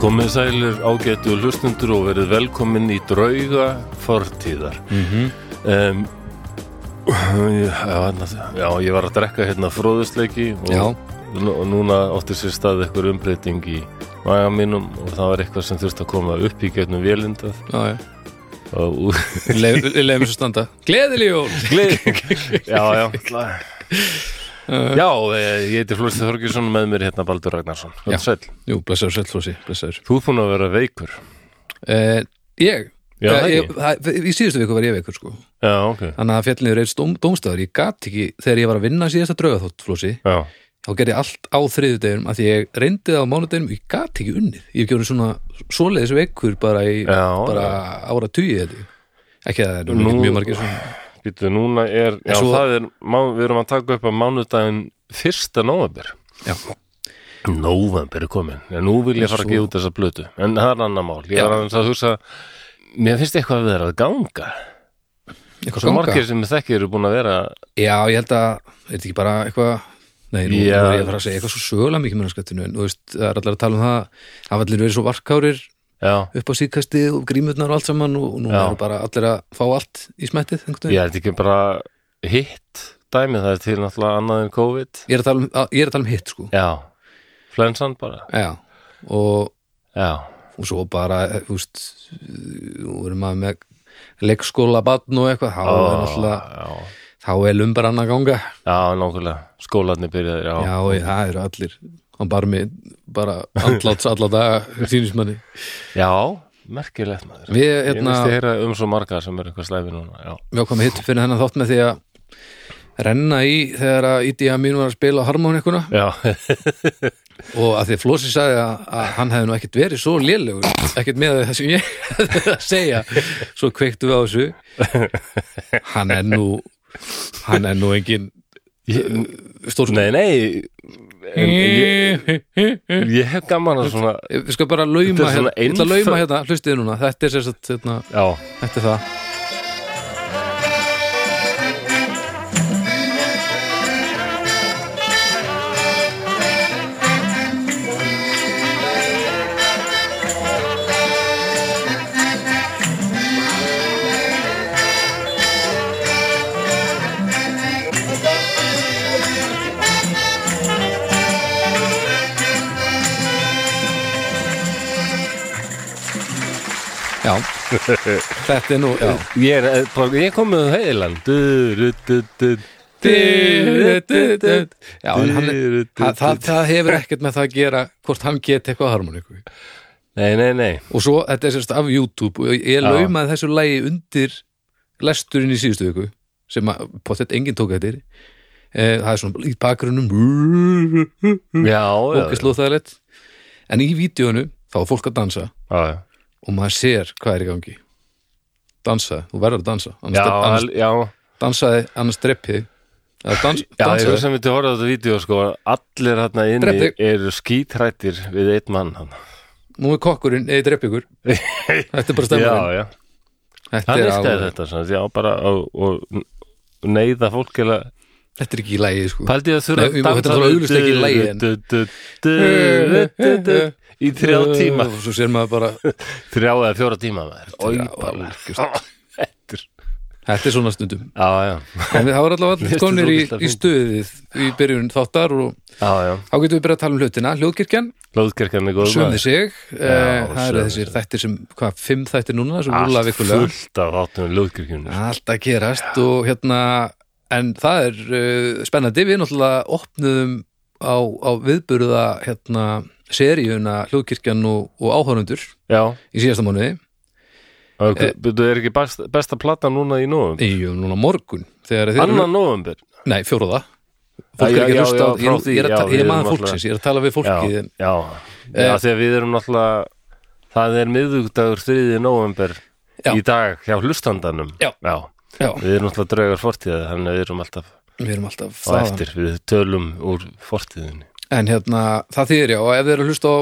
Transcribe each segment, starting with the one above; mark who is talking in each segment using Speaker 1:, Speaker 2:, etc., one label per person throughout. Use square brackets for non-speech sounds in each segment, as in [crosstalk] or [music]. Speaker 1: Komið sælir ágættu hlustundur og verið velkomin í drauga fortíðar. Mm -hmm. já, já, ég var að drekka hérna fróðusleiki
Speaker 2: Já.
Speaker 1: og, og núna átti sér stað eitthvað umbreyting í maga mínum og það var eitthvað sem þurfti að koma upp í gegnum vélindað
Speaker 2: Já, já.
Speaker 1: og úr...
Speaker 2: Leif- Leifum svo standa Gleðileg jól
Speaker 1: [laughs] já, já. já, eh, ég heiti Flósti Þorgjursson með mér hérna Baldur Ragnarsson.
Speaker 2: Já.
Speaker 1: Sæll.
Speaker 2: Jú, blessaður Selflósi, blessaður
Speaker 1: Þú er búin að vera veikur.
Speaker 2: eh, Ég
Speaker 1: Já,
Speaker 2: Eh,
Speaker 1: það
Speaker 2: ég,
Speaker 1: ekki.
Speaker 2: það, í síðustu viku var ég veikur sko
Speaker 1: Já, ok.
Speaker 2: Þannig að fjallinniður eitt dóm, dómstæður Ég gat ekki, þegar ég var að vinna síðasta draugaþótt Flósi,
Speaker 1: Já,
Speaker 2: þá gerði ég allt á þriðudeginum að því ég reyndi það á mánudeginum ég gat ekki unnið, ég hef gjörði svona svoleiðis veikur bara í
Speaker 1: já.
Speaker 2: bara ára tugi þetta ekki að það er nú
Speaker 1: Nú-
Speaker 2: ekki mjög margir svona
Speaker 1: Býtu, núna er, já,
Speaker 2: svo-
Speaker 1: það er, má, við erum að taka upp á mánudaginn fyrsta nóvember.
Speaker 2: Já.
Speaker 1: Nóvember er komin, en nú vil ég fara
Speaker 2: Svo-
Speaker 1: að gefa út þessa blötu, en það er annar mál. Ég
Speaker 2: Já.
Speaker 1: var aðeins að hugsa, mér finnst eitthvað að vera að ganga.
Speaker 2: Eitthvað
Speaker 1: Svo
Speaker 2: ganga.
Speaker 1: margir sem ég þekki eru búin að vera,
Speaker 2: Já, ég held að, er þetta ekki bara eitthvað Nei, nú,
Speaker 1: Já.
Speaker 2: nú er ég að fara að segja eitthvað svo sögulega mikið mennarskættinu en þú veist, það er allar að tala um það hafa allir verið svo varkárir
Speaker 1: já,
Speaker 2: upp á síðkasti og grímutnar og allt saman og, og nú
Speaker 1: Já.
Speaker 2: eru bara allir að fá allt í smettið einhvern
Speaker 1: ég
Speaker 2: veginn.
Speaker 1: er þetta ekki bara hitt dæmið, það er til náttúrulega annað en COVID.
Speaker 2: Ég er að tala um, að, ég er að tala um hitt sko
Speaker 1: Já, flensan bara,
Speaker 2: Já, og,
Speaker 1: já,
Speaker 2: og svo bara, eh, þú veist nú erum maður með leikskóla batn og eitthvað, þá er alltaf
Speaker 1: já,
Speaker 2: þá er lumbarann að ganga
Speaker 1: já, nákvæmlega, skólarnir byrjaðir, já.
Speaker 2: Já, ég, það eru allir hann bar mig bara andláts alla daga sínismanni
Speaker 1: Já, merkilegt maður
Speaker 2: Við,
Speaker 1: Ég
Speaker 2: hérna,
Speaker 1: veist ég heyra um svo marga sem er eitthvað slæfi núna Já,
Speaker 2: mjög komið hitt fyrir hennan þátt með því að renna í þegar að E Ídi Amin var að spila á harmonikuna
Speaker 1: [laughs] já,
Speaker 2: og að því að Flósi sagði að, að hann hefði nú ekkert verið svo lélegur ekkert með það sem ég [laughs] hefði að segja svo kveiktum við á þessu hann er nú hann er nú engin stór
Speaker 1: Nei, nei en ég,
Speaker 2: við
Speaker 1: ég hef gaman að svona
Speaker 2: skal bara lauma
Speaker 1: Þetta
Speaker 2: hérna,
Speaker 1: er svona
Speaker 2: ég ætla að lauma
Speaker 1: einföld-
Speaker 2: hérna hlustið núna, þetta er sérst hérna,
Speaker 1: Já,
Speaker 2: þetta er það já, þetta er nú já.
Speaker 1: ég, er, eh, bara- ég kom með heilan Du, du, du, du
Speaker 2: Já, en hann er Það, það, það hefur ekkert með það að gera hvort hann geti eitthvað harmoníku
Speaker 1: Nei, nei, nei
Speaker 2: og svo, þetta er sérst af YouTube og ég- ég
Speaker 1: Já.
Speaker 2: laumaði þessu lægi undir lesturinn í síðustu viku sem að, pottet, enginn tók eftir eh, það er svona í bakgrunum
Speaker 1: Já, já,
Speaker 2: okkar slóþægilegt en í vídjónu þá er fólk að dansa
Speaker 1: já, já.
Speaker 2: og maður sér hvað er í gangi dansa, þú verður að dansa annars,
Speaker 1: Já,
Speaker 2: drepp- annars,
Speaker 1: al- já,
Speaker 2: dansaði, annars dreppið eða dans,
Speaker 1: já, ég
Speaker 2: dansaði
Speaker 1: veist sem við til horfði á þetta vídeo sko, allir hérna inni
Speaker 2: Drepti.
Speaker 1: eru skítrættir við einn mann hann.
Speaker 2: nú er kokkurinn, eða drepp ykkur þetta er bara
Speaker 1: [laughs] Já,
Speaker 2: stemmarinn
Speaker 1: já,
Speaker 2: þetta,
Speaker 1: hann
Speaker 2: er
Speaker 1: elskaði
Speaker 2: alveg-
Speaker 1: þetta sem, sagt, já, bara, og, og neyða fólk eða
Speaker 2: þetta er ekki í lægi sko.
Speaker 1: Paldið að þurfa
Speaker 2: Nei, ég má- þetta er alveg augljóst ekki í lagi, en-
Speaker 1: [laughs] lægin hérna. Í þrjá tíma
Speaker 2: og svo sér maður
Speaker 1: [laughs]
Speaker 2: bara
Speaker 1: Þrjá eða fjóra tíma maður. Oj,
Speaker 2: Já,
Speaker 1: bara.
Speaker 2: algjört.
Speaker 1: Á, þetta er-
Speaker 2: þetta er svona stundum
Speaker 1: Já, já
Speaker 2: en við hafa allavega
Speaker 1: Mér
Speaker 2: allir
Speaker 1: finnst
Speaker 2: konir í,
Speaker 1: þetta
Speaker 2: í
Speaker 1: ógeðslega
Speaker 2: stöðið í byrjun þáttar og
Speaker 1: Já, já,
Speaker 2: þá getum við bara að tala um hlutina hljóðkirkjan,
Speaker 1: Lóðkirkjan er góð
Speaker 2: sömði sig eh, það
Speaker 1: sömðu
Speaker 2: eru þessir þættir sem, hvað, fimm þættir núna sem rúla
Speaker 1: Allt
Speaker 2: vikulega
Speaker 1: fullt af áttunum Lóðkirkjunum
Speaker 2: allt að gerast og hérna en það er uh, spennandi við náttúrulega opnuðum á, á viðburða hérna seríuna hljóðkirkjan og, og áhörundur
Speaker 1: Já,
Speaker 2: í síðasta mánuði
Speaker 1: og þú er ekki best, besta plata núna í nóvum
Speaker 2: í núna morgun þegar þeir
Speaker 1: Annan nóvumber
Speaker 2: Nei, fjóruða
Speaker 1: Já,
Speaker 2: Fólk er ekki
Speaker 1: já,
Speaker 2: að hlusta á
Speaker 1: já, frá
Speaker 2: Ég, ég er
Speaker 1: því,
Speaker 2: að
Speaker 1: já,
Speaker 2: ta- ég
Speaker 1: við
Speaker 2: er
Speaker 1: erum
Speaker 2: maður
Speaker 1: alltaf-
Speaker 2: fólksins, ég er að tala við fólkið Eh,
Speaker 1: Já, já, já því að við erum náttúrulega Það er miðvíkudagur 3. nóvumber
Speaker 2: Já.
Speaker 1: í dag hjá hlustandanum
Speaker 2: Já.
Speaker 1: já.
Speaker 2: Já,
Speaker 1: Við erum alltaf draugar fortíða þannig að við erum alltaf
Speaker 2: við erum alltaf
Speaker 1: á
Speaker 2: þaðan
Speaker 1: eftir við tölum úr fortíðinni
Speaker 2: En hérna, það þýðir já, og ef þið eru að hlusta á,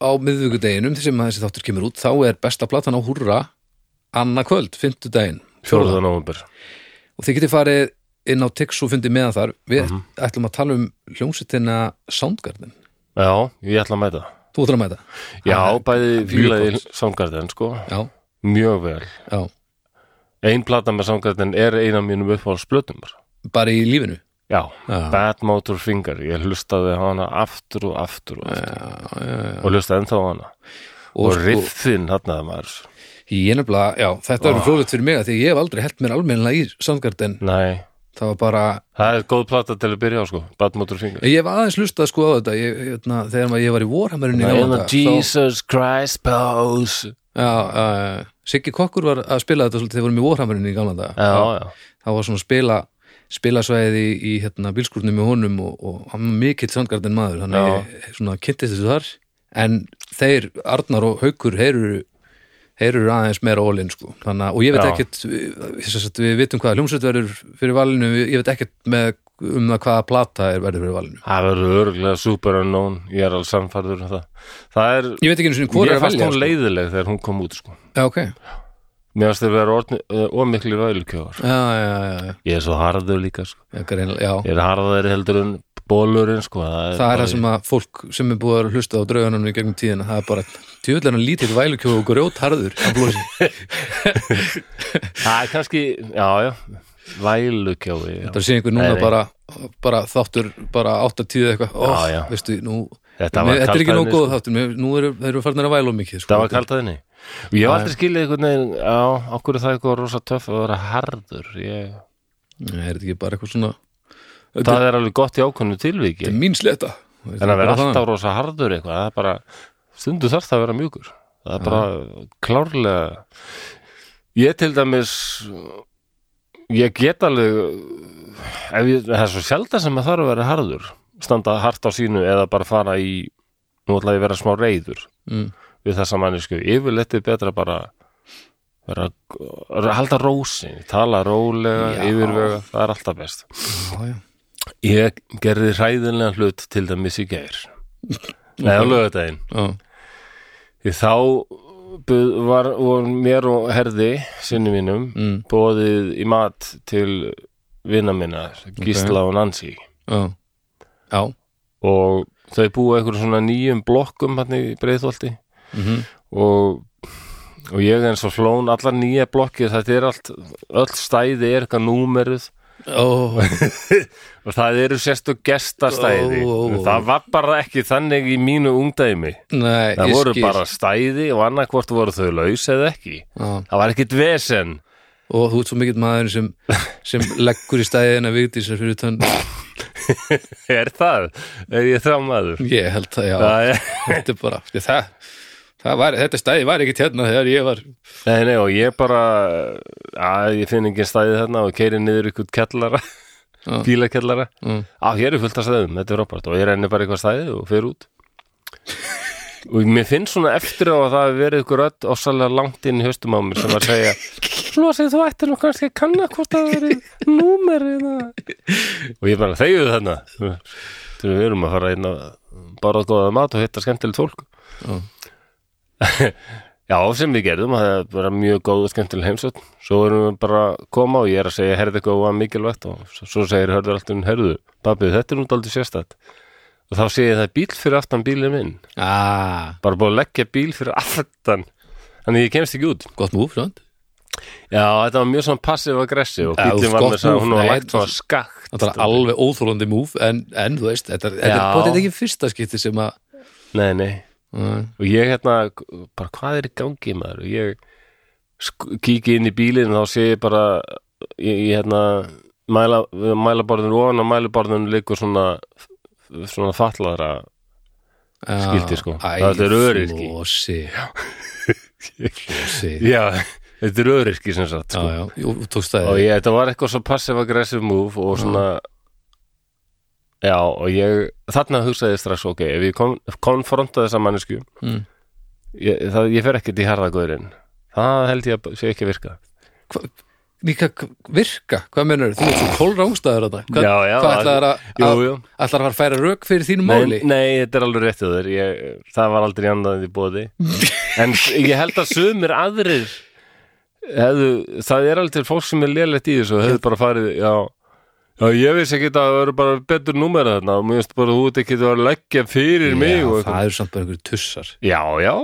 Speaker 2: á miðvikudeginum sem að þessi þáttur kemur út, þá er besta platan á Húrra annað kvöld, fimmtudaginn
Speaker 1: 4. november
Speaker 2: og þið getið farið inn á Tix og fundið
Speaker 1: Mhm.
Speaker 2: meðan þar við ætlum að tala um hljómsettina Soundgarden
Speaker 1: Já, ég ætla að mæta
Speaker 2: þú ætlar að mæta
Speaker 1: Já, bæði
Speaker 2: mjög
Speaker 1: fílaði
Speaker 2: gott.
Speaker 1: samgarðin sko,
Speaker 2: já,
Speaker 1: mjög vel
Speaker 2: já,
Speaker 1: Ein plata með samgarðin er eina mínum uppáhaldsblötum bara.
Speaker 2: bara í lífinu
Speaker 1: Já,
Speaker 2: Já.
Speaker 1: Bad Motor Finger Ég hlustaði á hana aftur og aftur og aftur
Speaker 2: já, já, já.
Speaker 1: og hlustaði ennþá á hana
Speaker 2: Og
Speaker 1: og, og
Speaker 2: sko-
Speaker 1: riffin þarna maður
Speaker 2: ég nefnilega, já, þetta verður fróðlegt fyrir mig af því að ég hef aldrei held mér almennilega í Soundgarden
Speaker 1: Nei,
Speaker 2: það var bara,
Speaker 1: það er góð plata til að byrja á sko Bad Motor Finger
Speaker 2: ég hef aðeins lustað sko á þetta ég, hérna, þegar maður- ég var í Warhammerinu í gamla
Speaker 1: Nei,
Speaker 2: daga, þá-
Speaker 1: Jesus Christ
Speaker 2: já,
Speaker 1: Pose
Speaker 2: já, já. Siggi Kokkur var að spila þetta svolítið þegar við vorum í Warhammerinu í gamla dag
Speaker 1: Já, já,
Speaker 2: það var svona spila spilasvæði í, í hérna, bílskúrnum með honum og, og hann var mikill sandgarðin maður þannig
Speaker 1: Já.
Speaker 2: að ég eh, svona kynntist þessu þar en þeir, Arnar og Haukur þeir eru, þeir eru aðeins meira ólinn sko, þannig að, og ég veit
Speaker 1: Já.
Speaker 2: ekkert við, sem sagt, við vitum hvaða hljómsveit verður fyrir valinu, ég veit ekkert með um það hvaða plata er verður fyrir valinu
Speaker 1: það verður örgulega super unknown Ég er alveg samfærður um það Það er,
Speaker 2: ég veit ekki einu sinni hvora er
Speaker 1: mér
Speaker 2: að
Speaker 1: fannst
Speaker 2: velja
Speaker 1: hún
Speaker 2: sko.
Speaker 1: leiðileg þegar hún kom út sko
Speaker 2: já, ok,
Speaker 1: Mér fannst þeir vera orðni, uh, ómikli vælukjóðar
Speaker 2: já, já, já, já,
Speaker 1: Ég er svo harður líka sko
Speaker 2: já, greinilega, já.
Speaker 1: Ég er harðari heldur en bólurinn sko Það er,
Speaker 2: það er
Speaker 1: bara-
Speaker 2: það sem að fólk sem er búið að hlusta á draugunum í gegnum tíðina það er bara tjóðlega lítill vælukjóð og grjótharður að
Speaker 1: [laughs]
Speaker 2: blósi
Speaker 1: Það er kannski, já, já Vælukjóði já.
Speaker 2: það sé einhver núna
Speaker 1: Nei, nei.
Speaker 2: bara, bara þáttur bara 8-10 eitthvað oh,
Speaker 1: Já, já.
Speaker 2: veistu, nú,
Speaker 1: Þetta var
Speaker 2: mér, þetta er ekki
Speaker 1: kaldhæðni,
Speaker 2: nóg góð þáttur mér, nú eru þeir eru farnir að væla of mikið sko.
Speaker 1: Það var kaldaðinni Og ég hef aldrei skilið einhvern veginn Já, okkur er það eitthvað rosa töff að vera harður ég...
Speaker 2: Nei, er þetta ekki bara eitthvað svona þetta
Speaker 1: Það er alveg gott í ákvönnu tilviki
Speaker 2: er mín sletta
Speaker 1: En að vera alltaf rosa harður eitthvað Það er bara, stundu þarf það að vera mjúkur Það er bara klárlega Ég til dæmis Ég get alveg ef ég, Það er svo sjaldan sem að þarf að vera harður Standa hart á sínu eða bara fara í Nú ætla ég að vera smá reyður
Speaker 2: mm,
Speaker 1: við þessa mannesku yfirleitt er betra bara vera, vera halda rósi tala rólega,
Speaker 2: Já.
Speaker 1: yfirvega það er alltaf best
Speaker 2: já, já.
Speaker 1: ég gerði hræðinlega hlut til dæmis í gær Nei, á lögadaginn
Speaker 2: Já,
Speaker 1: Því þá buð, var, var mér og herði sinni mínum
Speaker 2: mm,
Speaker 1: bóðið í mat til vina minna, Gísla og Nancy
Speaker 2: já. já.
Speaker 1: og þau búa einhverjum svona nýjum blokkum hann í breiðholti
Speaker 2: Mm -hmm.
Speaker 1: og, og ég er eins og flón allar nýja blokkir, þetta er allt öll stæði er eitthvað númeruð [laughs]
Speaker 2: oh,
Speaker 1: og það eru sérstu
Speaker 2: Ó,
Speaker 1: gestastæði
Speaker 2: ó, ó.
Speaker 1: það var bara ekki þannig í mínu ungdæmi
Speaker 2: nei,
Speaker 1: það
Speaker 2: ég
Speaker 1: voru
Speaker 2: skil.
Speaker 1: bara stæði og annarkvort voru þau laus eða ekki
Speaker 2: Já.
Speaker 1: það var ekkit vesen [laughs]
Speaker 2: og þú ert svo mikill maður sem, sem leggur í stæðina vigdísar fyrir tönn
Speaker 1: er það, er ég þrámaður
Speaker 2: ég held það, já
Speaker 1: það er [laughs]
Speaker 2: þetta er bara, það, það var, þetta stæði var ekkert hérna þegar ég var
Speaker 1: Nei, nei, og ég bara að ég finn ekki stæði þarna og keiri niður ykkur kellara
Speaker 2: Já.
Speaker 1: bílakellara
Speaker 2: Mm.
Speaker 1: á, hér er fullt af stæðum, þetta er Robert og ég renni bara eitthvað stæði og fer út og mér finnst svona eftir á að það hafi verið ykkur öll ossalega langt inn í höstum á mér sem að segja Flósi, þú ættir nú kannski að kanna hvort það verið númer eða og ég bara þegju þarna til við erum að fara inn að bara að góða mat og hitta skemmtilegt fólk
Speaker 2: Já.
Speaker 1: Já, sem við gerðum, það er bara mjög góð og skemmtileg heimsótt. Svo erum við bara að koma og ég er að segja, herði eitthvað var mikilvægt og s- svo segir hörður alltaf um herðu, pappi, þetta er nú daldið sérstætt. Og þá segi ég það er bíl fyrir aftan bílið minn,
Speaker 2: Ah,
Speaker 1: bara búið að leggja bíl fyrir aftan, þannig ég kemst ekki út.
Speaker 2: gott múf, svont
Speaker 1: Já, þetta var mjög svona passiv-aggressiv og
Speaker 2: Já,
Speaker 1: bílinn var
Speaker 2: gott
Speaker 1: með þess að
Speaker 2: move.
Speaker 1: hún var
Speaker 2: Nei,
Speaker 1: lagt svona skakt.
Speaker 2: Það er alveg óþólandi múf en, en þú veist, þetta, þetta er
Speaker 1: Já.
Speaker 2: bótið ekki fyrsta skipti sem að
Speaker 1: Nei, nei.
Speaker 2: uh,
Speaker 1: og ég hérna, bara hvað er í gangi maður og ég sk- kíki inn í bílinn og þá sé ég bara ég, ég hérna mæla, mælaborðin ofan og mælaborðin liggur svona svona fatlaðra Skildi, sko. Þetta er öryrki.
Speaker 2: Flósi [laughs] Flósi Já,
Speaker 1: já, [laughs] þetta er öðriski sem sagt sko.
Speaker 2: já, jú, þú tókst það
Speaker 1: og ég, þetta var eitthvað svo passive-aggressive move og svona já, og ég, þarna hugsaði ég strax ok, ef ég kon, konfronta þessa mannesku
Speaker 2: Mm.
Speaker 1: ég, það, ég fer ekkert í harðagöðurinn það held ég að sé ekki að virka
Speaker 2: Hva, Líka hva- virka, hvað menur þú? ert svo kólrángstæður að það
Speaker 1: Já, já,
Speaker 2: Hvað ætlar að,
Speaker 1: jú,
Speaker 2: að,
Speaker 1: jú.
Speaker 2: ætlar að fara að færa rök fyrir þínu
Speaker 1: Nei,
Speaker 2: máli?
Speaker 1: nei, þetta er alveg réttið þér ég, Það var aldrei annað en því
Speaker 2: [laughs]
Speaker 1: bóði En ég held að sumir aðrir hefðu, Það er alveg til fólk sem er lélegt í þessu og hefðu bara farið Já, já Já, ég vissi ekki að það eru bara betur númer þarna og mér finnst bara út ekki að leggja fyrir mig og
Speaker 2: já,
Speaker 1: eitthvað.
Speaker 2: það eru samt bara einhverju tussar
Speaker 1: Já, já,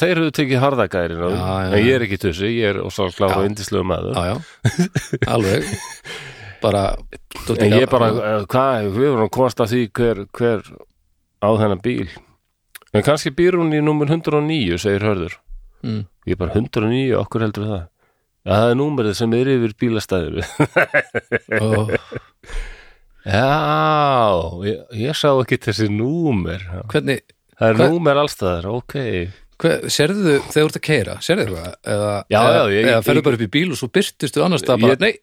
Speaker 1: þeir eru tekið harðagærin og
Speaker 2: Já, já.
Speaker 1: en ég er ekki tussi, ég er ósvald kláð
Speaker 2: Já.
Speaker 1: og indislegu maður.
Speaker 2: já,
Speaker 1: [laughs]
Speaker 2: já, alveg bara
Speaker 1: en ég bara, eh, hvað, við vorum að komast að því hver, hver á þennan bíl. En kannski býr hún í númer 109, segir Hörður.
Speaker 2: mm,
Speaker 1: Ég bara, 109, okkur heldur það. Já, það er númerið sem er yfir [laughs] bílastæður.
Speaker 2: og,
Speaker 1: já, ég, ég sá ekki þessi númer. Já.
Speaker 2: hvernig,
Speaker 1: Það er
Speaker 2: Hvað-
Speaker 1: númer allstaðar, ok.
Speaker 2: hver, serðu þau þegar þú ert að keira, serðu þau það eða,
Speaker 1: Já,
Speaker 2: eða,
Speaker 1: já, ég-
Speaker 2: eða
Speaker 1: ég-
Speaker 2: ferðu bara upp í bíl og svo byrtist þú annars það bara,
Speaker 1: Ég-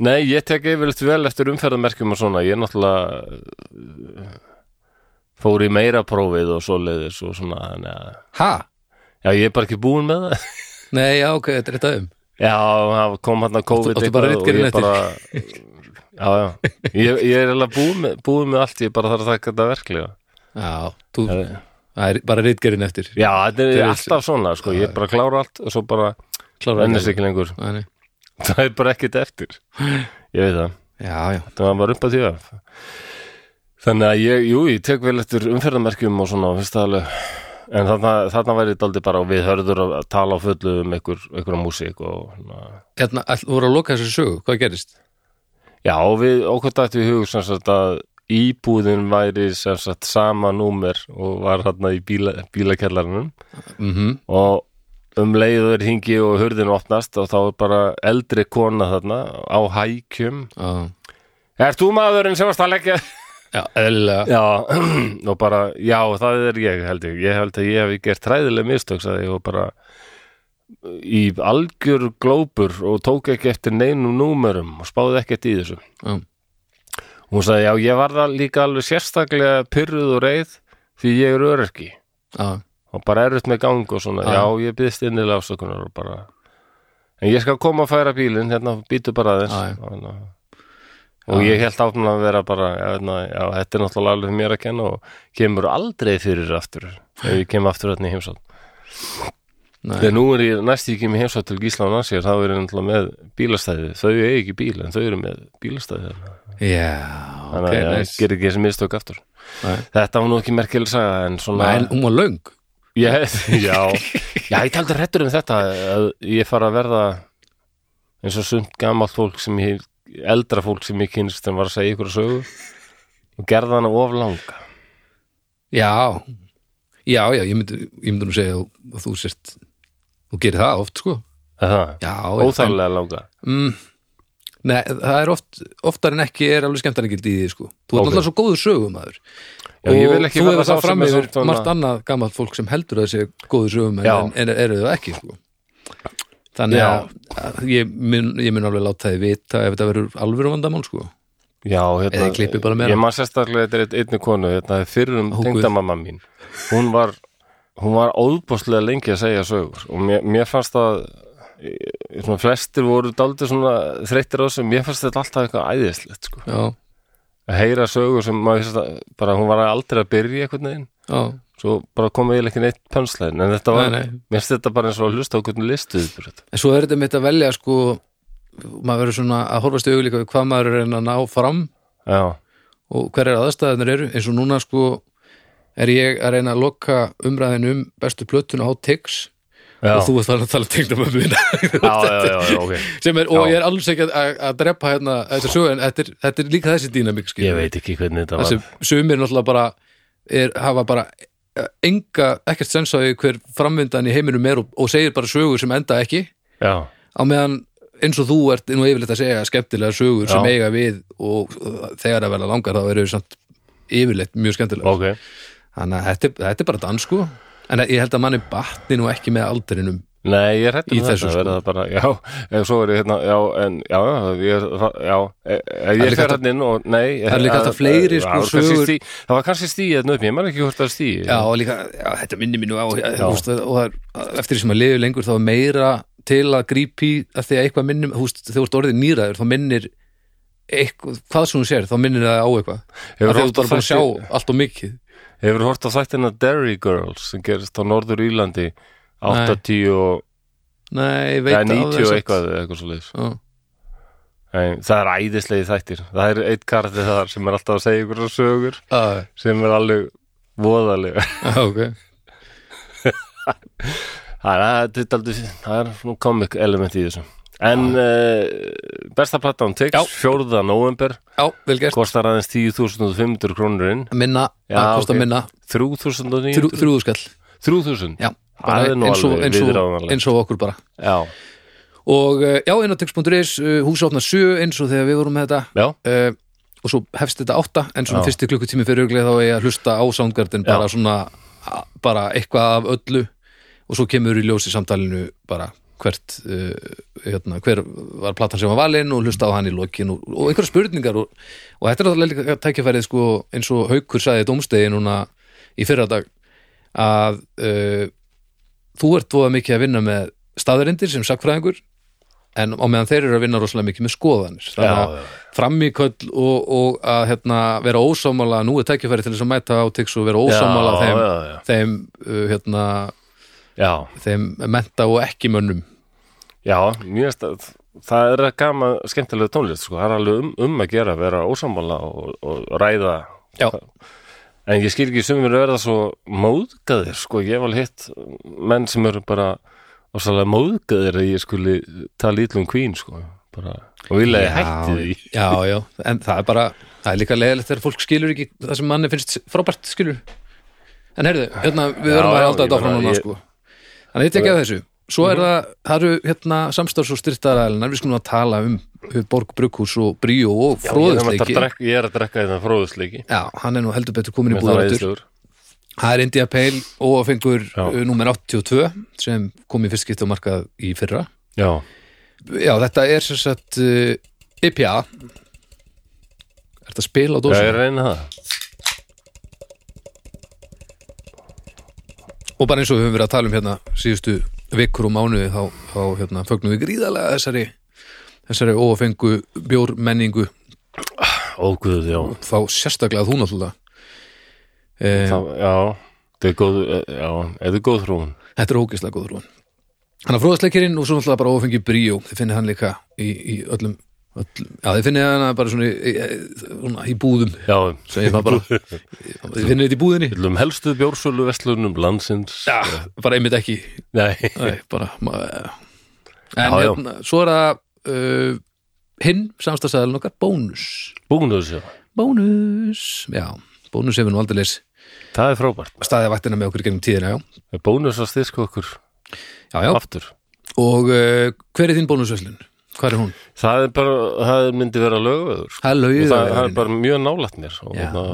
Speaker 1: Nei, ég tek yfirleitt vel eftir umferðamerkjum og svona, ég náttúrulega uh, fór í meira prófið og svoleiðis og svona, þannig að
Speaker 2: nei, ha
Speaker 1: já, ég er bara ekki búinn með það.
Speaker 2: nei, já, ok, þetta er þetta um
Speaker 1: Já, það kom hann að COVID
Speaker 2: áttu bara
Speaker 1: eitthvað
Speaker 2: ritgerðin
Speaker 1: og ég bara, já, já, ég, ég er eiginlega búinn með, búinn með allt, ég bara þarf að taka þetta verklega.
Speaker 2: já, þú,
Speaker 1: Já.
Speaker 2: það er bara reitgerinn eftir
Speaker 1: Já, þetta
Speaker 2: Þeir
Speaker 1: er
Speaker 2: eru-
Speaker 1: alltaf svona, sko, ég bara klára allt og svo bara
Speaker 2: klára
Speaker 1: ennist ekki lengur. [laughs]
Speaker 2: Nei, nei.
Speaker 1: Það er bara ekkert eftir, ég veit það.
Speaker 2: já, já,
Speaker 1: þannig að hann var upp að því að þannig að ég, jú, ég tek vel eftir umferðamerkjum og svona, finnst það alveg en þarna, þarna væri þetta aldrei bara og við hörður að tala á fullu um einhver, einhverja músík og na,
Speaker 2: hérna, all, þú voru að loka þessu sögu hvað gerist?
Speaker 1: já, og við okkur dættu í hug sem sagt að íbúðin væri sem sagt sama númer og var þarna í bíla, bílakellarnum
Speaker 2: Mm
Speaker 1: og um leiður hingi og hurðin opnast og þá er bara eldri kona þarna á hækjum Er þú maðurinn sem varst að leggja
Speaker 2: já, eðlilega
Speaker 1: Já, [clears throat] og bara, já, það er ég held ég, ég held að ég hef gert træðileg mistök, sagði ég og bara í algjör glópur og tók ekki eftir neinum númerum og spáði ekkert í þessu
Speaker 2: Já.
Speaker 1: hún sagði, já, ég var það líka alveg sérstaklega pyrruð og reið því ég er öryrki
Speaker 2: já,
Speaker 1: og bara erut með gang og svona,
Speaker 2: Já.
Speaker 1: já, ég byðst innilega afsökunar og bara en ég skal koma að færa bílinn, hérna, býtu bara aðeins
Speaker 2: Já, já.
Speaker 1: og, hérna, og ég held áfnum að vera bara já, hérna, já, þetta er náttúrulega alveg mér að kenna og kemur aldrei fyrir aftur ef ég kem aftur hérna í heimsótt
Speaker 2: Nei.
Speaker 1: þegar nú er ég næst ég kemur heimsótt til Gísla og Nasir, þá er ég náttúrulega með bílastæði, þau eru ekki bíl en þau eru með hérna. bílastæði þarna.
Speaker 2: já, ok,
Speaker 1: þannig að ég
Speaker 2: nice
Speaker 1: ger ekki þessi mistök aftur
Speaker 2: Nei.
Speaker 1: þetta var nú ekki merkileg saga en svona
Speaker 2: Nei, hún var löng
Speaker 1: Ég, [laughs]
Speaker 2: [laughs]
Speaker 1: já, já, ég taldi hrettur um þetta að ég fara að verða eins og sumt gamalt fólk sem ég, eldra fólk sem ég kynst sem var að segja ykkur sögu og gerða hana of langa
Speaker 2: Já, já, já, ég myndi, ég myndi nú segja að, að þú sért, þú gerir það oft, sko.
Speaker 1: Er það,
Speaker 2: Já, en-
Speaker 1: óþarlega langa
Speaker 2: Mm, nei, það er oft, oftar en ekki er alveg skemmtarningildi í því, sko. Þú
Speaker 1: Ok.
Speaker 2: ert alltaf svo góður sögumæður.
Speaker 1: Já, ég vil ekki
Speaker 2: þú
Speaker 1: verða
Speaker 2: hefur
Speaker 1: sá
Speaker 2: það
Speaker 1: sem
Speaker 2: fram
Speaker 1: er
Speaker 2: yfir
Speaker 1: samt svona-
Speaker 2: margt annað gammalt fólk sem heldur að þessi góður sögumæður
Speaker 1: Já.
Speaker 2: en, en eru það ekki, sko. Þannig
Speaker 1: Já.
Speaker 2: að, að ég, mun, ég mun alveg láta þið vita ef þetta verður alvöru vandamál, sko.
Speaker 1: Já, hérna,
Speaker 2: Eða klippið bara meira.
Speaker 1: ég maður sérstaklega þetta er einn- einni konu, hérna, fyrrum
Speaker 2: Ó, Guð.
Speaker 1: tengdamamma mín, hún var hún var óðbóðslega lengi að segja sögur og mér, mér fannst það eh, svona flestir voru daldið svona þreyttir á þessu, mér fannst þetta alltaf eitthvað æðislegt, sko,
Speaker 2: Já,
Speaker 1: að heyra sögur sem maður finnst að, bara hún var aldrei að byrja einhvern veginn,
Speaker 2: já,
Speaker 1: svo bara komið eiginlega ekki neitt pönslæðin, en þetta var,
Speaker 2: Nei, nei.
Speaker 1: mér finnst þetta bara eins og að hlusta á hvernig listuð,
Speaker 2: En svo er þetta mitt að velja sko maður verður svona að horfast í auglíka við hvað maður er að reyna að ná fram
Speaker 1: já,
Speaker 2: og hverjar aðstæðanir eru eins og núna sko er ég að reyna að loka umræðin um bestu plötuna á Tix
Speaker 1: já,
Speaker 2: og þú ert þannig að tala tegnum um
Speaker 1: já, [laughs]
Speaker 2: minna
Speaker 1: já, já, já, ok
Speaker 2: sem er, og
Speaker 1: Já.
Speaker 2: ég er alls ekki að, að, að drepa hérna þetta sögu en þetta er, þetta er líka þessi dýnamik
Speaker 1: ég veit ekki hvernig þetta var
Speaker 2: þessi sumir náttúrulega bara er, hafa bara eh, enga ekkert sensaði hver framvindan í heiminum er og, og segir bara sögur sem enda ekki
Speaker 1: já,
Speaker 2: á meðan eins og þú ert nú yfirleitt að segja skemmtilega sögur sem
Speaker 1: Já.
Speaker 2: eiga við og uh, þegar að verða langar þá eru þau samt yfirleitt mjög skemmtilega
Speaker 1: ok
Speaker 2: þannig að þetta, þetta er bara dans sko en ég held að manni batni nú ekki með aldrinum
Speaker 1: Nei, ég hrættum
Speaker 2: Í þessu,
Speaker 1: þetta,
Speaker 2: sko.
Speaker 1: verða það bara, já, en svo er ég hérna, já, en, já, já, ég, það- já, e- e-
Speaker 2: er
Speaker 1: ég
Speaker 2: líka
Speaker 1: fer
Speaker 2: hægt
Speaker 1: hérna inn og, nei, e,
Speaker 2: Það er líka hægt að fleiri, sko,
Speaker 1: það var kannski
Speaker 2: sögur-
Speaker 1: stí- Það var kannski stíð hérna upp, ég man ekki hvort það er stíð,
Speaker 2: já og líka, já, þetta minni mínu á húst, og það er, eftir því sem að liðu lengur þá er meira til að grípi að því að eitthvað minnum, húst, þegar þú ert orðið nýraður þá minnir eitthvað, hvað sem hún sér, þá minnir það á eitthvað Af
Speaker 1: Hefur
Speaker 2: því að þú ert bara
Speaker 1: oft
Speaker 2: búin að
Speaker 1: þætti-
Speaker 2: sjá allt og mikið
Speaker 1: hefur hort á þættina Derry Girls sem gerist á Norður Írlandi 80 og,
Speaker 2: nei, ég veit það
Speaker 1: eða
Speaker 2: alveg
Speaker 1: 90 og
Speaker 2: samt.
Speaker 1: eitthvað, eða eitthvað svo leis,
Speaker 2: Já.
Speaker 1: Nei, það er æðislegi þættir það er eitt karti þar sem er alltaf að segja ykkur sögur
Speaker 2: ah,
Speaker 1: sem er alveg voðalega
Speaker 2: ok
Speaker 1: það er, það er, aldrei, það er svona comic element í þessu en uh, besta platan
Speaker 2: Já.
Speaker 1: Tix, 4. november
Speaker 2: já, vel gert,
Speaker 1: kostar aðeins 10.500 krónur inn
Speaker 2: minna,
Speaker 1: Já,
Speaker 2: að kosta
Speaker 1: ok.
Speaker 2: minna
Speaker 1: 3.900
Speaker 2: þrjúðu skall
Speaker 1: 3.000
Speaker 2: já,
Speaker 1: Það er nú
Speaker 2: eins og,
Speaker 1: alveg
Speaker 2: eins, og,
Speaker 1: viðráðanlegt.
Speaker 2: eins og okkur bara
Speaker 1: já,
Speaker 2: og eh, já, inn á tix.is, eh, hús opna 7 eins og þegar við vorum með þetta
Speaker 1: já,
Speaker 2: uh, og svo hefst þetta átta en svona
Speaker 1: Já.
Speaker 2: fyrsti klukkutími fyrir auglið þá er ég að hlusta á Soundgarden bara svona a- bara eitthvað af öllu og svo kemur í ljósi samtalinu bara hvert uh, hérna, hver var platan sem var valinn og hlusta á hann í lokin og, og einhverja spurningar og, og þetta er náttúrulega líka tækifærið sko, eins og Haukur sagði dómstegi núna í fyrra dag að uh, þú ert voða mikið að vinna með staðarindir sem sakfræðingur en á meðan þeir eru að vinna rosalega mikið með skoðanir þannig að
Speaker 1: já, já.
Speaker 2: frammíköll og, og að hérna, vera ósámála, nú er tækifæri til þess að mæta átix og vera ósámála
Speaker 1: Já,
Speaker 2: þeim,
Speaker 1: já, já.
Speaker 2: þeim, uh, hérna,
Speaker 1: já,
Speaker 2: þeim menta og ekki mönnum
Speaker 1: Já, mjög stað það er gaman, skemmtilega tónlist sko. það er alveg um, um að gera að vera ósammála og, og ræða
Speaker 2: Já.
Speaker 1: en ég skil ekki sumir að verða svo móðgæðir, sko, ég hef alveg hitt menn sem eru bara og svolítið móðgæðir að ég skuli tala ítlum kvín, sko bara, og vilja ég hætti því
Speaker 2: já, já, en það er bara það er líka leiðilegt þegar fólk skilur ekki það sem manni finnst frábært skilur en heyrðu, hérna, við
Speaker 1: Já,
Speaker 2: verðum að halda
Speaker 1: já, ég
Speaker 2: þetta áfram
Speaker 1: meina,
Speaker 2: núna
Speaker 1: ég- Mhm.
Speaker 2: sko. þannig ég tekja þessu svo er það, það eru hérna, samstarfs og styrtaðarælinar, við skulum að tala um Borg Brukhús og Bríó og
Speaker 1: ég, er að
Speaker 2: fróðusleiki
Speaker 1: drekka- ég er að drekka þetta fróðusleiki
Speaker 2: já, hann er nú heldur betur komin í
Speaker 1: Mér það
Speaker 2: búðarættur
Speaker 1: æðislegur.
Speaker 2: Það er India Pale óafengur
Speaker 1: Já.
Speaker 2: uh, númer 82 sem kom í fyrst skipt á markað í fyrra
Speaker 1: Já,
Speaker 2: Já, þetta er sem sagt uh, IPA Er þetta spil á
Speaker 1: Já, ég
Speaker 2: dósum?
Speaker 1: reyna það
Speaker 2: Og bara eins og við höfum verið að tala um hérna síðustu vikur og mánuði þá, þá hérna, fögnum við gríðalega þessari þessari óafengu bjórmenningu
Speaker 1: Óguð, já,
Speaker 2: þá sérstaklega þú náttúrulega eh,
Speaker 1: það, já. Þetta er góð, eh, já, þetta er góð þrún
Speaker 2: Þetta er ógeðslega góð rúan Þannig að fróðasleikirinn og svo náttúrulega bara ófengi bríó þið finnir hann líka í, í öllum, öllum Já, þið finnir hann bara svona í, í, svona í búðum
Speaker 1: Já,
Speaker 2: segir maður
Speaker 1: [laughs]
Speaker 2: bara Þið finnir þetta í búðinni
Speaker 1: Öllum helstu bjórsölu vestlunum landsins
Speaker 2: Já, bara einmitt ekki
Speaker 1: Nei, [laughs]
Speaker 2: Nei, bara, ma, En
Speaker 1: Já, já.
Speaker 2: hérna, svo er það uh, hinn samstagsæðalinn okkar bónus
Speaker 1: búnus já.
Speaker 2: Bónus, já, bónus hefur nú aldrei
Speaker 1: Það er frábært
Speaker 2: staðið vaktina með okkur í gennum tíðina, já
Speaker 1: Bónus að styrka okkur
Speaker 2: Já, já,
Speaker 1: aftur
Speaker 2: og uh, hver er þín bónusveslun? Hvar er hún?
Speaker 1: Það er bara, það myndi vera lögveður sko.
Speaker 2: Það er
Speaker 1: Og
Speaker 2: laugið
Speaker 1: það, það er bara hérna- mjög nálætt mér og,
Speaker 2: Já,
Speaker 1: það,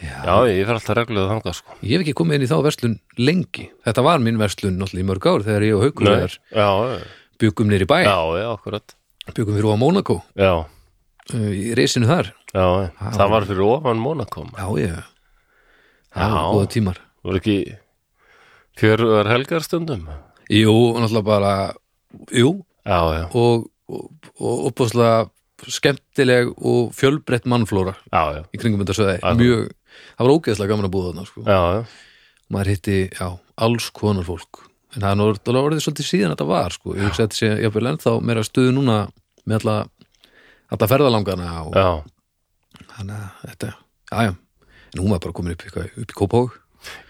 Speaker 2: já.
Speaker 1: já, ég fer alltaf regluð þangað sko.
Speaker 2: Ég hef ekki komið inn í þá verslun lengi. Þetta var mín verslun náttúrulega í mörg ár þegar ég og Haukur
Speaker 1: Nei,
Speaker 2: þegar
Speaker 1: Já, já,
Speaker 2: byggum nýri bæ,
Speaker 1: já, já, akkurat
Speaker 2: byggum fyrir á Mónakó,
Speaker 1: Já,
Speaker 2: uh, í reysinu þar.
Speaker 1: já, það var fyrir ofan Monaco
Speaker 2: Já,
Speaker 1: maður.
Speaker 2: ég,
Speaker 1: Já.
Speaker 2: það var góða tímar.
Speaker 1: Voru ekki fjörðar helgar stundum
Speaker 2: Jú, náttúrulega bara, jú,
Speaker 1: Já, já,
Speaker 2: og, og, og uppbúðslega skemmtileg og fjölbrett mannflóra
Speaker 1: já, já,
Speaker 2: í kringum þetta sveði.
Speaker 1: Alveg.
Speaker 2: Mjög, það var ógeðslega gaman að búa þarna, sko.
Speaker 1: já, já.
Speaker 2: Maður hitti, já, alls konar fólk. En það er nú alveg orðið svolítið síðan þetta var, sko. Ég hugsa að þetta sé, ég byrja ennþá meira stuðu núna með alla, alla ferðalangana og
Speaker 1: já.
Speaker 2: þannig að þetta, já já en hún var bara komin upp, eitthvað, upp í Kópavog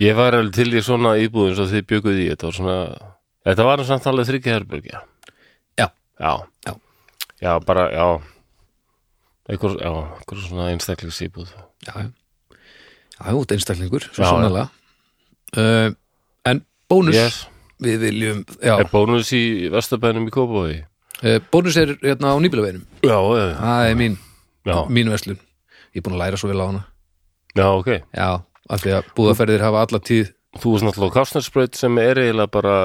Speaker 1: Ég var alveg til í svona íbúðum svo þið bjökuð í þetta var svona Þetta var samt alveg þryggja herbergja
Speaker 2: Já.
Speaker 1: Já
Speaker 2: Já.
Speaker 1: Já, bara, já Einhver, já, einhver svona einstaklis íbúð
Speaker 2: já já, já út einstaklingur svo
Speaker 1: Já, já.
Speaker 2: sannlega uh, en bónus
Speaker 1: Yes,
Speaker 2: við viljum, já,
Speaker 1: er bónus í Vestabænum í Kópavogi
Speaker 2: uh, bónus er hérna á nýbílaveginum,
Speaker 1: Já, já,
Speaker 2: það er mín
Speaker 1: já,
Speaker 2: mín verslun, ég er búin að læra svo vel á hana
Speaker 1: já, ok
Speaker 2: já, af því að búðaferðir hafa alla tíð
Speaker 1: Þú varst náttúrulega á Kásnarsbraut sem er eiginlega bara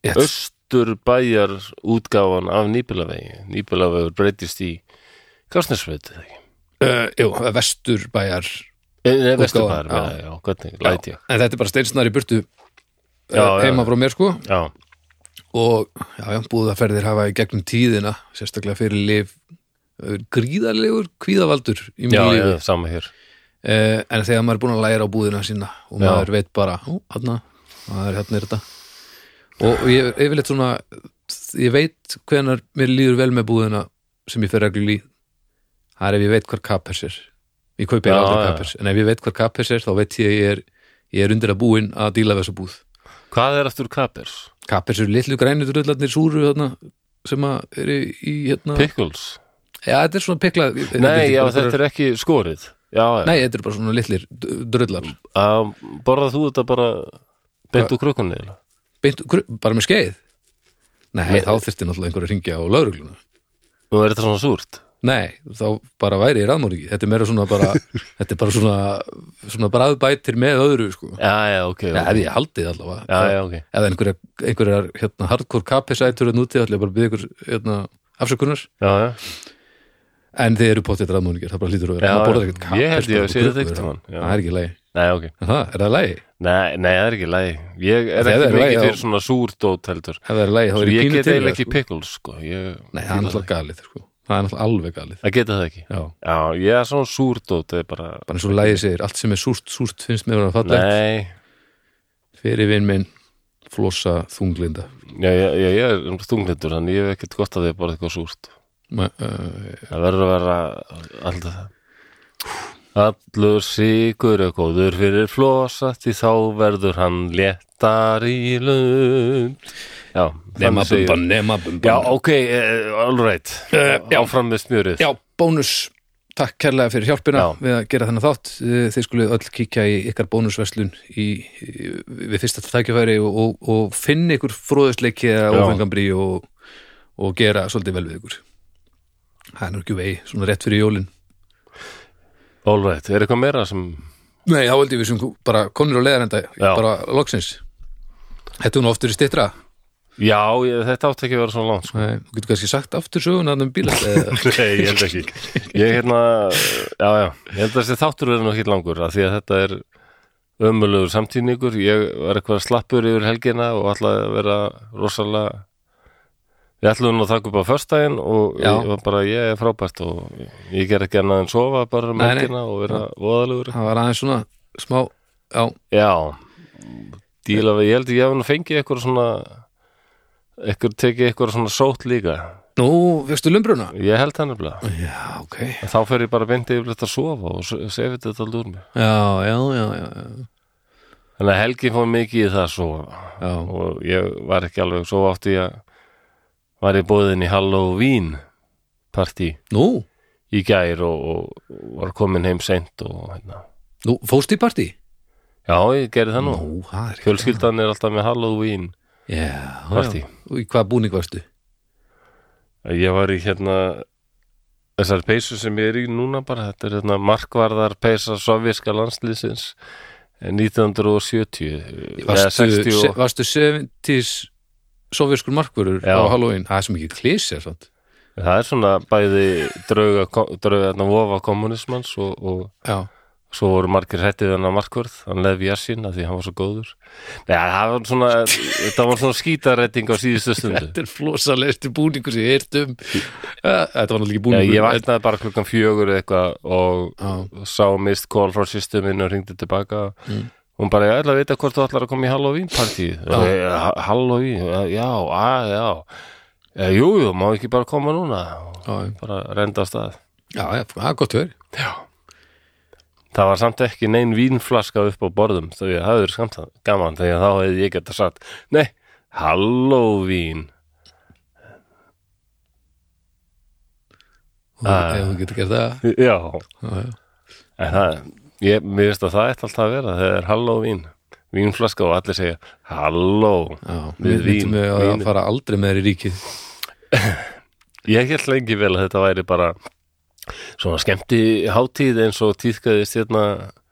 Speaker 2: Yes.
Speaker 1: Östurbæjar útgáfan af Nýbilavegi Nýbilavegur breytist í Kásnarsbraut eða ekki Eh,
Speaker 2: uh, jú, vesturbæjar
Speaker 1: Nei, Vesturbæjar,
Speaker 2: já.
Speaker 1: já, já, hvernig, læt ég
Speaker 2: en þetta er bara steinsnar í burtu uh,
Speaker 1: Já, já,
Speaker 2: heima
Speaker 1: já.
Speaker 2: frá mér sko
Speaker 1: Já,
Speaker 2: og já, já, búðaferðir hafa í gegnum tíðina, sérstaklega fyrir lif gríðarlegur kvíðavaldur í
Speaker 1: já,
Speaker 2: mjög lífi
Speaker 1: já, sama hér
Speaker 2: eh, en þegar maður er búin að læra á búðina sína og
Speaker 1: Já.
Speaker 2: maður veit bara, ó, hann maður hérna er þetta og ég yfirleitt svona ég veit hvenar mér líður vel með búðina sem ég fer reglur í það er ef ég veit hvar kappers er ég kaupi
Speaker 1: Já,
Speaker 2: aldrei
Speaker 1: já.
Speaker 2: kappers, en ef ég veit hvar kappers er þá veit ég að ég er, ég er undir að búin að díla við þessa búð
Speaker 1: Hvað er aftur kapers?
Speaker 2: kappers eru litlu grænu drullarnir súru þarna, sem að eru í hérna
Speaker 1: Pickles?
Speaker 2: já, þetta er svona pikla
Speaker 1: Nei, já, þetta er ekki skorið Já, já,
Speaker 2: nei, þetta eru bara svona litlir d- drullar
Speaker 1: Að borðað þú þetta bara beint úr krukkunni eða?
Speaker 2: Beint, gru- bara með skeið nei,
Speaker 1: Nei.
Speaker 2: þá þyrfti náttúrulega einhver að ringja á laurugluna
Speaker 1: Nú er þetta svona súrt
Speaker 2: Nei, þá bara væri ég ráðmóringi Þetta er meira svona bara
Speaker 1: [laughs]
Speaker 2: Þetta er bara svona, svona bræðbætir með öðru sko.
Speaker 1: Já, já, ok
Speaker 2: Nei,
Speaker 1: ok.
Speaker 2: ef ég haldið allavega
Speaker 1: Já, já, ok
Speaker 2: Ef einhverjar, einhverjar hérna, hardcore kappisætur en úti, ætla ég bara að byggja ykkur hérna, afsökunar,
Speaker 1: Já, já,
Speaker 2: en þið eru potið ráðmóringir, það bara lítur að vera
Speaker 1: Já,
Speaker 2: Maður borðar
Speaker 1: já.
Speaker 2: ekkert kappis,
Speaker 1: Ég held ég
Speaker 2: bara
Speaker 1: hafi séð
Speaker 2: eitthvað
Speaker 1: þetta
Speaker 2: gruggur.
Speaker 1: einhvern tímann, já.
Speaker 2: sko. Það er ekki lægi
Speaker 1: nei, ok
Speaker 2: Er það, er það lægi?
Speaker 1: Nei, nei, það er ekki lægi Ég er
Speaker 2: Það
Speaker 1: ekki
Speaker 2: er lagi,
Speaker 1: mikið
Speaker 2: já.
Speaker 1: fyrir svona súrdót heldur
Speaker 2: Ef það er lægi, þá
Speaker 1: Svo
Speaker 2: er ég
Speaker 1: Ég
Speaker 2: pínu
Speaker 1: get
Speaker 2: til
Speaker 1: eiginlega
Speaker 2: það,
Speaker 1: ekki
Speaker 2: sko.
Speaker 1: pickles, sko Ég
Speaker 2: Nei, það er náttúrulega galið sko. Það er náttúrulega alveg galið
Speaker 1: Það geta það ekki
Speaker 2: Já,
Speaker 1: Já, ég er svona súrdót Það er bara
Speaker 2: bara eins og lægi segir, allt sem er súrt, súrt finnst mér að falla
Speaker 1: Nei,
Speaker 2: fyrir vinn minn flossa þunglinda
Speaker 1: já, já, já, ég er stunglindur Þannig ég hef ekkert gott að því að borða eitthvað súrt
Speaker 2: Ma, uh,
Speaker 1: Það verður að vera alltaf það Allur sigur er góður fyrir flosa því þá verður hann léttar í lund Já,
Speaker 2: nema
Speaker 1: þannig
Speaker 2: bumba,
Speaker 1: segir
Speaker 2: nema bumba
Speaker 1: Já, ok, uh, all right
Speaker 2: Eh, já.
Speaker 1: Áfram með smjörið
Speaker 2: já, bónus Takk kærlega fyrir hjálpina
Speaker 1: Já.
Speaker 2: við að gera þennan þátt Eh, Þið skulið öll kíkja í ykkar bónusverslun í, í, við fyrsta tækifæri og, og, og finna ykkur fróðusleiki eða
Speaker 1: Já.
Speaker 2: ófengambri og, og gera svolítið vel við ykkur Það er nú ekki vegi, svona rétt fyrir jólin
Speaker 1: All right, er eitthvað meira sem
Speaker 2: Nei, þá held ég við sem bara konur og leðar enda
Speaker 1: Já.
Speaker 2: bara loksins Þetta er nú oftur í styttra
Speaker 1: Já, ég, þetta átti ekki að vera svona langt sko. [laughs]
Speaker 2: Nei, þú getur kannski sagt aftur söguna þarna um [laughs] bíla eða
Speaker 1: Nei, ég held ekki Ég hérna, já, já Ég held að þessi þáttur verður nú ekki langur af því að þetta er ömulugur samtíningur Ég var eitthvað slappur yfir helgina og ætlaði að vera rosalega Við ætlum nú að taka upp á föstudaginn og
Speaker 2: Já.
Speaker 1: ég var bara, ég er frábært og ég ger ekki annað en sofa bara um
Speaker 2: Nei, nei.
Speaker 1: helgina og vera voðalugur
Speaker 2: það var aðeins svona smá já,
Speaker 1: Já Díla við, ég held ég hef nú fengið eitthvað svona eitthvað tekið eitthvað svona sót líka
Speaker 2: nú, vextu lumbruna
Speaker 1: Ég held það nefnilega
Speaker 2: já, ok, já,
Speaker 1: En Þá fer ég bara bindi yfir þetta að sofa og se- sefið þetta alltaf úr mér.
Speaker 2: já, já, já,
Speaker 1: Þannig að helgi fór mikið í það að sofa
Speaker 2: já.
Speaker 1: og ég var ekki alveg svo átti ég að var ég bóðin í Halloween partí
Speaker 2: nú,
Speaker 1: í gær og, og, og var komin heim seint og hérna.
Speaker 2: nú, fóst í partí
Speaker 1: Já, ég gerði það nú.
Speaker 2: nú, það er ekki
Speaker 1: Fjölskyldan er alltaf með Halloween
Speaker 2: já,
Speaker 1: Partí.
Speaker 2: já, og í hvað búning varstu
Speaker 1: Ég var í hérna þessar peysu sem ég er í núna bara, þetta er hérna markvarðar peysa eh, sovjerska landslýsins 1970 eh, eða
Speaker 2: varstu,
Speaker 1: 60
Speaker 2: se,
Speaker 1: og,
Speaker 2: varstu 70s sovjöskur markvörur
Speaker 1: Já.
Speaker 2: á Halloween, það er sem ekki klísi sant?
Speaker 1: það er svona bæði drauga, drauga hérna, vofa kommunismans og, og
Speaker 2: já,
Speaker 1: svo voru margir hrættið hennar markvörð, hann leði Jassin að því hann var svo góður Nei, það var svona, þetta var svona skítarætting á síðustu
Speaker 2: [laughs]
Speaker 1: stundu
Speaker 2: þetta er flosalegstu búningur sem ég heirt um Ja, þetta var náttúrulega ekki
Speaker 1: Já,
Speaker 2: búningur
Speaker 1: ég vaknaði bara klukkan fjögur eða eitthvað og
Speaker 2: Já.
Speaker 1: sá mist call frá sýstu minni og ringdi tilbaka hún bara, ég ætla að vita hvort þú ætlar að koma í Halloween partí Halloween, já, að, já Eh, Jú, jú, má ekki bara koma núna og
Speaker 2: já, já,
Speaker 1: bara renda af stað
Speaker 2: já, já, það er gott verið
Speaker 1: Það var samt ekki nein vínflaska upp á borðum þau að það er skamt gaman þegar þá hefði ég geta satt Nei, Halloween
Speaker 2: og
Speaker 1: Ah.
Speaker 2: ef þú getur gert það
Speaker 1: Já,
Speaker 2: já, já.
Speaker 1: En það, ég, mér veist að það ætti alltaf að vera þegar það er Halloween, vínflaska og allir segja Halló
Speaker 2: Já,
Speaker 1: Við
Speaker 2: við vitum
Speaker 1: vín-
Speaker 2: við að
Speaker 1: vínið.
Speaker 2: fara aldrei með þér í [laughs] ríkið
Speaker 1: Ég held lengi vel að þetta væri bara svona skemmti hátíð eins og tíðkaðist hérna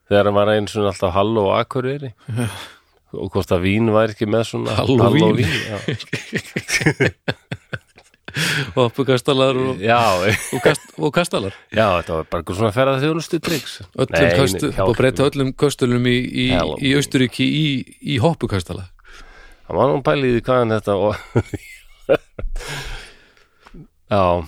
Speaker 1: þegar hann var einu svona alltaf Halló og [laughs] Akureyri og hvort að vín væri ekki með svona
Speaker 2: Halloween.
Speaker 1: já.
Speaker 2: Hoppukastalar og,
Speaker 1: já,
Speaker 2: og, kast, og kastalar
Speaker 1: já, þetta var bara einhver svona ferða þjónustu triks
Speaker 2: öllum kastu, og breyta öllum kastalum í, í,
Speaker 1: Hello.
Speaker 2: í Austuríki í, í hoppukastala
Speaker 1: Það var nú pælið í hvaðan þetta og... [laughs] Já,
Speaker 2: uh,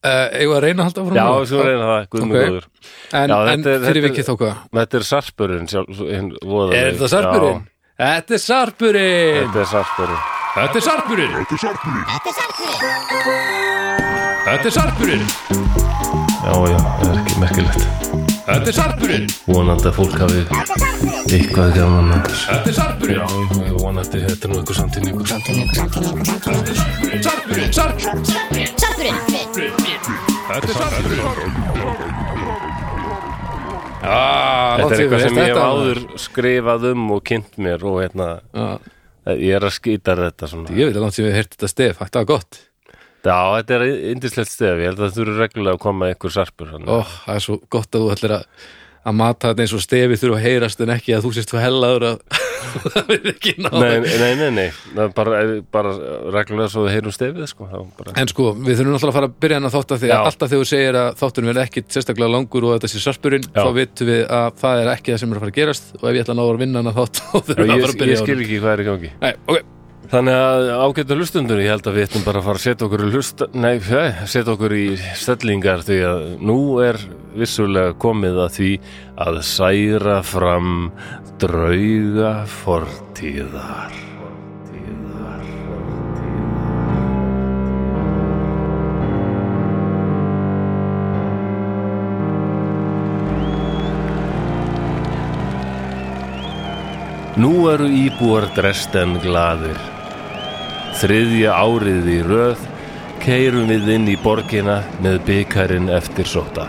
Speaker 2: Eh, Eigum við að reyna að halda frá
Speaker 1: já, svo reyna það,
Speaker 2: Ok.
Speaker 1: guðmur okay. góður
Speaker 2: En,
Speaker 1: Já, þetta
Speaker 2: en
Speaker 1: er-
Speaker 2: fyrir
Speaker 1: þetta er-
Speaker 2: vikið þá hvað
Speaker 1: Þetta er sarpurinn sjálf, hinn, voðalegi.
Speaker 2: Er það sarpurinn?
Speaker 1: Já,
Speaker 2: Þetta er sarpurinn
Speaker 1: Þetta er sarpurinn
Speaker 2: Þetta er sarpurinn Þetta er sarpurinn
Speaker 1: Já, já, það er ekki merkilegt
Speaker 2: Þetta er sarpurinn
Speaker 1: Vonandi að fólk hafi eitthvað gaman að þessu.
Speaker 2: Þetta er sarpurinn
Speaker 1: Já, ég vonandi þetta er nú eitthvað samtíningur
Speaker 2: Sarpurinn Sarpurinn
Speaker 3: Sarpurinn
Speaker 2: Þetta er sarpurinn Ah, látum við
Speaker 1: Þetta er eitthvað
Speaker 2: veist
Speaker 1: sem ég hef
Speaker 2: þetta.
Speaker 1: áður skrifað um og kynnt mér og hérna, eh,
Speaker 2: Já,
Speaker 1: ég er að skýta þetta svona.
Speaker 2: Ég veit að langt sem við heyrti þetta stef Þetta var gott
Speaker 1: Já, þetta er indislegt stef, ég held að þú eru reglulega að koma eitthvað sarpur.
Speaker 2: Ó, það er svo gott að þú ætlir að að mata þetta eins og stefi þurfa að heyrast en ekki að þú sést þú hellaður að [laughs] það við ekki ná
Speaker 1: Nei, nei, nei, nei, það er bara, eh, bara reglulega svo við heyrum stefið, sko. þá Bara...
Speaker 2: En sko, við þurfum náttúrulega að fara að byrja hérna hann að þótt að því
Speaker 1: Já.
Speaker 2: að alltaf þegar þú segir að þáttunum verði ekki sérstaklega langur og þetta sé sarpurinn,
Speaker 1: Já.
Speaker 2: þá vitum við að það er ekki það sem er að fara að gerast og ef ég ætla að ná að vinna hann að þátt [laughs] þá þurfum við að
Speaker 1: Ég,
Speaker 2: fara að
Speaker 1: ég
Speaker 2: byrja hérna.
Speaker 1: skil ekki hvað er í gangi.
Speaker 2: Nei, ok,
Speaker 1: Þannig að ágæta hlustundur, ég held að við ættum bara að fara að setja okkur í hlusta, nei, fjö, setja okkur í stellingar því að nú er vissulega komið að því að særa fram drauga fortíðar. Fortíðar. Nú eru íbúar Dresden glaðir. Þriðja árið í röð keirum við inn í borgina með byggarinn eftir sóta.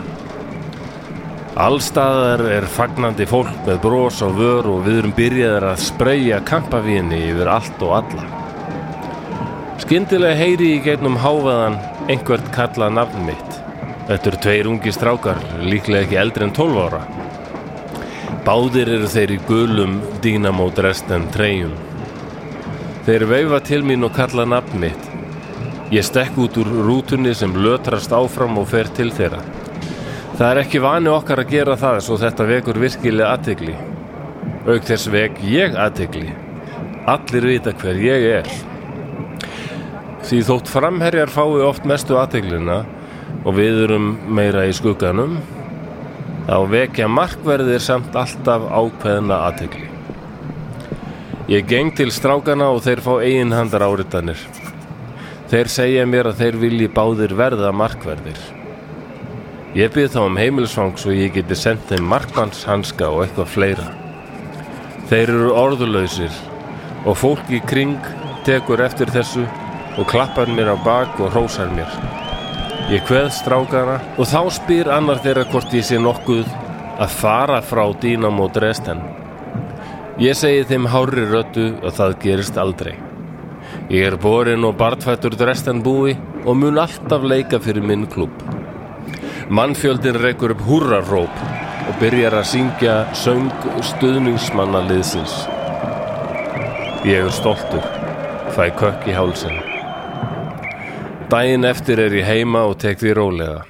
Speaker 1: Allstaðar er fagnandi fólk með bros á vör og við erum byrjaðar að spreja kampavíni yfir allt og alla. Skyndilega heyri ég gegnum háfaðan einhvert kalla nafn mitt. Þetta eru tveir ungi strákar, líklega ekki eldri en 12 ára. Báðir eru þeir í gulum Dynamo Dresden treyjum. Þeir veifa til mín og kalla nafn mitt. Ég stekk út úr rútunni sem lötrast áfram og fer til þeirra. Það er ekki vani okkar að gera það svo þetta vekur virkilega aðtegli. Auk þess vek ég aðtegli. Allir vita hver ég er. Því þótt framherjar fái oft mestu aðteglina og við erum meira í skugganum þá vekja markverðir samt alltaf ákveðna aðtegli. Ég geng til strákana og þeir fá eiginhandar áritanir. Þeir segja mér að þeir vilji báðir verða markverðir. Ég byrð þá um heimilsfang svo ég geti sendt þeim markmannshanska og eitthvað fleira. Þeir eru orðulausir og fólk í kring tekur eftir þessu og klappar mér á bak og hrósar mér. Ég kveð strákana og þá spyr annar þeirra hvort ég sé nokkuð að fara frá Dynamo Dresden. Ég segi þeim hárri röddu að það gerist aldrei. Ég er borin og bartfættur Dresden búi og mun alltaf leika fyrir minn klúb. Mannfjöldin reykur upp húrarróp og byrjar að syngja söng stuðningsmanna liðsins. Ég er stoltur, fæ kökk í hálsinn. Dæin eftir er ég heima og tek því rólega.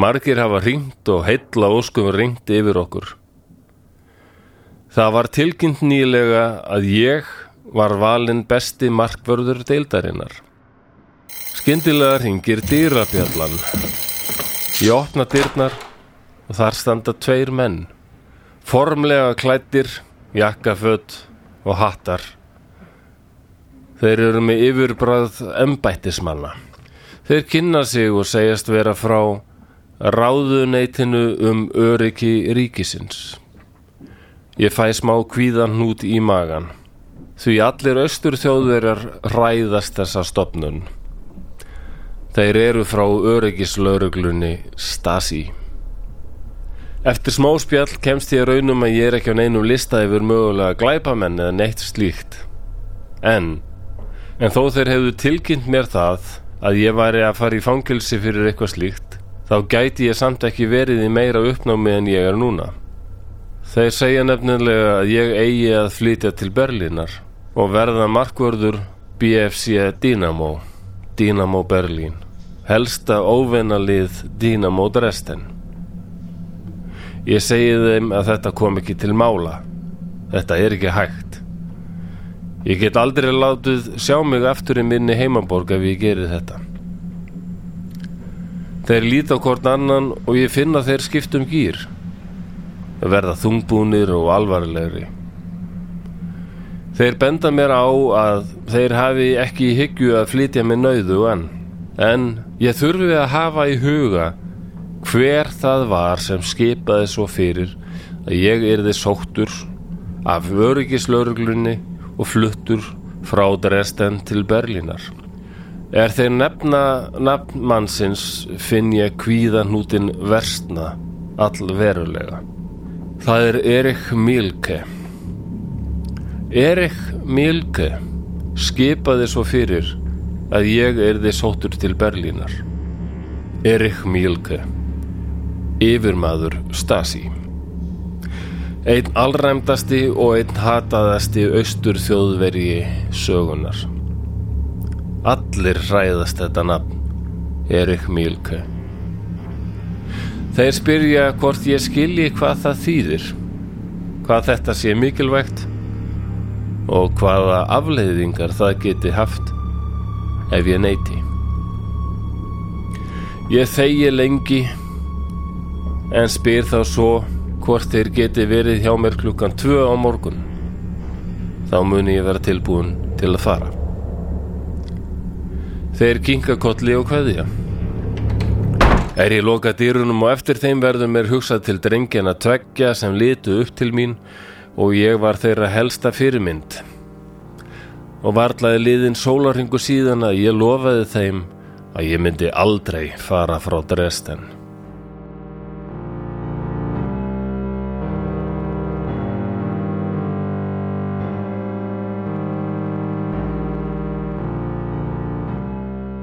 Speaker 1: Margir hafa ringt og heilla óskum ringt yfir okkur. Það var tilkynnt nýlega að ég var valinn besti markvörður deildarinnar. Skyndilega ringir dýrabjallan. Ég opna dyrnar og þar standa tveir menn. Formlega klættir, jakkaföt og hattar. Þeir eru með yfirbrað embættismanna. Þeir kynna sig og segjast vera frá ráðuneytinu um öryggi ríkisins. Ég fæ smá kvíðan hnút í magan. Því allir austur þjóðverjar ræðast þessa stopnun. Þeir eru frá öryggislauruglunni Stasi. Eftir smá spjall kemst ég raunum að ég er ekki á neinum lista yfir mögulega glæpamenn eða neitt slíkt. En En þó þeir hefðu tilkynnt mér það að ég væri að fara í fangelsi fyrir eitthvað slíkt, þá gæti ég samt ekki verið í meira uppnámi en ég er núna. Þeir segja nefnilega að ég eigi að flytja til Berlínar og verða markvörður BFC Dynamo, Dynamo Berlín, helsta óvenalið Dynamo Dresden. Ég segi þeim að þetta kom ekki til mála. Þetta er ekki hægt. Ég get aldrei látið sjá mig aftur í minni heimaborg ef ég geri þetta. Þeir líta á hvort annan og ég finna um þeir skiptum gýr. Verða þungbúnir og alvarlegri. Þeir benda mér á að þeir hafi ekki í hyggju að flytja með nauðu en en ég þurfi að hafa í huga hver það var sem skipaði svo fyrir að ég yrði sóttur af öryggislauruglunni og fluttur frá Dresden til Berlínar. Er þeir nefna nafnmannsins finn ég kvíðanútin versna allverulega. Það er Erik Milke. Erik Milke skipaði svo fyrir að ég erði sóttur til Berlínar. Erik Milke, yfirmaður Stasi. Einn allræmdasti og einn hataðasti austur þjóðverji sögunar. Allir hræðast þetta nafn, Erik Milke. Þeir spyrja hvort ég skilji hvað það þýðir, hvað þetta sé mikilvægt og hvaða afleiðingar það geti haft ef ég neyti. Ég þegi lengi en spyr þá svo hvort þeir geti verið hjá mér klukkan tvö á morgun. Þá muni ég vera tilbúin til að fara. Þeir kinka kolli og kveðja. Er ég loka dýrunum og eftir þeim verður mér hugsað til drengina tveggja sem litu upp til mín og ég var þeirra helsta fyrirmynd. Og varlaði liðin sólarhingu síðan að ég lofaði þeim að ég myndi aldrei fara frá Dresden.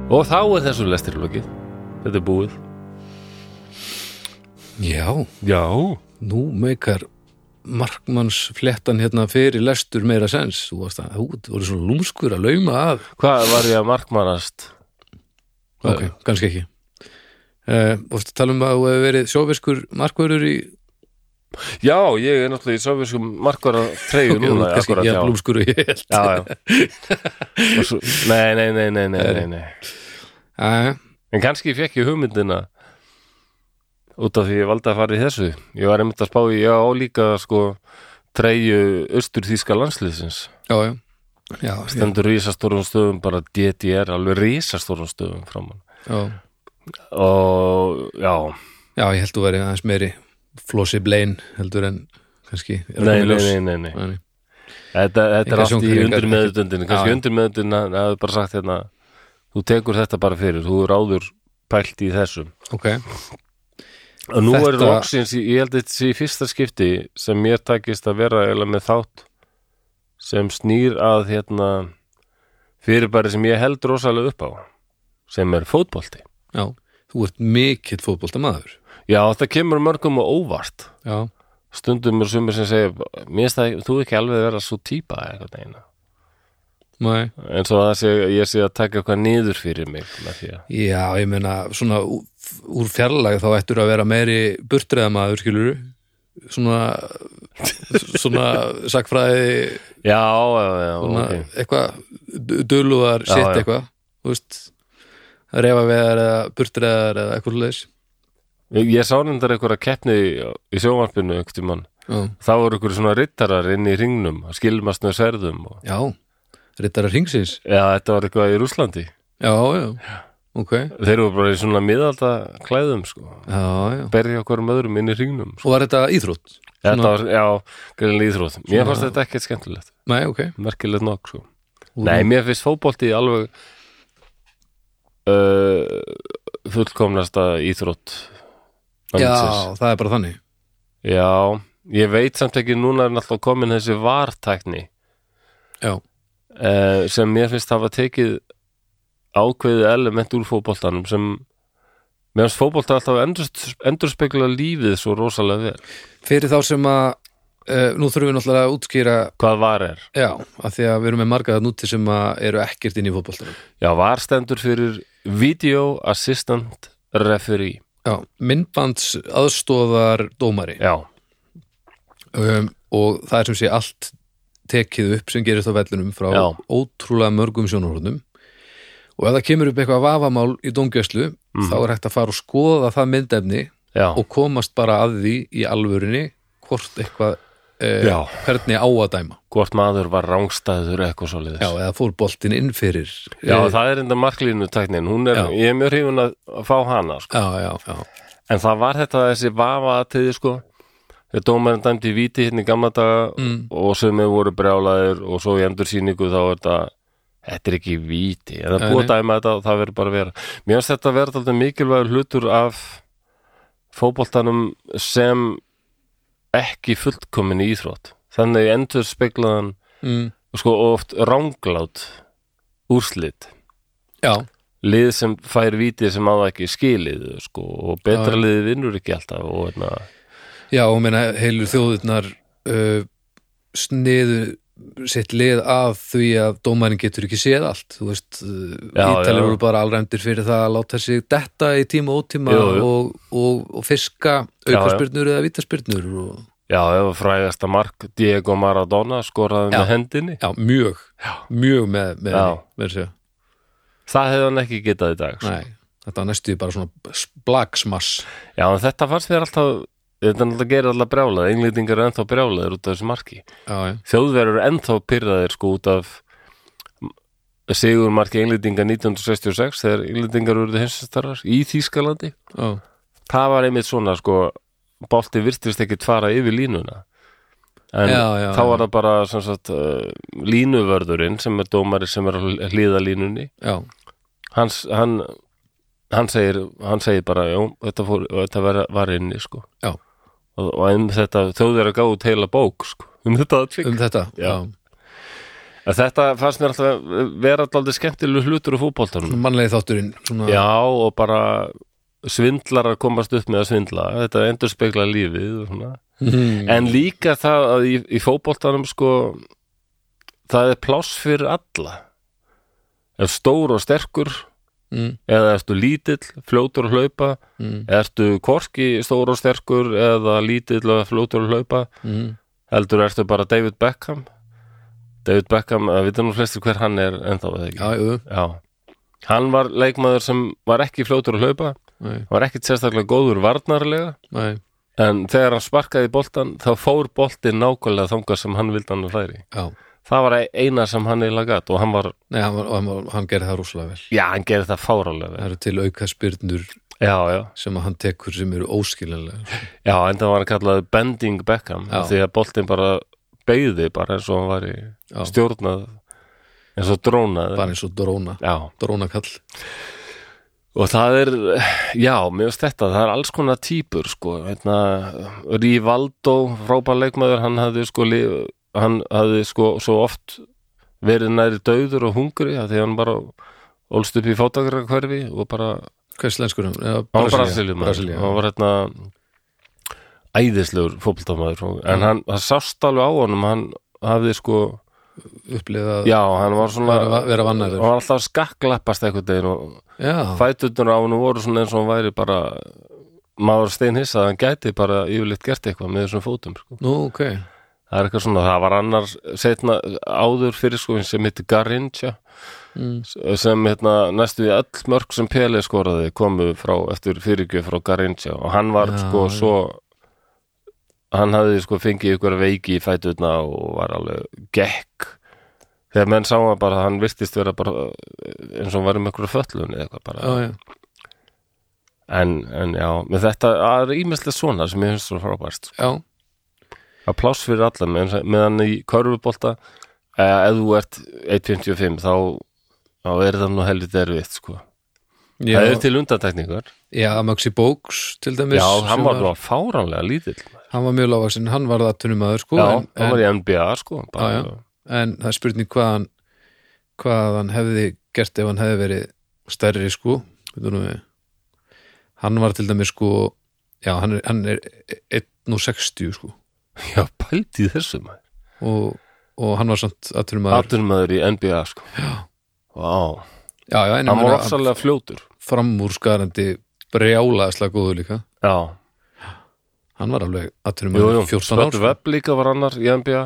Speaker 1: Og þá er þessu lestir lokið. Þetta er búið.
Speaker 2: Já,
Speaker 1: Já.
Speaker 2: nú meikar markmannsflettan hérna fyrir lestur meira sens þú varst að, hú, þú voru svona lúmskur að lauma að
Speaker 1: Hvað var ég að markmannast?
Speaker 2: ok, kannski ekki uh, vorstu að tala um að þú hefur verið sjófiskur markvörur í
Speaker 1: Já, ég er náttúrulega í sovjaskum markvara treyju núna.
Speaker 2: kannski
Speaker 1: akkúrat,
Speaker 2: ekki að lúmskur og ég held
Speaker 1: Já, já.
Speaker 2: [laughs]
Speaker 1: Og Svo, nei, nei, nei, nei, nei, nei, nei.
Speaker 2: Æ,
Speaker 1: En kannski fekk ég hugmyndina út af því ég valdi að fara í þessu. Ég var einmitt að spá í, já, líka sko treyju austur-þýska landsliðsins.
Speaker 2: já, já, já, já,
Speaker 1: Stendur rísastórum stöðum, bara DDR, alveg rísastórum stöðum framann.
Speaker 2: já,
Speaker 1: Og já,
Speaker 2: já, ég held þú verið aðeins meiri flossi blein heldur en kannski er að
Speaker 1: nei,
Speaker 2: koma í
Speaker 1: nei,
Speaker 2: ljós.
Speaker 1: nei, nei, nei.
Speaker 2: Nei, nei.
Speaker 1: Þetta, þetta er
Speaker 2: Engar
Speaker 1: allt í
Speaker 2: sjónhverfingar,
Speaker 1: undir meðutundinu kannski
Speaker 2: Já.
Speaker 1: undir meðutundinu að það er bara sagt hérna þú tekur þetta bara fyrir, þú er áður pælt í þessum
Speaker 2: ok,
Speaker 1: og nú er
Speaker 2: Þetta-
Speaker 1: loksins, í- ég held að þetta sé í fyrsta skipti sem mér takist að vera eiginlega með þátt sem snýr að hérna fyrirbæri sem ég held rosalega upp á sem er fótbolti
Speaker 2: já þú ert mikill fótboltamaður
Speaker 1: Já, það kemur mörgum og óvart
Speaker 2: já,
Speaker 1: stundum er sumir sem segir mér stæði, þú ekki alveg vera svo típa eitthvað eina
Speaker 2: nei
Speaker 1: eins og það sé, ég sé að taka eitthvað niður fyrir mig með því að
Speaker 2: Já, ég meina, svona ú- úr fjarlæg þá ættur að vera meiri burtreðamaður, skilur svona svona
Speaker 1: [laughs]
Speaker 2: sakfræði
Speaker 1: Já, já, já,
Speaker 2: svona,
Speaker 1: ok
Speaker 2: eitthvað, du- dulúðar
Speaker 1: Já,
Speaker 2: sitt
Speaker 1: já.
Speaker 2: eitthvað, þú veist refaveðar eða burtreðar eða eitthvað leis
Speaker 1: Ég, ég sá nefndar einhverja keppni í, í sjónvarpinu einhvern tímann.
Speaker 2: Já,
Speaker 1: Þá voru einhverju svona rittarar inn í ringnum að skilmast með sverðum og...
Speaker 2: já rittara hringsins,
Speaker 1: Já, þetta var eitthvað í Rúslandi
Speaker 2: já, já ok,
Speaker 1: Þeir voru bara í svona miðalda klæðum sko.
Speaker 2: já, já
Speaker 1: Berja okkur um öðrum inn í ringnum sko.
Speaker 2: og var þetta íþrótt?
Speaker 1: Þetta
Speaker 2: Svona-
Speaker 1: var, já, greinlega íþrótt Mér fannst þetta ekkert skemmtilegt,
Speaker 2: Nei, ok
Speaker 1: merkilegt nokk sko. Nei, mér finnst fótbolti alveg uh, fullkomnasta íþrótt landsins.
Speaker 2: Já, það er bara þannig
Speaker 1: Já, ég veit samt ekki núna er náttúrulega komin þessi vartækni
Speaker 2: Já,
Speaker 1: uh, sem mér finnst hafa tekið ákveðið element úr fótboltanum sem meðan fótbolta alltaf endur, endurspegla lífið svo rosalega vel
Speaker 2: fyrir þá sem að Uh, nú þurfum við náttúrulega að útskýra
Speaker 1: hvað var er?
Speaker 2: Já, af því að við erum með marga það núti sem að eru ekkert inn í fótboltanum
Speaker 1: Já, var stendur fyrir Video Assistant Referee
Speaker 2: Já, myndbands aðstóðar dómari
Speaker 1: Já,
Speaker 2: um, og það er sem sé allt tekið upp sem gerist á vellunum frá
Speaker 1: Já.
Speaker 2: ótrúlega mörgum sjónarhóðnum og ef það kemur upp eitthvað vafamál í dómgjöslu
Speaker 1: Mm.
Speaker 2: þá er hægt að fara og skoða það myndefni
Speaker 1: já,
Speaker 2: og komast bara að því í alvörunni hvort eitthvað eh,
Speaker 1: Já.
Speaker 2: hvernig á að dæma
Speaker 1: hvort maður var rángstæður eða eitthvað svoleiðis
Speaker 2: já, eða fór boltin inn fyrir
Speaker 1: Já,
Speaker 2: Eh,
Speaker 1: það er enda marklínu tæknin Hún er,
Speaker 2: Já.
Speaker 1: ég er mjög hrifun að að fá hana sko.
Speaker 2: já, já, já,
Speaker 1: en það var þetta þessi vafa aðtiði sko þegar dómarinn dæmdi víti hérna í gamla daga
Speaker 2: Mm.
Speaker 1: og sem við voru brjálaðir og svo í endursýningu þá er þetta þetta er ekki víti en það er
Speaker 2: Nei,
Speaker 1: búið að
Speaker 2: nei.
Speaker 1: dæma þetta og það verður bara að vera mér finnst þetta að vera þetta mikilvægur hlutur af fótboltanum sem ekki fullkomin íþrótt þannig endur speklaðan
Speaker 2: mm,
Speaker 1: sko oft ránglát úrslit
Speaker 2: já,
Speaker 1: lið sem fær vítið sem á það ekki skilið sko, og betra
Speaker 2: Já.
Speaker 1: liðið vinnur ekki alltaf og hérna,
Speaker 2: já, og meina heilur þjóðurnar uh, sniðu sitt lið af því að dómarinn getur ekki séð allt þú veist,
Speaker 1: Já, já.
Speaker 2: ítalið voru bara alræmdir fyrir það að láta sig detta í tíma og ótíma
Speaker 1: Jú, jú.
Speaker 2: Og, og, og fiska
Speaker 1: Já, já.
Speaker 2: aukaspyrnur eða vítaspyrnur og,
Speaker 1: já, ef að frægasta mark Diego Maradona skoraði
Speaker 2: Já.
Speaker 1: með hendinni
Speaker 2: já, mjög, mjög með, með,
Speaker 1: Já.
Speaker 2: með segja
Speaker 1: það hefði hann ekki getað í dag sko.
Speaker 2: Nei, þetta var næstu því bara svona blagsmass
Speaker 1: já, en þetta fannst mér alltaf þetta náttúrulega gerir alltaf brjálað, englýtingar er ennþá brjálaðir út af þessu marki
Speaker 2: Já, já,
Speaker 1: þjóðverður er ennþá pyrraðir sko út af sigurmarki englýtinga 1966 þegar englýtingar urðu hinsastarar í Þýskalandi
Speaker 2: já,
Speaker 1: það var einmitt svona sko bolti virtist ekkit fara yfir línuna en
Speaker 2: Já, já,
Speaker 1: þá
Speaker 2: já.
Speaker 1: var það bara sem sagt, uh, línuvörðurinn sem er dómari sem er að hlýða línunni
Speaker 2: já,
Speaker 1: hans, hann, hann, segir, hann segir bara já, þetta, fór, þetta var, var inni sko.
Speaker 2: Já.
Speaker 1: og, og um þetta þjóðir að gáðu teila bók sko, um þetta atvik
Speaker 2: um þetta
Speaker 1: Já. En þetta fannst mér alltaf vera alltaf skemmtileg hlutur á fútboltanum
Speaker 2: Mannlegi þátturinn svona,
Speaker 1: Já, og bara svindlar að komast upp með að svindla þetta endur spekla lífið og svona.
Speaker 2: Mhm.
Speaker 1: en líka það að í, í fótboltanum sko það er pláss fyrir alla ef stór og sterkur
Speaker 2: mm,
Speaker 1: eða ertu lítill, fljótur að hlaupa
Speaker 2: mm,
Speaker 1: ertu korki stór og sterkur eða lítill og fljótur að hlaupa
Speaker 2: mm,
Speaker 1: heldur ertu bara David Beckham David Beckham, við veitum nú flestir hver hann er ennþá eða ekki
Speaker 2: Já, jú,
Speaker 1: Já. hann var leikmaður sem var ekki fljótur að hlaupa
Speaker 2: nei,
Speaker 1: var ekkit sérstaklega góður varnarlega
Speaker 2: nei
Speaker 1: en þegar hann sparkaði í boltan þá fór boltin nákvæmlega þangað sem hann vildi hann að færi
Speaker 2: Já,
Speaker 1: það var eina sem hann eiginlega gatt og hann var,
Speaker 2: nei, hann, var, hann, var, hann gerði það rúslega vel
Speaker 1: já hann gerði það fárálega
Speaker 2: Það
Speaker 1: vel.
Speaker 2: eru til aukaspyrnur
Speaker 1: já, já,
Speaker 2: sem að hann tekur sem eru óskiljanlega
Speaker 1: já, en það var hann kallað bending Beckham
Speaker 2: Já.
Speaker 1: því að boltin bara beigði bara eins og hann var í
Speaker 2: Já.
Speaker 1: stjórnað eins og drónað
Speaker 2: bara eins og dróna,
Speaker 1: já,
Speaker 2: drónakall
Speaker 1: og það er já, mjög stetta, það er alls konar típur sko, hérna Rivaldo, frábær leikmaður hann hafði sko li- hann hafði sko svo oft verið næri dauður og hungri af því að hann bara ólst upp í fátakra hverfi og bara,
Speaker 2: Hvað er slenskurum?
Speaker 1: hann var Brasilíum
Speaker 2: Brasilia.
Speaker 1: hann var hérna æðislegur fótboltamaður en hann, það sást alveg á honum hann hafði sko,
Speaker 2: Upplifa
Speaker 1: já, hann var svona
Speaker 2: Vera- vera
Speaker 1: hann
Speaker 2: vannærður.
Speaker 1: var alltaf að skakklappast einhvern veginn og
Speaker 2: já,
Speaker 1: fæturnar á hennu voru svona eins og hann væri bara maður steinhissa að hann gæti bara yfirleitt gert eitthvað með þessum fótum sko.
Speaker 2: nú, ok
Speaker 1: það er eitthvað svona, það var annars setna, áður fyrir sko sem heitir Garinja
Speaker 2: Mm.
Speaker 1: sem hérna, næstu í öll mörg sem Pele skoraði komu frá, eftir fyrirgjöf frá Garinja og hann var
Speaker 2: Já,
Speaker 1: sko
Speaker 2: já.
Speaker 1: svo hann hafði sko fengið ykkur veiki í fæturna og var alveg gekk þegar menn sá hann bara, hann virtist vera bara eins og hann var um ykkur föllun eða eitthvað bara
Speaker 2: Já, já,
Speaker 1: en, en já, með þetta það er ímestlega svona sem ég finnst svo frábært
Speaker 2: já,
Speaker 1: að pláss fyrir alla með, meðan í körfubolta eh, ef þú ert 1.55 þá, þá er það nú helviti erfitt sko.
Speaker 2: já.
Speaker 1: það er til undantekningar
Speaker 2: Já, Maxi Bóks til dæmis
Speaker 1: já, hann
Speaker 2: sem
Speaker 1: var nú fáránlega lítill
Speaker 2: hann var mjög lágvaxinn, hann var það tunnumæður sko,
Speaker 1: já,
Speaker 2: en,
Speaker 1: hann var í NBA sko, bara,
Speaker 2: Já, já. en, en það er spurning hvað hann, hvað hann hefði gert ef hann hefði verið stærri sko Veitum nú við. hann var til dæmis sko já, hann er, hann er 1.60 sko
Speaker 1: já. pældi í þessu maður
Speaker 2: og, og hann var samt að tunnumæður
Speaker 1: aturmaður í NBA sko. wow.
Speaker 2: já, já, en
Speaker 1: hann
Speaker 2: hann
Speaker 1: var
Speaker 2: var
Speaker 1: ofsalega fljótur
Speaker 2: framúrskarandi brjálaðislega góður líka
Speaker 1: já,
Speaker 2: hann var alveg að
Speaker 1: jú, jú,
Speaker 2: tunnumæður 14 ár
Speaker 1: Spött
Speaker 2: sko.
Speaker 1: Webb líka var annar í NBA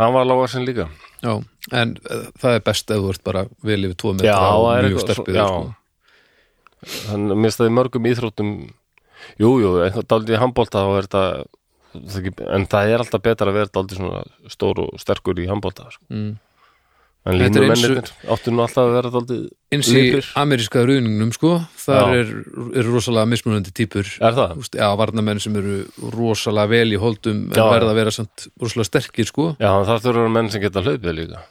Speaker 1: hann var lága sinn líka
Speaker 2: já, en eh, það er best ef þú ert bara vel yfir 2 metra
Speaker 1: Já,
Speaker 2: og
Speaker 1: það er
Speaker 2: mjög
Speaker 1: eitthvað svo-
Speaker 2: stelpið
Speaker 1: já.
Speaker 2: sko.
Speaker 1: sko. hann minnst það í mörgum íþróttum jú, jú, einhvern daldið í handbólta þá er þetta það er ekki- en það er alltaf betra að vera daldið svona stór og sterkur í handbólta sko.
Speaker 2: Mm.
Speaker 1: en
Speaker 2: Þetta er
Speaker 1: línur
Speaker 2: eins og-
Speaker 1: mennir áttu nú alltaf að vera daldið
Speaker 2: eins í
Speaker 1: Lipir.
Speaker 2: ameríska ruðningnum sko, þar
Speaker 1: Já.
Speaker 2: er, er rosalega mismunandi típur
Speaker 1: er það?
Speaker 2: Úst, já, varnamenn sem eru rosalega vel í holdum en
Speaker 1: Já,
Speaker 2: verða að vera samt rosalega sterkir sko
Speaker 1: Já, það þurfa að vera menn sem geta hlaupið líka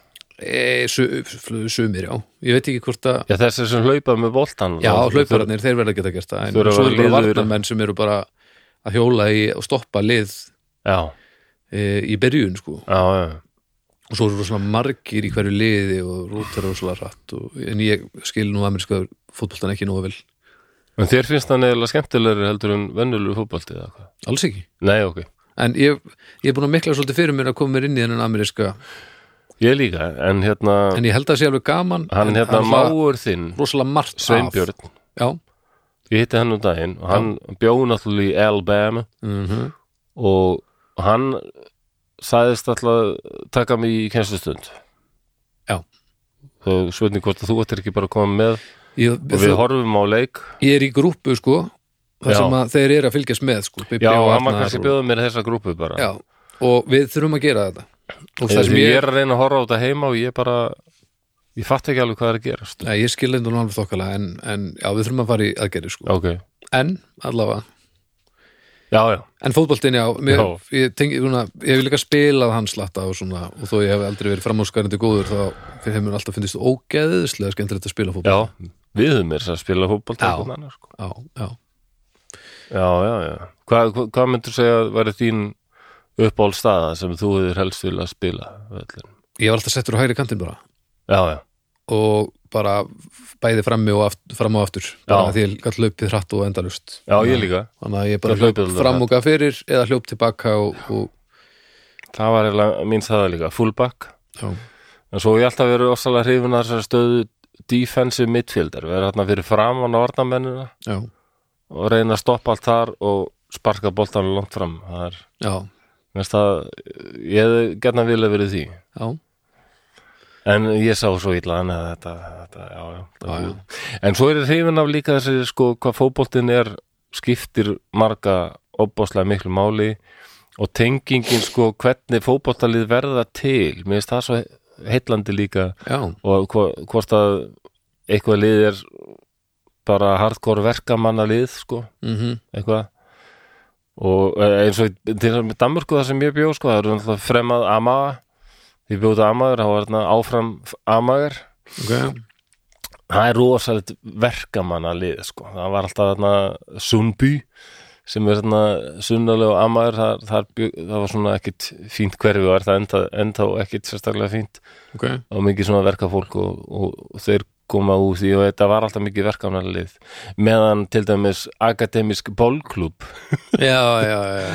Speaker 2: e, su, fl- sumir, já, ég veit ekki hvort að
Speaker 1: Já, þessir sem hlaupað með boltan
Speaker 2: já,
Speaker 1: þá-
Speaker 2: hlaupararnir, þeir verða að geta gert það en
Speaker 1: Þurfa að
Speaker 2: svo
Speaker 1: vera
Speaker 2: eru bara
Speaker 1: liðugir.
Speaker 2: varnamenn sem eru bara að hjóla í og stoppa lið
Speaker 1: Já,
Speaker 2: e, í byrjun sko
Speaker 1: já, já,
Speaker 2: og svo eru rosalega margir í hverju liði og rútar rosalega rætt og, en ég skil nú ameríska fótboltan ekki nógu vel,
Speaker 1: En þér finnst það neðurlega skemmtilegri heldur en vennulegu fótbolti eða hvað?
Speaker 2: alls ekki
Speaker 1: Nei, ok.
Speaker 2: en ég, ég er búin að mikla svolítið fyrir mér að koma mér inn í þennan ameríska
Speaker 1: Ég líka, en hérna,
Speaker 2: en ég held að sé alveg gaman
Speaker 1: hann
Speaker 2: en
Speaker 1: hérna
Speaker 2: það er
Speaker 1: máur þinn,
Speaker 2: rosalega margt af.
Speaker 1: Sveinbjörn,
Speaker 2: já,
Speaker 1: ég hitti hann um daginn og hann bjóð náttúrulega í Alabama
Speaker 2: mm
Speaker 1: Mhm. og hann sagðist alltaf taka mig í kennslustund.
Speaker 2: Já.
Speaker 1: Þú sveitin hvort að þú ættir ekki bara að koma með
Speaker 2: ég,
Speaker 1: og við horfum á leik.
Speaker 2: ég er í grúpu sko þar
Speaker 1: Já.
Speaker 2: sem að þeir eru að fylgjast með sko, Bibbi
Speaker 1: Já,
Speaker 2: og
Speaker 1: hann var
Speaker 2: Arnar
Speaker 1: kannski
Speaker 2: og-
Speaker 1: bjóðið mér þessa grúpu bara.
Speaker 2: já, og við þurfum að gera þetta og það
Speaker 1: Þegar
Speaker 2: sem
Speaker 1: ég,
Speaker 2: ég,
Speaker 1: er að reyna að horfa á þetta heima og ég bara, ég fatt ekki alveg hvað er að gerast.
Speaker 2: Nei, ég skil endur nú alveg þokkala en, en já, við þurfum að fara í aðgerði sko
Speaker 1: Ok,
Speaker 2: en allavega,
Speaker 1: já, já.
Speaker 2: en fótboltin já, mér,
Speaker 1: Já.
Speaker 2: Ég, tengi, svona, ég hef líka spilað hann slatta og svona og þó ég hef aldrei verið framúskarandi góður þá hefur mér alltaf fundist ógeðislega skemmtilegt að spila fótbolt
Speaker 1: Já, við höfum meira þess að spila fótbolta
Speaker 2: Já.
Speaker 1: einhvern annar, sko.
Speaker 2: já, já.
Speaker 1: já, já, já. Hvað, hvað, hvað myndur segja að væri þín uppáhaldstaða sem þú hefur helst vil að spila á vellinum?
Speaker 2: ég var alltaf settur á hægri kantinn bara
Speaker 1: Já, já,
Speaker 2: og bara bæði frammi og aft, fram og aftur bara
Speaker 1: Já.
Speaker 2: því ég gætt hlaupið hratt og endalust
Speaker 1: já, ég líka
Speaker 2: þannig að ég bara
Speaker 1: Þú
Speaker 2: hlaup
Speaker 1: hlaupið alveg
Speaker 2: fram og gaf fyrir eða hljóp tilbaka og, og
Speaker 1: Það var eiginlega mín staða líka, fullback
Speaker 2: já,
Speaker 1: en svo hef ég alltaf verið ósalega hrifin að þessar stöðu defensive midfielder, vera hérna fyrir framan á varnamennina
Speaker 2: já,
Speaker 1: og reyna að stoppa allt þar og sparka boltanum langt fram það er,
Speaker 2: já,
Speaker 1: næst að ég hefði gerna vilja verið því
Speaker 2: já,
Speaker 1: En ég sá svo illa hann að þetta, þetta já, já, þetta
Speaker 2: Já,
Speaker 1: já, En svo er ég hrifin af líka þessi sko hvað fótboltinn er skiptir marga opbáslega miklu máli og tengingin sko hvernig fótboltalið verða til mér finnst það svo heillandi líka
Speaker 2: já,
Speaker 1: og hvo- hvort að eitthvað lið er bara hardcore verkamanna lið sko
Speaker 2: mhm
Speaker 1: eitthvað og eh, eins og í- til þess með Danmörku það sem ég bjó sko, það eru náttúrulega fremað amaga því bjóðu amagur, þá var þarna áfram amagur,
Speaker 2: ok,
Speaker 1: það er rosalegt verkamanna lið sko, það var alltaf þarna Sundby sem er þarna sunnalega amagur það, það, bjó, það var svona ekkit fínt hverfi og er það enda, enda ekkit sérstaklega fínt
Speaker 2: ok
Speaker 1: og mikið svona verkafólk og, og, og þeir koma úr því og þetta var alltaf mikið verkamanalið meðan til dæmis akademisk bólklub
Speaker 2: já, já, já,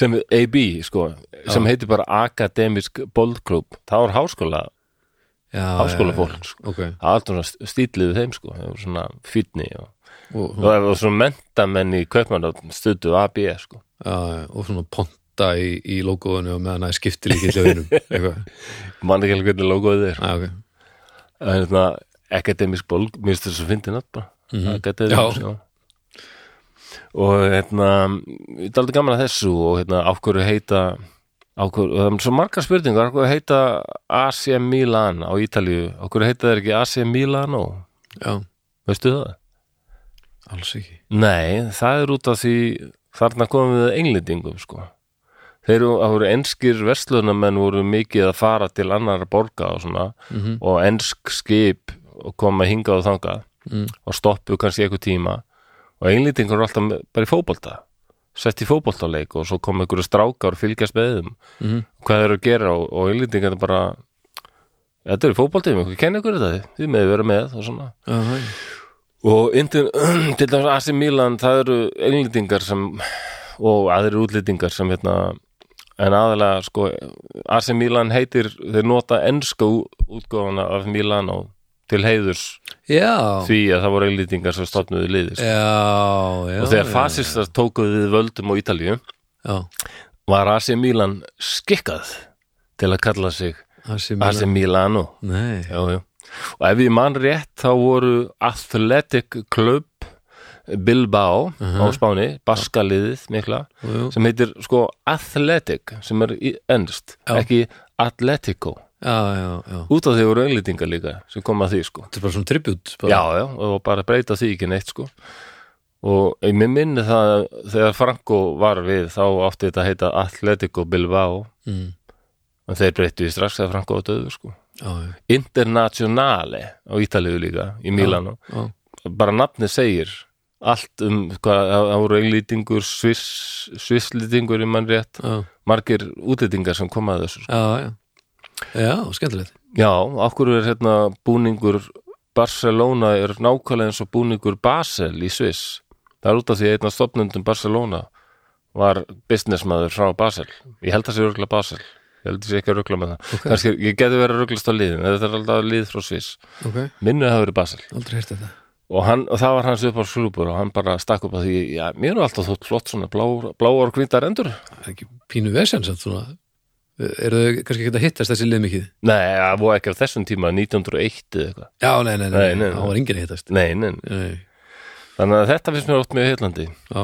Speaker 1: sem AB sko, sem heitir bara Akademisk Boldklub það var háskóla,
Speaker 2: já
Speaker 1: háskóla
Speaker 2: já,
Speaker 1: fólk sko.
Speaker 2: já. ok,
Speaker 1: það var alltaf svona stílið við þeim sko, það var svona fýtni og,
Speaker 2: og,
Speaker 1: og það var svona mentamenn í kaupmann stötu AB sko.
Speaker 2: já, já, og svona ponta í, í logoðinu og meðan að skipti líka í
Speaker 1: [laughs]
Speaker 2: hljóðinum eitthvað,
Speaker 1: mann ekki alveg hvernig logoðið er
Speaker 2: já, ok
Speaker 1: en hérna Akademisk Bold mér finnst þess að fyndi nátt bara mm
Speaker 2: Mhm.
Speaker 1: Akademisk
Speaker 2: Já.
Speaker 1: já. og hérna ég er aldrei gaman að þessu og hérna á hverju heita á hverju, það er svo margar spurningar á hverju heita AC Milan á Ítalíu, á hverju heita þeir ekki AC Milano,
Speaker 2: já,
Speaker 1: veistu það?
Speaker 2: alls ekki
Speaker 1: Nei, það er út af því þarna komum við englendingum sko þeir eru, það voru enskir verslunamenn voru mikið að fara til annar borga og svona
Speaker 2: Mhm.
Speaker 1: og ensk skip og koma hingað og þangað
Speaker 2: Mm.
Speaker 1: og stoppu kannski eitthvað tíma og englendingur eru alltaf með- bara í fótbolta sett í fótboltaleik og svo kom einhverju strákar og fylgjast með þeim
Speaker 2: Mhm.
Speaker 1: hvað þeir eru að gera og, og englendingar bara þetta eru fótboltið, við kenna ykkur þetta þið með vera með og svona
Speaker 2: já, já,
Speaker 1: og indin, [clears throat] til dæmis AC Milan það eru englendingar sem og aðrir útlendingar sem hérna en aðalega sko AC Milan heitir, þeir nota enska ú- útgáfuna af Milan og til heiðurs
Speaker 2: já,
Speaker 1: því að það voru englendingar sem stofnuðu liðis
Speaker 2: já, já
Speaker 1: og þegar
Speaker 2: já,
Speaker 1: fasistar tókuðu við völdum á Ítalíu
Speaker 2: já,
Speaker 1: var AC Milan skikkað til að kalla sig
Speaker 2: AC
Speaker 1: AC
Speaker 2: Milan
Speaker 1: Milano
Speaker 2: Nei,
Speaker 1: já, já. og ef ég man rétt þá voru Athletic Club Bilbao á
Speaker 2: Mhm.
Speaker 1: Spáni, Baskaliðið mikla,
Speaker 2: Jú, jú.
Speaker 1: sem heitir sko Athletic, sem er í ennst,
Speaker 2: Já.
Speaker 1: ekki Atletico
Speaker 2: já, já, já
Speaker 1: út af því voru englýtingar líka sem kom að því sko
Speaker 2: Þetta er bara svona tribut bara.
Speaker 1: já, já, og bara breyta því ekki neitt sko og ég mér minni það að þegar Franco var við þá átti þetta að heita Atletico Bilbao
Speaker 2: Mm.
Speaker 1: en þeir breyttu því strax þegar Franco var döðu sko
Speaker 2: já, já,
Speaker 1: Internationale á Ítaliðu líka í Milano,
Speaker 2: já.
Speaker 1: bara nafni segir allt um hvað það það voru englýtingur, sviss svisslýtingur í mann rétt,
Speaker 2: já,
Speaker 1: margir útlýtingar sem koma að þessu sko.
Speaker 2: já, já. Já, skemmtilegt
Speaker 1: Já, okkur er hérna búningur Barcelona er nákvæmlega eins og búningur Basel í Sviss. Það er út af því að einn af stopnundum Barcelona var businessmaður frá Basel. Ég held að sé rögla Basel. Ég held að sé ekki að rögla með það. Okay. Kannski, ég geti verið að röglast á liðin. en Þetta er alltaf lið frá Sviss.
Speaker 2: Ok,
Speaker 1: Minnu hafa verið Basel.
Speaker 2: aldrei hérst þetta
Speaker 1: Og, hann, og það var hans upp á slúpur og hann bara stakk upp að því, já, mér er alltaf þótt flott svona bláar, bláar og hvítar endur.
Speaker 2: Það er ekki pínu vesens samt svona Eru þau kannski ekki að hittast þessi lið mikið?
Speaker 1: Nei, það var ekki á þessum tíma 1901 eða eitthvað.
Speaker 2: Já, nei, nei, nei,
Speaker 1: Nei, nei, nei.
Speaker 2: það var enginn að hittast
Speaker 1: Nei, nei, nei.
Speaker 2: Nei,
Speaker 1: Þannig að þetta finnst mér ótt mjög heillandi.
Speaker 2: já,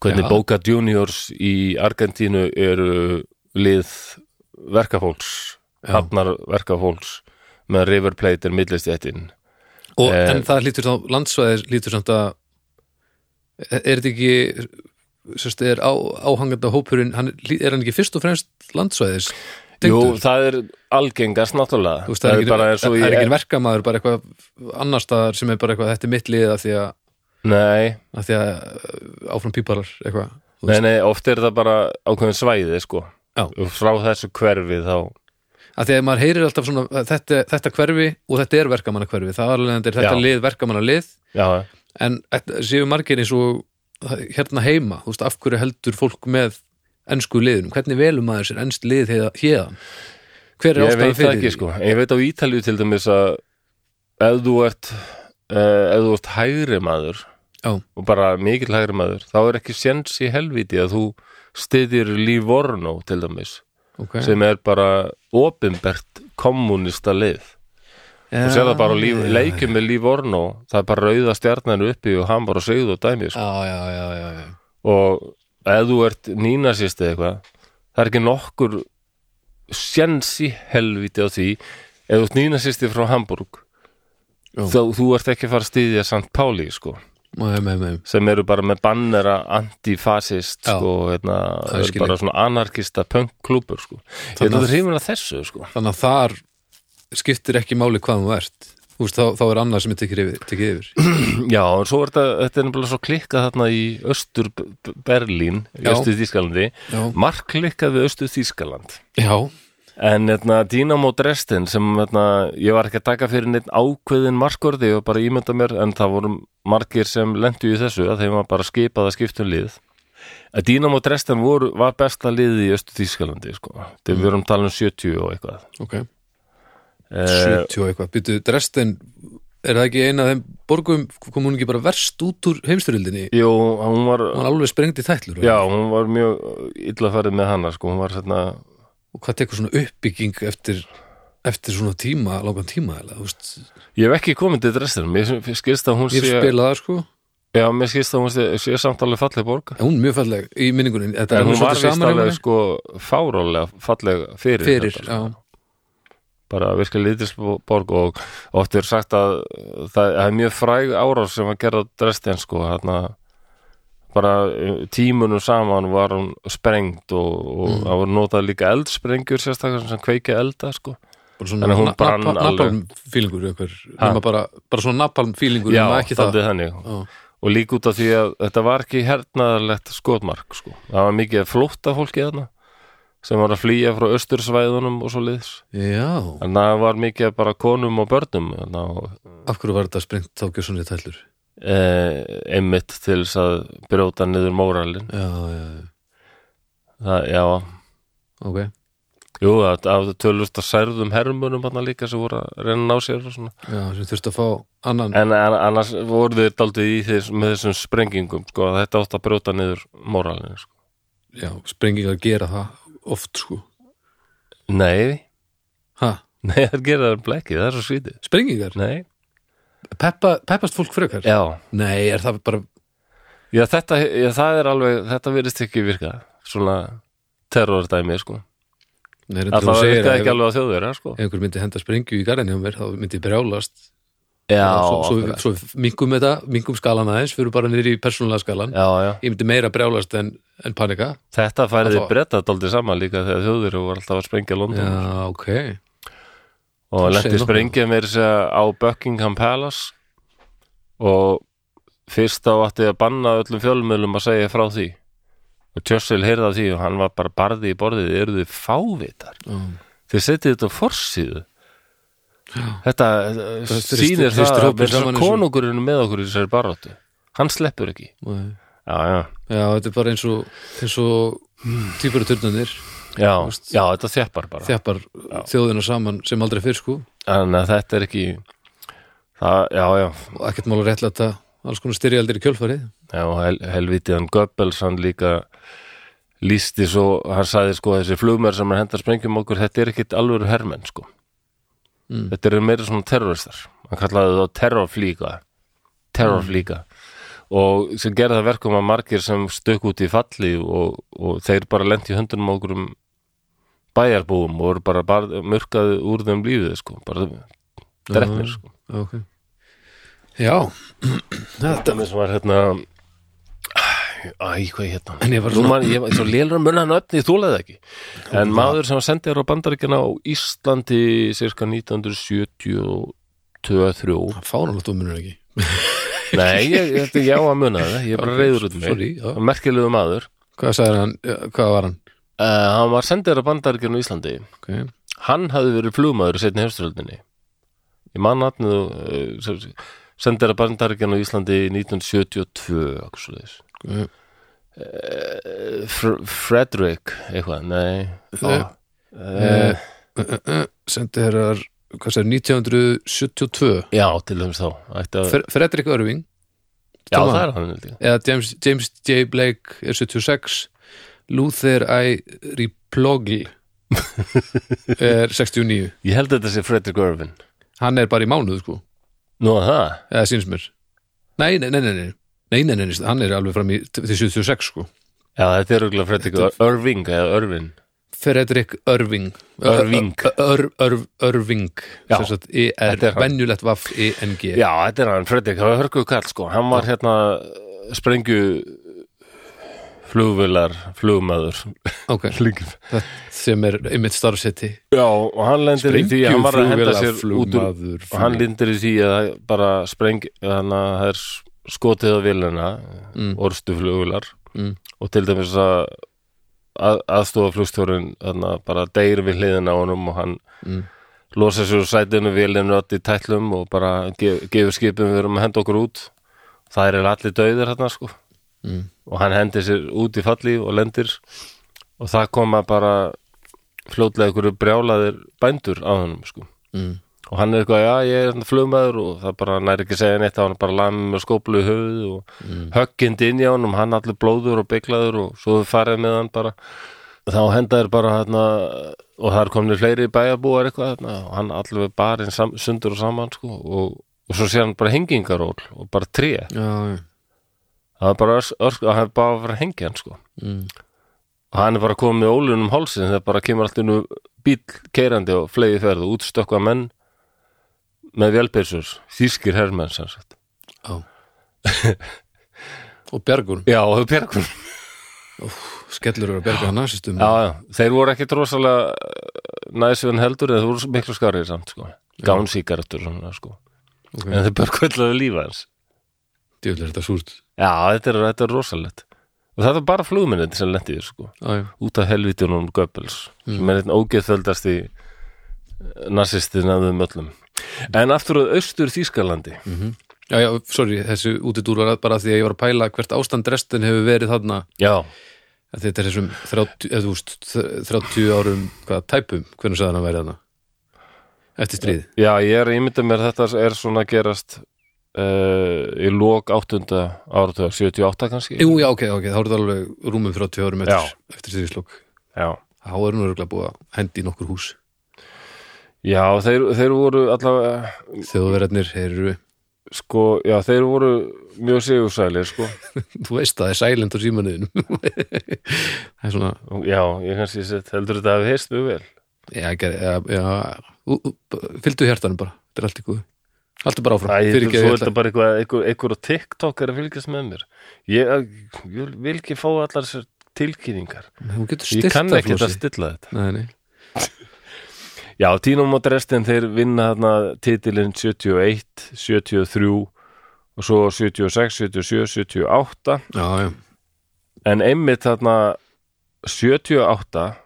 Speaker 1: hvernig
Speaker 2: Já.
Speaker 1: Boca Juniors í Argentínu eru lið verkafólks
Speaker 2: Já.
Speaker 1: hafnar verkafólks með River Plate er millistjættin
Speaker 2: og
Speaker 1: Eh,
Speaker 2: en það lítur þá landsvæðir lítur samt að er þetta ekki sérst, er á, áhangandi á hópurinn hann, er- er hann ekki fyrst og fremst landsvæðis
Speaker 1: Jú,
Speaker 2: tengdur?
Speaker 1: það er algengast náttúrulega
Speaker 2: Þú veist,
Speaker 1: það er
Speaker 2: ekki-
Speaker 1: bara eins og
Speaker 2: það er
Speaker 1: ég
Speaker 2: ekki verkamaður bara eitthvað annar staðar sem er bara eitthvað þetta er mitt lið að því að,
Speaker 1: nei,
Speaker 2: að, því að uh, áfram píparar eitthvað Þú
Speaker 1: nei,
Speaker 2: veist,
Speaker 1: nei, oft er það bara ákveðin svæði sko
Speaker 2: Já.
Speaker 1: Og frá þessu hverfi þá
Speaker 2: að því að maður heyrir alltaf svona að þetta, þetta hverfi og þetta er verkamanna hverfi það er alveg þetta er þetta
Speaker 1: Já.
Speaker 2: lið verkamanna lið
Speaker 1: já,
Speaker 2: en þetta- séu margir eins og hérna heima, þú veist, af hverju heldur fólk með ennsku liðunum, hvernig velum maður sér ennst lið hea- héðan hver er
Speaker 1: ég
Speaker 2: ástæðan
Speaker 1: veit það
Speaker 2: fyrir
Speaker 1: ekki
Speaker 2: því?
Speaker 1: sko ég veit á Ítalíu til dæmis að ef þú ert uh, ef þú ert hægri maður
Speaker 2: Já.
Speaker 1: og bara mikill hægri maður þá er ekki séns í helviti að þú styðir Livorno til dæmis
Speaker 2: okay.
Speaker 1: sem er bara opinbert kommunista lið þú sér það bara á líf, leikjum með Livorno það er bara rauða stjarnan uppi og hann bara sögð og dæmi sko.
Speaker 2: já, já, já, já, já.
Speaker 1: og ef þú ert nínasist eða eitthvað það er ekki nokkur séns í helviti á því ef þú ert nínasisti frá Hamburg
Speaker 2: Jú.
Speaker 1: þá þú ert ekki að fara að styðja St. Páli sko
Speaker 2: Nei, nei, nei.
Speaker 1: sem eru bara með bannera antifasist
Speaker 2: Já.
Speaker 1: sko, hérna,
Speaker 2: Það
Speaker 1: það
Speaker 2: skil
Speaker 1: eru
Speaker 2: ég.
Speaker 1: bara svona anarkista punkklúpur sko. ég held
Speaker 2: Þannig
Speaker 1: að
Speaker 2: að-
Speaker 1: það hrifin að þessu sko.
Speaker 2: þannig að þar skiptir ekki máli hvað þú ert Þú veist, þá, þá er annað sem er tekið yfir, tekið yfir.
Speaker 1: já, en svo er þetta, þetta er nefnilega svo klikkað þarna í Östur Berlín í
Speaker 2: Já.
Speaker 1: Östur Þískalandi
Speaker 2: Já.
Speaker 1: mark klikkað við Östur Þískaland
Speaker 2: já,
Speaker 1: en hérna, Dynamo Dresden sem hérna, ég var ekki að taka fyrir neitt ákveðin markvörði, ég var bara að ímynda mér en það voru margir sem lendu í þessu að þeim var bara skipað að skiptum lið að Dynamo Dresden voru, var besta liði í Östur Þískalandi sko. þegar við erum talað um 70 og eitthvað
Speaker 2: ok
Speaker 1: Eh,
Speaker 2: 70 og eitthvað, byttu Dresden er það ekki eina af þeim borgum kom hún ekki bara verst út úr heimstyrildinni
Speaker 1: Jú, hún var
Speaker 2: hún var alveg sprengt í þætlur
Speaker 1: Já, hún var mjög illa farið með hana sko, hún var hérna
Speaker 2: og hvað tekur svona uppbygging eftir, eftir svona tíma, langan tíma eða, þú veist,
Speaker 1: Ég hef ekki komið til Dresden, mér skilst að hún
Speaker 2: ég
Speaker 1: sé
Speaker 2: spilaði það sko en
Speaker 1: Já, mér skilst að hún sé, sé samtalið falleg borga
Speaker 2: hún er mjög falleg í minningunni þetta
Speaker 1: En
Speaker 2: er
Speaker 1: hún var vist
Speaker 2: saman
Speaker 1: alveg
Speaker 2: alveg
Speaker 1: sko fárólega falleg fyrir,
Speaker 2: fyrir,
Speaker 1: þetta,
Speaker 2: já,
Speaker 1: bara virkilega lítilsborg og oft er sagt að það það er mjög fræg árás sem var gerð á Dresden sko, hérna bara eh, tímunum saman var hún sprengt og, og
Speaker 2: Mm.
Speaker 1: það voru notað líka eldsprengjur sérstaklega sem kveikja elda sko
Speaker 2: bara
Speaker 1: Þannig að hún
Speaker 2: svona
Speaker 1: brann alveg.
Speaker 2: napalm fílingur nema bara, bara svona napalm fílingur
Speaker 1: Já,
Speaker 2: nema ekki það
Speaker 1: dálítið þannig
Speaker 2: Já.
Speaker 1: og líka út af því að þetta var ekki hernaðarlegt skotmark sko. það var mikið flótta fólki þarna sem var að flýja frá östursvæðunum og svo liðs
Speaker 2: já,
Speaker 1: en það var mikið bara konum og börnum þarna og
Speaker 2: af hverju var þetta sprengt þá gjössunni í þætlur
Speaker 1: e, einmitt til þess að brjóta niður móralin
Speaker 2: já, já, já,
Speaker 1: það, já,
Speaker 2: ok
Speaker 1: jú, það það var tölvist að særðum hermunum þarna líka sem voru að reyna að ná sér og svona
Speaker 2: já, sem þurfti að fá annan
Speaker 1: en en- annars voru þeir daldið í þess, með þessum sprengingum sko, að þetta átt að brjóta niður móralin sko.
Speaker 2: já, sprengingar gera það oft sko
Speaker 1: nei,
Speaker 2: ha,
Speaker 1: Nei, það gera það blekið, það er svo skrítið
Speaker 2: sprengingar?
Speaker 1: Nei,
Speaker 2: peppa, peppast fólk frekar?
Speaker 1: já,
Speaker 2: Nei, er það bara
Speaker 1: já, þetta, já það er alveg þetta virðist ekki virka svona terrordæmi sko
Speaker 2: Nei, reyndar þú
Speaker 1: alltaf það
Speaker 2: segir
Speaker 1: virkaði
Speaker 2: að
Speaker 1: ekki alveg á þjóðverja sko
Speaker 2: ef einhver myndi henda sprengju í garðin hjá mér þá myndi ég brjálast
Speaker 1: já,
Speaker 2: svo, svo,
Speaker 1: akkurat.
Speaker 2: svo mingum þetta, mingum skalan aðeins fyrir bara niður í persónulega skalan
Speaker 1: já, já
Speaker 2: ég myndi meira brjálast en, en panika
Speaker 1: Þetta færði
Speaker 2: Það þá-
Speaker 1: bretta daldið saman líka þegar þjóður voru alltaf að sprengja London
Speaker 2: Já, ok
Speaker 1: og
Speaker 2: það
Speaker 1: lendi
Speaker 2: segir nokkuð.
Speaker 1: sprengja meir á Buckingham Palace og fyrst þá átti að banna öllum fjölmjölum að segja frá því og Churchill heyrði af því og hann var bara barði í borðið, þið eru þið fávitar
Speaker 2: Já.
Speaker 1: þið setið þetta á forsíðu þetta eh,
Speaker 2: þrýstir-
Speaker 1: sýnir
Speaker 2: þrýstir
Speaker 1: það
Speaker 2: hópinn saman
Speaker 1: að þessar
Speaker 2: eins og-
Speaker 1: konungurinn er með okkur í þessari baróttu, hann sleppur ekki
Speaker 2: Nei.
Speaker 1: já, já,
Speaker 2: Já, þetta er bara eins og eins og týpur og turnanir
Speaker 1: já, já þetta þjappar bara
Speaker 2: þjappar þjóðina saman sem aldrei fyrr sko
Speaker 1: þannig að þetta er ekki það, já, já,
Speaker 2: og ekkert mála réttlæta alls konar styrjaldir í kjölfarið
Speaker 1: Já, og hel, helvitiðan Goebbels, hann líka lísti svo, hann sagði sko þessi flugmær sem er að henda sprengjum á okkur, þetta er ekkit alvöru hermenn sko.
Speaker 2: Mm.
Speaker 1: Þetta eru meira svona terroristar. Hann kallaði það terrorflíka. Terrorflíka. Og sem gerði það verkum að margir sem stökk út í falli og, og þeir bara lendi í höndunum á okkur um bæjarbúum og voru bara, bara mörkaði úr þeim lífið sko, bara
Speaker 2: Mm.
Speaker 1: drefnir sko.
Speaker 2: Já, ok Já, þetta
Speaker 1: dæmi sem var hérna Æ, hvað er hérna?
Speaker 2: En ég var
Speaker 1: Nú
Speaker 2: svona-
Speaker 1: man- ég var svo lélur að munna hann öfni, ég þúlaði ekki En maður sem var sendið á bandaríkjana á Íslandi cirka
Speaker 2: [laughs]
Speaker 1: 1973
Speaker 2: fáránlegt umunur ekki
Speaker 1: Nei, ég, ég, þetta- ég á að munna það, ég er bara reyður út um mig
Speaker 2: Sorry, já.
Speaker 1: Merkilegu maður
Speaker 2: Hvað sagði hann, ja, hvað var hann?
Speaker 1: uh, Hann var sendið á bandaríkjana á Íslandi
Speaker 2: Okay.
Speaker 1: Hann hafði verið flugmaður í setni hefsturöldinni Ég man nafnið uh, sendið á bandaríkjana á Íslandi 1972 okkur svoleiðis. Eh,
Speaker 2: ok.
Speaker 1: Fr Frederick eitthvað, nei
Speaker 2: Nei.
Speaker 1: uh,
Speaker 2: Sendi herrar, eh, hvað sagði, 1972
Speaker 1: Já, til dæmis þá Ætti að,
Speaker 2: Fre- Fredrik Örving
Speaker 1: Já,
Speaker 2: Thomas.
Speaker 1: það er hann held ég.
Speaker 2: eða James, James J. Blake er 76 Luther I.
Speaker 1: [laughs]
Speaker 2: Riplogli er 69
Speaker 1: Ég held að þetta sé Frederick Irvin
Speaker 2: hann er bara í mánuð sko
Speaker 1: Nú að það,
Speaker 2: eða síns mér nei, nei, nei, nei, nei, nei, nei, nei, nei hann er alveg fram í til 76 sko
Speaker 1: já þetta er auðvitað Frederick Ir- Irving eða Irvin
Speaker 2: Fredrik Örving
Speaker 1: Örving.
Speaker 2: Ör, ör, Örving
Speaker 1: Já.
Speaker 2: sem sagt, er
Speaker 1: Þetta er hann.
Speaker 2: venjulegt vaff E E-N-G
Speaker 1: Já, þetta er hann, Frederick, það var hörkuð kall sko Hann var hérna sprengju flugvilar flugmaður
Speaker 2: ok,
Speaker 1: Líka.
Speaker 2: sem er einmitt starfseti
Speaker 1: Já, og hann lendir í því að hann var að henda sér út úr
Speaker 2: flugmaður
Speaker 1: og hann lindir í því að það bara spreng þannig að það er skotið á vilina
Speaker 2: Mm.
Speaker 1: orstu flugular
Speaker 2: Mm.
Speaker 1: og til dæmis að að, aðstofa flugstjórinn þannig að bara deyr við hliðina á honum og hann
Speaker 2: Mm.
Speaker 1: losa sér úr sætinu vilinu öll í tætlum og bara ge, gefur skipum við erum að henda okkur út það er allir döðir hérna sko
Speaker 2: Mm.
Speaker 1: og hann hendir sér út í falli og lendir og það koma bara fljótlega ykkur brjálaðir bændur á honum sko
Speaker 2: mm.
Speaker 1: og hann er eitthvað, já ég er hérna flugmaður og það bara næri ekki að segja neitt hann er bara lamið með skóplu í höfuð og mm. höggind inn í honum, hann allir blóður og bygglaður og svo við farið með hann bara þá hendaður bara hérna og það er komin fleiri bæjarbúar eitthvað hérna, og hann allir við barinn sam, sundur og saman sko og, og svo sé hann bara hengingaról og bara tré
Speaker 2: já, já,
Speaker 1: það er bara örs, örs, að hann er bara að fara að hengja hann sko
Speaker 2: mm.
Speaker 1: og hann er bara komið með ólunum hálsin þegar bara kemur allt innu bíl keirandi og flegi ferð og útstökkva menn með vélbeirsur þýskir herrmenn sem sagt
Speaker 2: já. og Bjargur
Speaker 1: já og þau björgum
Speaker 2: skellur eru að berga hann nasistum
Speaker 1: já, já. þeir voru ekkit rosalega eh, næsvinn heldur eða þeir voru miklu skarrið samt sko gánsíkartur svona sko
Speaker 2: Ok.
Speaker 1: en þau björg kvöldaðu lífa hans
Speaker 2: djöfull er þetta súrt
Speaker 1: já þetta er, þetta er rosalegt og það er bara flugminni sem lendi þér sko
Speaker 2: já, já.
Speaker 1: út af helvitunum Goebbels sem er einn ógeðföldast í nasistin af þeim öllum en aftur að austur Þýskalandi
Speaker 2: já, já, sorry, þessi útidúr var bara því að ég var að pæla hvert ástand restin hefur verið þarna
Speaker 1: já,
Speaker 2: að þetta er þessum 30, eða, þú veist, þ- 30 árum hvað, tæpum, hvernig sagði hann að væri þarna eftir stríð
Speaker 1: já, ég er að ímynda mér að þetta er svona að gerast uh, í lok áttunda áratuga, 78 kannski
Speaker 2: Jú, já, ok, ok, þá eru það alveg rúmum 30 árum eftir, eftir stríðslokk
Speaker 1: já,
Speaker 2: þá er nú örgulega búið að hendi í nokkur hús
Speaker 1: já þeir, þeir voru allavega
Speaker 2: þjóðverðarnir eru
Speaker 1: sko, já, þeir voru mjög sigursælir, sko
Speaker 2: þú veist það er silent á símanuðin [laughs] það er svona
Speaker 1: Og já, ég kannski sett, heldur þetta að við heyrst mjög vel
Speaker 2: já, ger, já, já, ú, ú, b- fylgdu hjartanum bara þetta er allt í góðu Haltu bara áfram,
Speaker 1: Æ,
Speaker 2: fyrir
Speaker 1: þú
Speaker 2: ekki
Speaker 1: ert bara eitthvað, einhver, einhver á TikTok er að fylgjast með mér ég, ég vil ekki fá allar þessar tilkynningar
Speaker 2: Hún getur
Speaker 1: ég
Speaker 2: stilt
Speaker 1: kann
Speaker 2: að
Speaker 1: ekki að
Speaker 2: flósi
Speaker 1: stilla þetta
Speaker 2: Nei, nei,
Speaker 1: já, Tínum og Dresden þeir vinna þarna titilinn 71 73 og svo 76, 77, 78
Speaker 2: já, já
Speaker 1: en einmitt þarna 78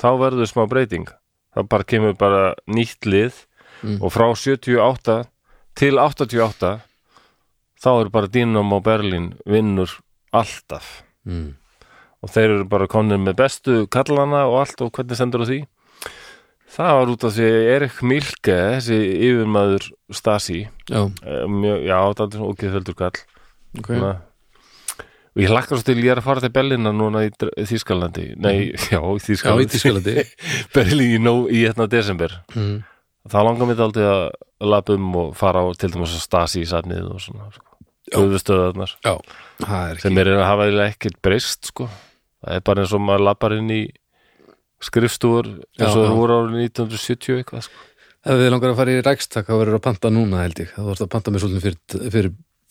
Speaker 1: þá verður smá breyting það bara kemur bara nýtt lið
Speaker 2: Mm.
Speaker 1: og frá 78 til 88 þá eru bara Dynamo Berlin vinnur alltaf
Speaker 2: mm.
Speaker 1: og þeir eru bara konir með bestu kallana og allt og hvernig sendur á því það var út af því Erik Milke þessi yfirmaður Stasi
Speaker 2: Já,
Speaker 1: eh, mjög, já, það er svona ógeðföldur kall
Speaker 2: ok
Speaker 1: Svona. Hérna. og ég lakkar svo til ég er að fara til Berlína núna í Dr- Þýskalandi nei, [laughs]
Speaker 2: Mhm.
Speaker 1: já, í
Speaker 2: Já, í
Speaker 1: Þýskalandi
Speaker 2: tískalandi
Speaker 1: [laughs] Berlín í, nó- í hérna desember
Speaker 2: mm.
Speaker 1: þá langar mér aldrei að lappa um og fara á til dæmis að stasi í safnið og svona sko. Guðustöðarnar
Speaker 2: Já, það er
Speaker 1: sem
Speaker 2: ekki
Speaker 1: er að hafa eiginlega ekkert breyst sko. það er bara eins og maður lappar inn í skrifstúr eins og
Speaker 2: Já, já.
Speaker 1: það voru árið 1970 eitthvað sko.
Speaker 2: Ef við langar að fara í rækstak, þá verður að panta núna held ég, þá verður að panta mér svolítið fyrir, fyrir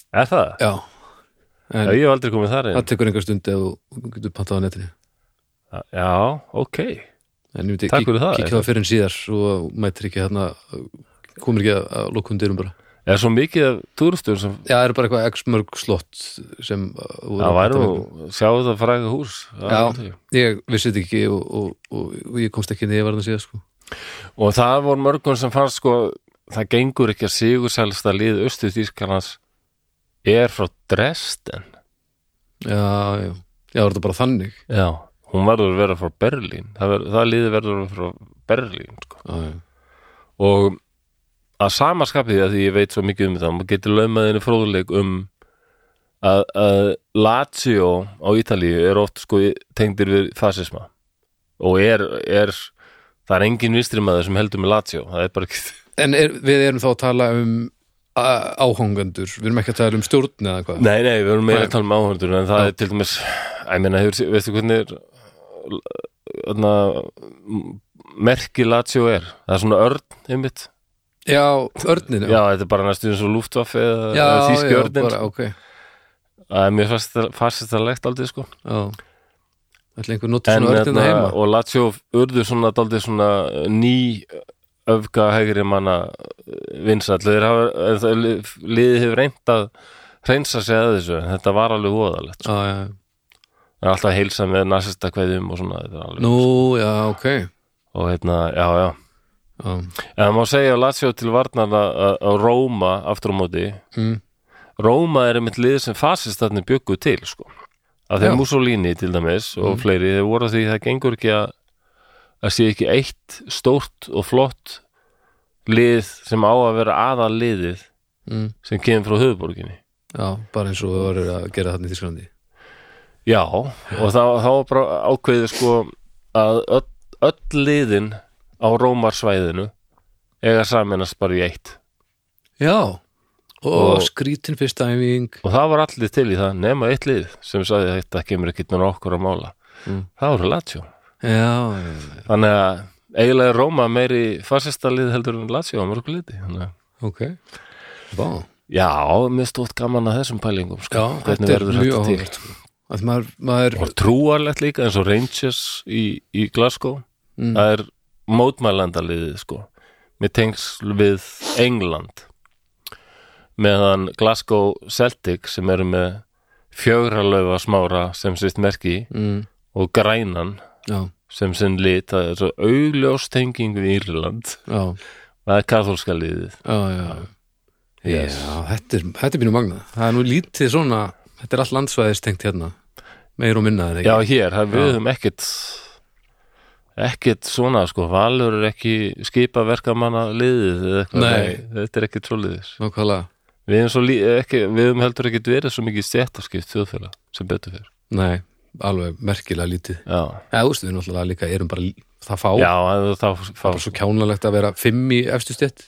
Speaker 1: er það?
Speaker 2: já,
Speaker 1: Já,
Speaker 2: en
Speaker 1: ég hef aldrei komið þar inn
Speaker 2: það tekur einhver stund ef þú getur pantað á netinu
Speaker 1: já, ok
Speaker 2: en ég myndi
Speaker 1: Takk fyrir það,
Speaker 2: kíkja það fyrir en síðar svo mætir ekki þarna komur ekki að, að lokum dyrum bara
Speaker 1: er svo mikið af túristur sem
Speaker 2: já, það eru bara eitthvað x mörg slott sem uh,
Speaker 1: Það væri nú, sjáu það fræga hús
Speaker 2: Já.
Speaker 1: Það er-
Speaker 2: ég vissi þetta ekki og, og, og, og ég komst ekki niður varðan síðar sko
Speaker 1: Og það voru mörgum sem fannst sko það gengur ekki að sigursælsta lið austu þýskarnas er frá Dresden
Speaker 2: já, já, já, var þetta bara þannig
Speaker 1: Já, hún verður að vera frá Berlín það, ver, það liði verður að vera frá Berlín sko.
Speaker 2: já, já,
Speaker 1: og að sama skapi því að því ég veit svo mikið um það maður getur laumaðinu fróðuleik um að, að Lazio á Ítalíu er oft sko tengdir við fasisma og er, er það er engin vistrimaður sem heldur með Lazio það er bara ekki
Speaker 2: en er, við erum þá að tala um a- áhangendur, við erum ekki að tala um stjórn eða hvað,
Speaker 1: Nei, nei, við erum meira
Speaker 2: Nei.
Speaker 1: að tala um áhörndur en það er til dæmis, ég meina, hefur, veistu hvernig er öðna, merki Lazio er það er svona örn, einmitt
Speaker 2: já, örnin
Speaker 1: Já, þetta er bara næstu eins og lúftvaff eða
Speaker 2: já,
Speaker 1: eða þýski
Speaker 2: já,
Speaker 1: örnin
Speaker 2: bara, ok
Speaker 1: Það er mjög fasistarlegt aldrei sko
Speaker 2: Já Ætli einhver notið
Speaker 1: en,
Speaker 2: svona örnina
Speaker 1: hérna,
Speaker 2: heima
Speaker 1: og Lazio urðu svona daldið svona eh, ný öfga hægri manna vinsall þeir hafa, en það- liðið hefur reynt að hreinsa sig að þessu en þetta var alveg voðalegt
Speaker 2: Já, já, já.
Speaker 1: það er alltaf að heilsa með nasista kveðum og svona þetta er alveg,
Speaker 2: Nú, já, ok
Speaker 1: og hérna, já, já
Speaker 2: Já,
Speaker 1: en það má segja að Lazio til varnar að- að að Róma aftur á móti
Speaker 2: mm.
Speaker 1: Róma er einmitt lið sem fasistarnir byggu til sko. að þeir
Speaker 2: Já. Mm.
Speaker 1: Mussolini til dæmis og fleiri, þeir voru að því það gengur ekki að að sé ekki eitt stórt og flott lið sem á að vera aðal liðið
Speaker 2: Mm.
Speaker 1: sem kemur frá höfuborginni
Speaker 2: já bara eins og við vorum að gera þarna í Þísklandi
Speaker 1: já, og þá, þá var bara ákveðið sko að öll, öll liðin á Rómarsvæðinu eiga saminast bara í eitt
Speaker 2: Já, og,
Speaker 1: Og-
Speaker 2: skrítin fyrst æfing
Speaker 1: og það var allir til í það nema eitt lið sem sagði að þetta kemur ekki náttúrulega okkur að mála
Speaker 2: Mm.
Speaker 1: það voru Lazio
Speaker 2: Já, já, já,
Speaker 1: þannig að eiginlega er Róma meiri fasistalið heldur en Lazio á mörgu liti þannig að
Speaker 2: ok Vá,
Speaker 1: já, mér stótt gaman að þessum pælingum sko.
Speaker 2: já,
Speaker 1: hvernig verður þetta til
Speaker 2: áhugavert, sko. Að maður, maður
Speaker 1: og trúarlegt líka eins og Rangers í, í Glasgow
Speaker 2: Mm.
Speaker 1: það er mótmælandaliðið sko. mér tengsl við England meðan Glasgow Celtic sem eru með fjögralöfa smára sem sýst merki
Speaker 2: mm,
Speaker 1: og grænan
Speaker 2: Já,
Speaker 1: sem sinn lit það er svo augljós tenging við Írland
Speaker 2: já,
Speaker 1: það er katholska liðið
Speaker 2: já, já
Speaker 1: Yes.
Speaker 2: Já, þetta er, þetta er mínu magna Það er nú lítið svona, þetta er allt landsvæðistengt hérna Meir og minna er ekki
Speaker 1: Já, hér, það- við
Speaker 2: Já.
Speaker 1: höfum ekkert ekkert svona, sko Valur er ekki skipa verkamanna liðið eða eitthvað,
Speaker 2: Nei.
Speaker 1: þetta er ekki trúliðis
Speaker 2: Nákvæmlega
Speaker 1: við höfum, svo, lí- eh, ekki, við höfum heldur ekkert verið svo mikið stjættarskipt þjóðfélag sem betur fyrir
Speaker 2: Nei, alveg merkilega lítið
Speaker 1: Já,
Speaker 2: eða þú veist, við náttúrulega líka erum bara lí- það fá,
Speaker 1: Já en þá fá
Speaker 2: bara svo kjánalegt að vera fimm í efstu stjett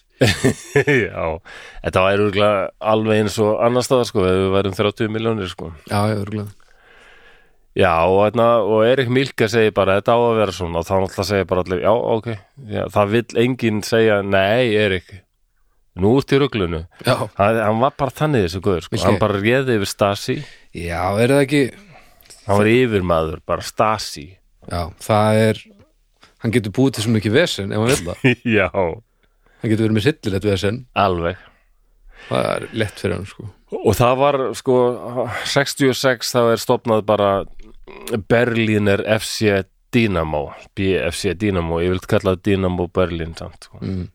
Speaker 1: [laughs] Já, þetta væri örugglega alveg eins og annars staðar sko, ef við værum 30 miljónir sko.
Speaker 2: já, já, örgulega
Speaker 1: Já, og, þarna, og Erik Milka segir bara þetta á að vera svona og þá náttúrulega segir bara allir, já, ok já, það vill enginn segja, nei, Erik nú út í ruglunu
Speaker 2: já.
Speaker 1: hann, hann var bara þannig þessu guður, sko.
Speaker 2: Viltu-
Speaker 1: hann bara réði yfir Stasi
Speaker 2: já, er það ekki
Speaker 1: hann var yfirmaður, bara Stasi
Speaker 2: já, það er hann getur búið til svo mikið vesen ef hann vil það
Speaker 1: [laughs] já,
Speaker 2: hann getur verið með sillilegt vesen
Speaker 1: alveg
Speaker 2: það er lett fyrir hann sko
Speaker 1: og það var, sko 66, það er stopnað bara Berliner FC Dynamo BFC Dynamo, ég vilt kalla það Dynamo Berlin samt, sko
Speaker 2: mm.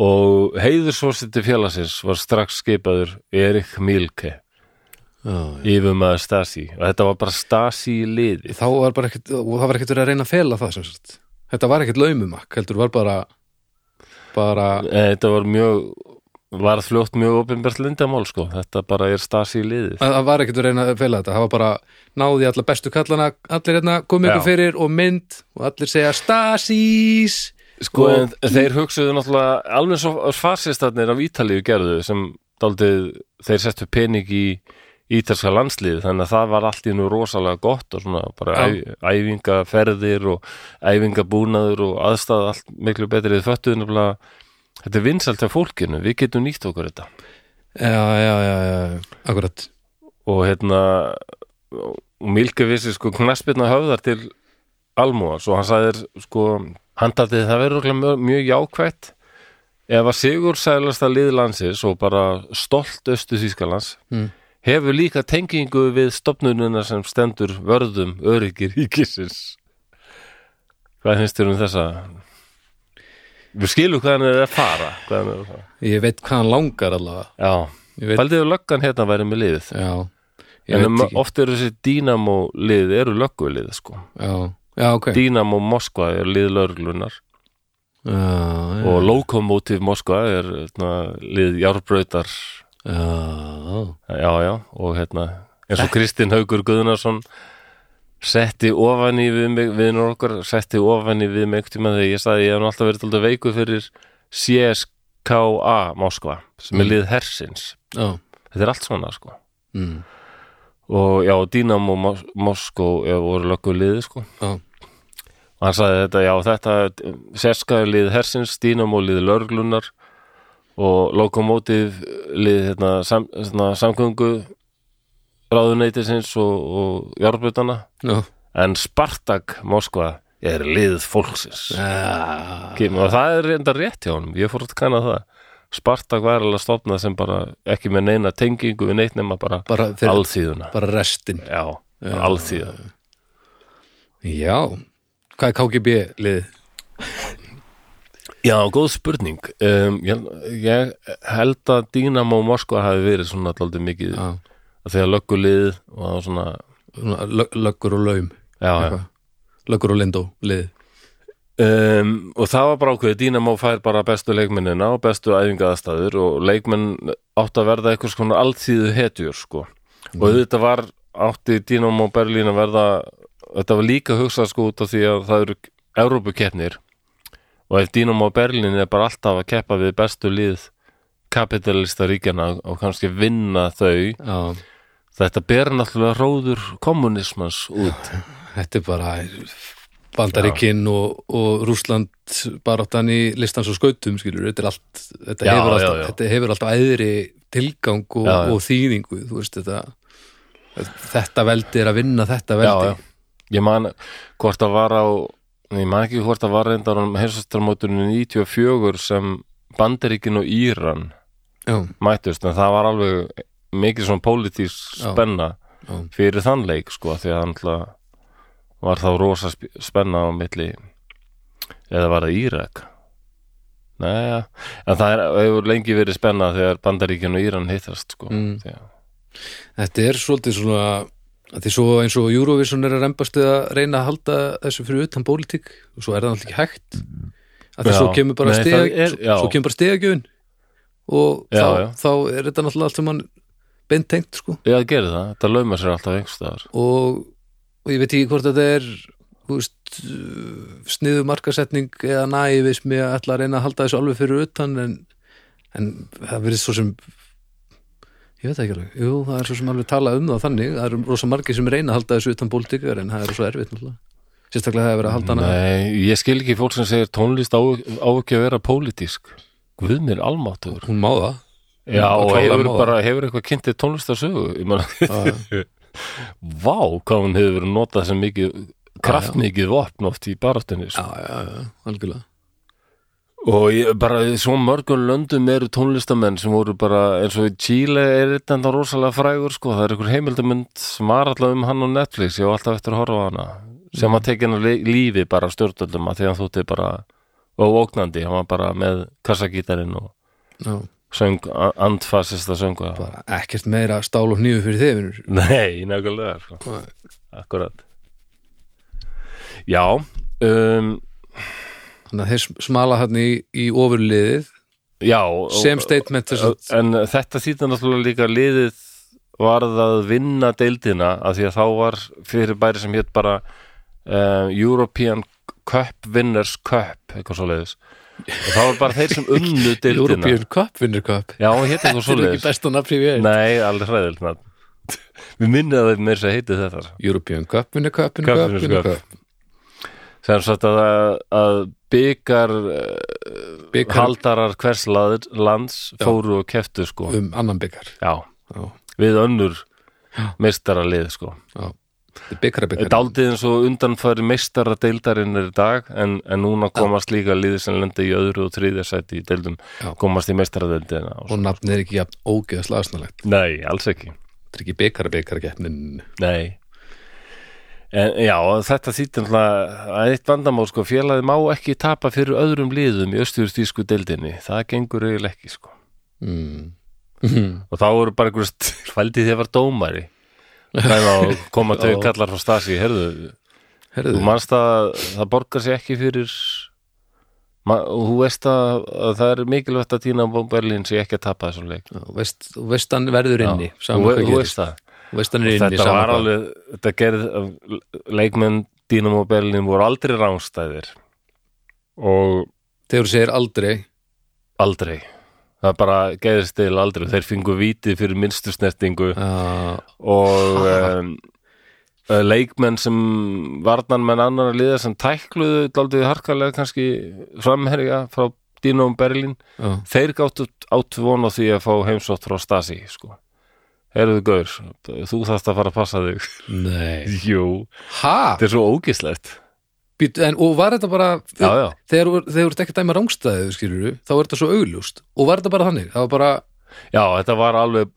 Speaker 1: og heiðursforseti félagsins var strax skipaður Erik Milke
Speaker 2: já,
Speaker 1: yfirmaður Stasi og þetta var bara Stasi í liði
Speaker 2: þá var bara ekkert og það var ekkert verið að reyna að fela það sem sagt þetta var ekkert laumumak, heldur var bara bara,
Speaker 1: Eh, þetta var mjög var fljótt mjög opinbært lindamál sko þetta bara er Stasi í liði
Speaker 2: það var ekkert verið að reyna að fela þetta það var bara, náði alla bestu kallana allir hérna, komið ykkur
Speaker 1: Já.
Speaker 2: fyrir og mynd og allir segja Stasis
Speaker 1: sko en þeir hugsuðu náttúrulega alveg svo fasistarnir af Ítalíu gerðu sem daldið þeir settu pening í ítalska landslið þannig að það var allt í nú rosalega gott og svona bara æ,
Speaker 2: Já.
Speaker 1: æfingaferðir og æfingabúnaður og aðstæða allt miklu betri þið föttuðu nefnilega þetta er vinsalt af fólkinu, við getum nýtt okkur þetta
Speaker 2: já, já, já, já, akkurat
Speaker 1: og hérna og Milke vissi sko knaspirna höfðar til almúans og hann sagðir sko hann taldi það verður örugglega mjög, mjög jákvætt ef að sigur sælasta lið landsins og bara stolt östu þýskalans
Speaker 2: Mm.
Speaker 1: hefur líka tengingu við stopnununa sem stendur vörðum öryggir ríkisins hvað finnst þér um þessa við skilum hvað hann er að fara hvað hann er að fara
Speaker 2: ég veit hvað hann langar allavega
Speaker 1: já,
Speaker 2: ég veit,
Speaker 1: fældiðu löggan hérna væri með liðið
Speaker 2: já, ég
Speaker 1: En
Speaker 2: veit
Speaker 1: um,
Speaker 2: ekki
Speaker 1: oft eru þessi Dynamo lið, eru löggulið sko.
Speaker 2: já, já, ok já,
Speaker 1: Dynamo Moskva er lið löglunar
Speaker 2: já,
Speaker 1: og Lokomotiv Moskva er hérna, lið járbrautar
Speaker 2: já,
Speaker 1: já, já, og hérna eins og Kristinn Haugur Guðnason setti ofan í við mig viðnur okkar, setti ofan í við mig einhvern tímann þegar ég sagði ég hef nú alltaf verið alltaf veiku fyrir CSKA Moskva, sem er
Speaker 2: Mm.
Speaker 1: lið hersins
Speaker 2: já
Speaker 1: þetta er allt svona sko
Speaker 2: mm.
Speaker 1: og já, Dynamo Mos Moskó ja, voru lögguliði sko
Speaker 2: já,
Speaker 1: og hann sagði þetta, já þetta sérskaði lið hersins, Dynamo lið lörglunar og lokomotiv lið hérna, sam, hérna, samgöngu ráðuneytisins og, og járbutana
Speaker 2: já,
Speaker 1: en Spartak Moskva er lið fólksins
Speaker 2: já.
Speaker 1: Kim, og það er reynda rétt hjá honum, ég fór að kanna það Spartak var alveg stofnað sem bara ekki með neina tengingu við neitt nema bara,
Speaker 2: bara þeir
Speaker 1: alþýðuna
Speaker 2: bara restin
Speaker 1: já, alþýðuna
Speaker 2: Já, hvað er KGB liðið?
Speaker 1: Já, góð spurning um, ég, ég held að Dynamo Moskva hafi verið svona alltaf mikið
Speaker 2: Já,
Speaker 1: að þegar löggulið og það var svona
Speaker 2: svona lö- löggur og laum
Speaker 1: já, já.
Speaker 2: eitthvað. Löggur og lindó liðið
Speaker 1: Um, og það var bara ákveðið, Dynamo fær bara bestu leikmennina og bestu æfingaðastæður og leikmenn átt að verða eitthvað svona alltíðu hetjur sko og þetta var átti Dynamo Berlín að verða þetta var líka hugsað sko út af því að það eru Evrópukeppnir og ef Dynamo Berlín er bara alltaf að keppa við bestu lið kapitalista ríkjana og kannski vinna þau
Speaker 2: Já,
Speaker 1: þetta ber náttúrulega róður kommunismans út
Speaker 2: þetta er bara Bandaríkin og, og Rússland baráttan í listans og skautum skilur, þetta, er allt, þetta, hefur
Speaker 1: Já, já,
Speaker 2: alltaf,
Speaker 1: já.
Speaker 2: þetta hefur alltaf æðri tilgang og,
Speaker 1: Já, já.
Speaker 2: og þýðingu þú veist þetta þetta veldi er að vinna þetta veldi
Speaker 1: já. Ég man hvort að var á ég man ekki hvort að var reyndar um heimsastarmóturinu 94 sem Bandaríkin og Íran
Speaker 2: já,
Speaker 1: mættust en það var alveg mikið svona pólitísk
Speaker 2: Já.
Speaker 1: spenna
Speaker 2: já,
Speaker 1: fyrir þann leik sko því að hann var þá rosa sp- spenna á milli eða var það Írak Næja, en það er, hefur lengi verið spenna þegar Bandaríkin og Íran hittast sko
Speaker 2: Mm.
Speaker 1: Því að-
Speaker 2: Þetta er svolítið svona að því svo eins og Eurovision er að rembast við að reyna að halda þessu fyrir utan pólitík og svo er það náttúrulega ekki hægt að því
Speaker 1: Já.
Speaker 2: svo kemur bara,
Speaker 1: Nei,
Speaker 2: steg,
Speaker 1: það er-
Speaker 2: svo,
Speaker 1: já.
Speaker 2: svo kemur bara stegagjöfin og
Speaker 1: Já,
Speaker 2: þá,
Speaker 1: já.
Speaker 2: þá er þetta náttúrulega allt sem mann beintengt sko
Speaker 1: Já, það gerir það, þetta lauma sér alltaf einhverstaðar
Speaker 2: og, og ég veit ekki hvort þetta er þú veist, sniðu markasetning eða nævismi að ætla að reyna að halda þessu alveg fyrir utan en, en það verið svo sem ég veit það ekki alveg, jú, það er svo sem alveg talað um það þannig, það eru rosa margir sem reyna að halda þessu utan pólitíkar en það er svo erfitt náttúrulega sérstaklega það er verið að halda hana
Speaker 1: Nei, ég skil ekki fólk sem segir tónlist á, á ekki að vera pólitísk Guð mér almáttur
Speaker 2: hún má það
Speaker 1: Já,
Speaker 2: Hún
Speaker 1: og
Speaker 2: klárar
Speaker 1: hefur
Speaker 2: móða.
Speaker 1: bara, hefur eitthvað kynntið tónlistarsögu Ég meina, [laughs] vá, hvað hún hefur verið notað sem mikið kraftmikið vopn oft í baráttunni sko.
Speaker 2: já, já, já, algjörlega
Speaker 1: og ég, bara í svo mörgum löndum eru tónlistamenn sem voru bara eins og í Chile er þetta enda rosalega frægur sko, það er einhver heimildamund sem var alltaf um hann og Netflix ég var alltaf eftir að horfa á hana sem var tekin af li- lífi bara af stjórnvöldum að því að hann þótti bara og ógnandi, hann var bara með kassagítarinn og
Speaker 2: já,
Speaker 1: söng, a- andfasista söngu
Speaker 2: bara ekkert meira stál og nýju fyrir þið vinur.
Speaker 1: Nei, nefnilega sko. Akkurat Já um,
Speaker 2: þannig að þeir smala hann í, í ofurliðið
Speaker 1: Já og-
Speaker 2: sem statement þess að
Speaker 1: En þetta þýtti náttúrulega líka liðið varð að vinna deildina af því að þá var fyrir bæri sem hétt bara uh, European Cup Winners Cup eitthvað svoleiðis og þá var bara þeir sem unnu deildina
Speaker 2: [laughs] European Cup vinnur Cup
Speaker 1: Já, hún hétt
Speaker 2: [laughs] Þetta
Speaker 1: eitthvað
Speaker 2: er ekki
Speaker 1: svoleiðis
Speaker 2: besta nafn ég veit
Speaker 1: Nei, alveg hræðilt nafn. Við minnið að þeir meir sem heitið þetta
Speaker 2: European Cup vinnur Cup vinnur
Speaker 1: Cup,
Speaker 2: Cup
Speaker 1: Winners'
Speaker 2: vinnur
Speaker 1: Cup.
Speaker 2: Cup
Speaker 1: sem sagt að, að byggar eh,
Speaker 2: byggar
Speaker 1: haldarar hvers lað- lands fóru og keftu sko
Speaker 2: um annan byggar
Speaker 1: Já,
Speaker 2: Já,
Speaker 1: við önnur meistaralið sko
Speaker 2: já. byggar að byggar
Speaker 1: Daldið eins og undanfæri meistara deildarinn er í dag en, en núna komast líka liðið sem lendi í öðru og þriðja sæti í deildum
Speaker 2: Já.
Speaker 1: komast í meistaradeildina og...
Speaker 2: og nafn er ekki jafn ógeðslega asnalegt
Speaker 1: Nei, alls ekki
Speaker 2: þetta er ekki byggar að byggar keppnin
Speaker 1: Nei En já, þetta þýttum að eitt vandamál sko, félagið má ekki tapa fyrir öðrum liðum í östurðstísku deildinni það gengur eiginlega ekki sko
Speaker 2: mm.
Speaker 1: og þá voru bara einhverjum [laughs] stfældi þegar var dómari þannig að koma
Speaker 2: Já.
Speaker 1: tveir kallar frá Stasi herðu, þú
Speaker 2: herðu,
Speaker 1: manst að það borgar sig ekki fyrir ma- og þú veist að, að það er mikilvægt að tína Berlín sé ekki að tapa þessum leik
Speaker 2: Já, veist, þú veist hann verður
Speaker 1: Já.
Speaker 2: inni
Speaker 1: þú,
Speaker 2: sama
Speaker 1: ve-
Speaker 2: hvað
Speaker 1: þú
Speaker 2: gerist
Speaker 1: veist það
Speaker 2: Þú veist hann er inni
Speaker 1: þetta
Speaker 2: sama
Speaker 1: var
Speaker 2: hvað.
Speaker 1: alveg, þetta gerð leikmenn Dínamo Berlín voru aldrei ránstæðir og
Speaker 2: þegar þú segir aldrei
Speaker 1: aldrei það bara gerðist til aldrei þeir fingu víti fyrir minnstu snertingu
Speaker 2: uh,
Speaker 1: og
Speaker 2: Ha.
Speaker 1: um, uh, leikmenn sem varnarmenn annar liða sem tækluðu daldið harkalega kannski framherja frá Dino um Berlín
Speaker 2: uh,
Speaker 1: þeir gáttu áttu von á því að fá heimsótt frá Stasi sko. Herðu Gaur, þú þarft að fara að passa þig [laughs]
Speaker 2: nei
Speaker 1: Jú,
Speaker 2: ha,
Speaker 1: þetta er svo ógislegt
Speaker 2: Býtu, en, og var þetta bara
Speaker 1: Já, já,
Speaker 2: þegar þú- þegar þú ert ekki að dæma rángstæðu skilur þá er þetta svo augljóst og var þetta bara þannig það var bara,
Speaker 1: já, þetta var alveg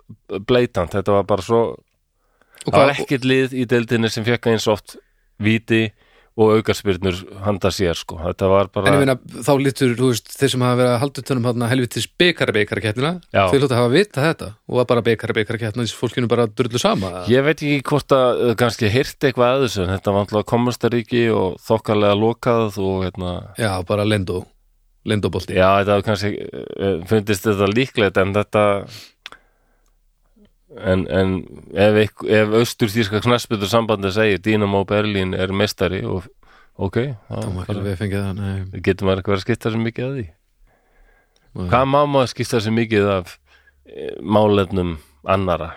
Speaker 1: bleitant, þetta var bara svo
Speaker 2: og
Speaker 1: það
Speaker 2: hvað,
Speaker 1: var ekkert lið í deildinni sem fekk eins oft víti og aukarspyrnur handa sér sko, þetta var bara
Speaker 2: en ég meina þá lítur þú veist, þeir sem hafa verið að halda tönum hann helvitis bekara bekara kettina
Speaker 1: Já.
Speaker 2: þeir hljóta að hafa vita þetta og var bara bekara bekara kettina þessi fólkinu bara drullu sama
Speaker 1: Ég veit ekki hvort að uh, kannski hirti eitthvað að þessu en þetta var alltaf komustaríki og þokkalega lokað og hérna
Speaker 2: já, bara lendo lendobolti
Speaker 1: já, þetta var kannski uh, fundist þetta líklegt en þetta en, en ef, eitth- ef austurþýrska knassbyttur sambandi segir Dynamo Berlín er mestari og ok,
Speaker 2: þá má ekki
Speaker 1: það
Speaker 2: alveg fengið það nei,
Speaker 1: getur maður eitthvað að skipta sér mikið að því
Speaker 2: Nei.
Speaker 1: Hvað má maður skipta sér mikið af eh, málefnum annara?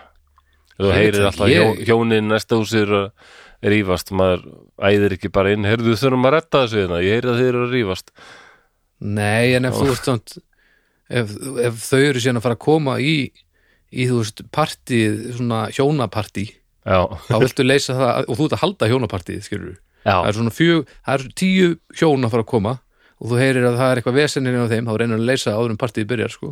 Speaker 2: Ég
Speaker 1: Þú
Speaker 2: veit
Speaker 1: heyrir
Speaker 2: það
Speaker 1: alltaf
Speaker 2: ekki,
Speaker 1: ég...
Speaker 2: ég-
Speaker 1: hjónin næsta húsir að rífast, maður æðir ekki bara inn, heyrðu þurfum að retta þessu hérna, ég heyri að þeir eru að rífast.
Speaker 2: nei en ef þú ert svont ef, ef þau eru síðan að fara að koma í í þú veist partíð svona hjónapartí
Speaker 1: Já, [laughs]
Speaker 2: þá viltu leysa það og þú ert að halda hjónapartíð skilur það
Speaker 1: já,
Speaker 2: er svona fjög, það er tíu hjón að fara að koma og þú heyrir að það er eitthvað vesenir á þeim, þá reynir að leysa það áður en partíð byrjar sko.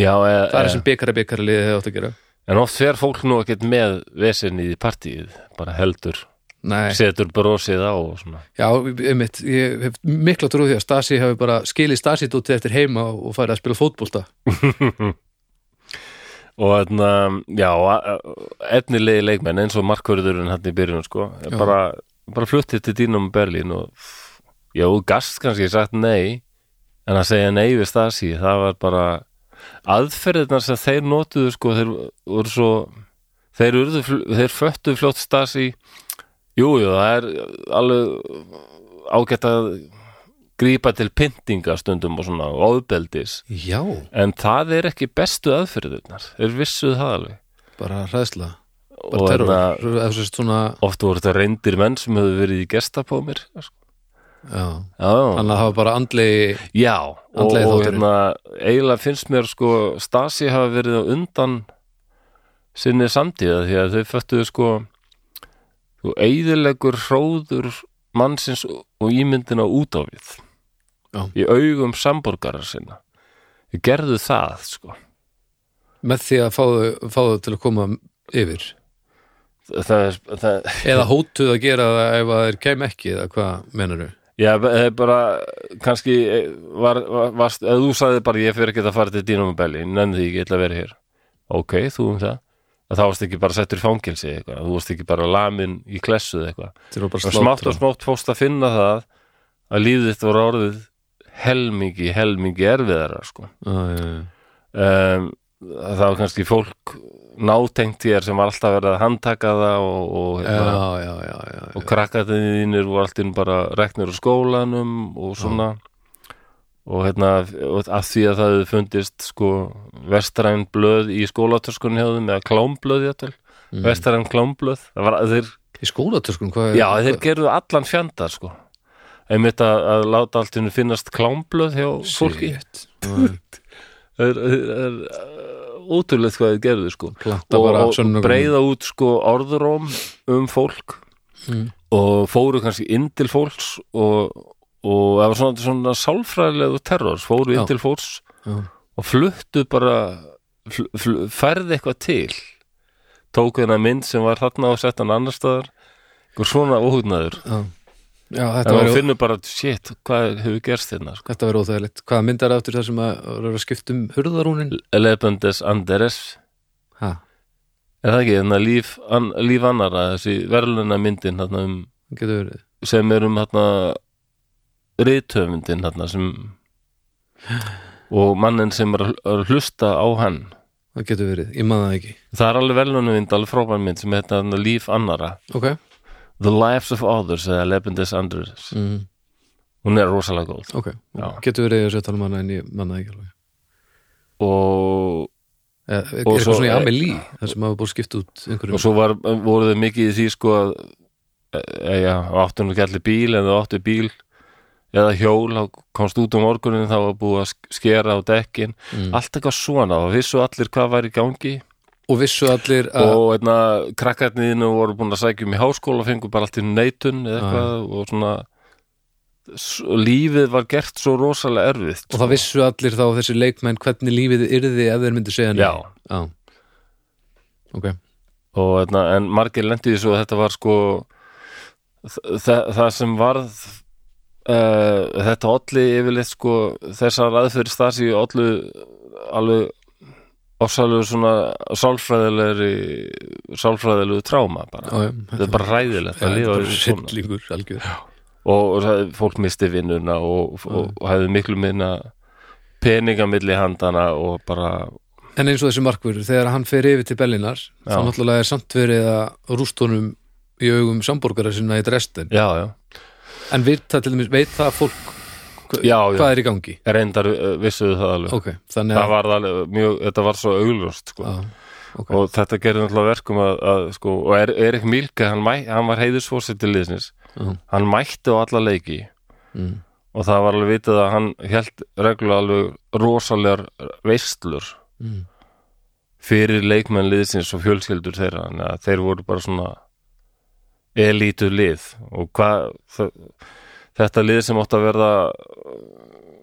Speaker 1: já, e,
Speaker 2: það er
Speaker 1: e,
Speaker 2: sem byggar að byggar að liðið hefði átt að gera
Speaker 1: en oft fer fólk nú ekkert með vesinni í partíið, bara heldur,
Speaker 2: Nei,
Speaker 1: setur brosið á og svona.
Speaker 2: já, einmitt, ég hef mikla trú á því að Stasi hefur bara skilið Stasi dótið eftir heima og farið að spila fótbolta
Speaker 1: Og þarna, já, a- a- efnilegi leikmenn eins og markvörðurinn hann í byrjunum, sko,
Speaker 2: Já.
Speaker 1: bara, bara fluttið til dýnum Berlín og, já, þú gast kannski sagt nei, en að segja nei við Stasi, það var bara aðferðirnar sem þeir notuðu, sko, þeir voru svo, þeir urðu, fl- þeir föttu fljótt Stasi, Jú, jú, það er alveg ágætt að grípa til pyntinga stundum og svona og ofbeldis
Speaker 2: Já,
Speaker 1: en það er ekki bestu aðferðirnar er vissuð það alveg
Speaker 2: bara hræðsla
Speaker 1: Og
Speaker 2: Bara terror
Speaker 1: hérna-
Speaker 2: Eða þú sérst svona
Speaker 1: oft voru þetta reyndir menn sem höfðu verið í gestapómir sko.
Speaker 2: já.
Speaker 1: já,
Speaker 2: Þannig að hafa bara andlegi
Speaker 1: já og,
Speaker 2: Andlegi
Speaker 1: og
Speaker 2: þátturinn.
Speaker 1: hérna, eiginlega finnst mér sko Stasi hafa verið á undan sinni samtíða því að þau föttuðu sko þú eiðilegur hróður mannsins og ímyndina út á við
Speaker 2: Já.
Speaker 1: í augum samborgarar sinna þau gerðu það sko
Speaker 2: með því að fá þau, fá þau til að koma yfir
Speaker 1: það er, það,
Speaker 2: Eða hótuð að gera það ef að þeir kem ekki eða hvað menur þau?
Speaker 1: Já, það er bara, kannski eh, var, var, varst, eða þú sagði bara ég fyrir ekki að fara til Dínum og Belli, nefnir því ekki illa að vera hér. Ok, þú um það. Að þá varst ekki bara settur í fangelsi eitthvað, þú varst ekki bara lamin í klessu eða eitthvað.
Speaker 2: Þeir eru bara
Speaker 1: Og smátt
Speaker 2: slátra
Speaker 1: og smátt fórst að finna það að lífið þitt voru orðið helmingi, helmingi erfiðara, sko.
Speaker 2: Já, já, já.
Speaker 1: Um, það var kannski fólk nátengt þér sem var alltaf verið að handtaka það og, og hérna,
Speaker 2: já, já, já, já, já.
Speaker 1: og krakkarnir þínir voru allt inn bara reknir úr skólanum og svona og hérna og af því að það hefði fundist sko vestræn blöð í skólatöskunni hjáðum eða klámblöð játtvel mm. vestræn klámblöð það var, þeir,
Speaker 2: Í skólatöskun, hvað er
Speaker 1: já þeir gerðu allan fjandar sko einmitt að, að láta allt henni finnast klámblöð hjá fólki
Speaker 2: Shit.
Speaker 1: það er, er, er ótrúlegt hvað þið gerðu sko
Speaker 2: Planta
Speaker 1: og,
Speaker 2: bara
Speaker 1: og
Speaker 2: sönnunum.
Speaker 1: breyða út sko orðróm um fólk
Speaker 2: Mm.
Speaker 1: og fóru kannski inn til fólks og, og það var svona, svona sálfræðilegu terror, fóru inn
Speaker 2: Já.
Speaker 1: til fólks
Speaker 2: Já.
Speaker 1: og fluttu bara fl, fl, færði eitthvað til tóku þennan mynd sem var þarna og sett hann annar staðar eitthvað svona óhugnaður
Speaker 2: Já, já þetta,
Speaker 1: en
Speaker 2: var,
Speaker 1: hún finnur bara, shit, hvað hefur gerst hérna sko.
Speaker 2: þetta var óþægilegt Hvaða myndar aftur þar sem að voru að skipta um hurðarúnin?
Speaker 1: Elefantes Anderes
Speaker 2: Ha,
Speaker 1: er það ekki, þannig líf, an, líf annara þessi verðluna myndin þarna um
Speaker 2: það getur verið
Speaker 1: sem er um hérna rithöfundin hérna sem og mannin sem er að- að hlusta á hann
Speaker 2: Það getur verið, ég maður það ekki
Speaker 1: það er alveg velunumvind, alveg frábæn mynd sem heitir hérna líf annara
Speaker 2: Ok
Speaker 1: The Lives of Others eða Lebendis Andrews
Speaker 2: mm.
Speaker 1: hún er rosalega góð
Speaker 2: Ok,
Speaker 1: Mhm. Já.
Speaker 2: getur verið þess að tala um hana en ég manna ekki alveg Eh,
Speaker 1: og,
Speaker 2: Er, er
Speaker 1: Og
Speaker 2: eitthvað
Speaker 1: svo-
Speaker 2: svona í Amelie, þar sem hafa búið skipt út
Speaker 1: og
Speaker 2: einhverjum
Speaker 1: svo var, voru þau mikið í því sko að e, já, áttu nú ekki allir bíl en þau áttu bíl eða hjól, þá komst út um morgunin þá var búið að sk- skera á dekkin
Speaker 2: Mm.
Speaker 1: allt eitthvað svona, og vissu allir hvað var í gangi
Speaker 2: Og vissu allir að
Speaker 1: og einna, krakkarniðinu voru búin að sækja um í háskóla og fengu bara allt í einu neitun eða eitthvað og svona s- lífið var gert svo rosalega erfitt
Speaker 2: Og það vissu allir þá þessi leikmenn hvernig lífið yrði ef þeir myndu segja nei
Speaker 1: Já.
Speaker 2: Já. Ok,
Speaker 1: og, einna, en margir lendi því svo að þetta var sko þa- þa- það sem varð uh, þetta olli yfirleitt sko þessar aðferð stasi ollu alveg ofsalegu svona sálfræðilegri sálfræðilegu tráma
Speaker 2: já, já
Speaker 1: bara Ah, þetta er bara ræðilegt að lifa við svona.
Speaker 2: Sittlíkur, algjör
Speaker 1: og, og það- fólk misti vinnuna og, og, og hefði miklu minna peninga milli handana og bara
Speaker 2: En eins og þessi markvörður, þegar hann fer yfir til Bellinar þá
Speaker 1: Já.
Speaker 2: náttúrulega er samt verið að rúst honum í augum samborgara sinna í Dresden
Speaker 1: já, já,
Speaker 2: En veit það til dæmis, veit það fólk hva,
Speaker 1: Já, já.
Speaker 2: hvað er í gangi?
Speaker 1: reyndar eh, vissuðu það alveg
Speaker 2: Ok, þannig
Speaker 1: það
Speaker 2: að
Speaker 1: var alveg mjög, þetta var svo augljóst sko.
Speaker 2: Já, ok.
Speaker 1: og þetta gerði náttúrulega verkum að, að sko, og er, Erik Milke, hann, mæ, hann var heiðursfórsett til liðsins,
Speaker 2: Já.
Speaker 1: hann mætti á alla leiki
Speaker 2: Mm.
Speaker 1: og það var alveg vitað að hann held reglulega alveg rosalegar veislur
Speaker 2: Mm.
Speaker 1: fyrir leikmenn liðsins og fjölskyldur þeirra þannig að þeir voru bara svona elítu lið og hvað þ- þetta lið sem átti að verða uh,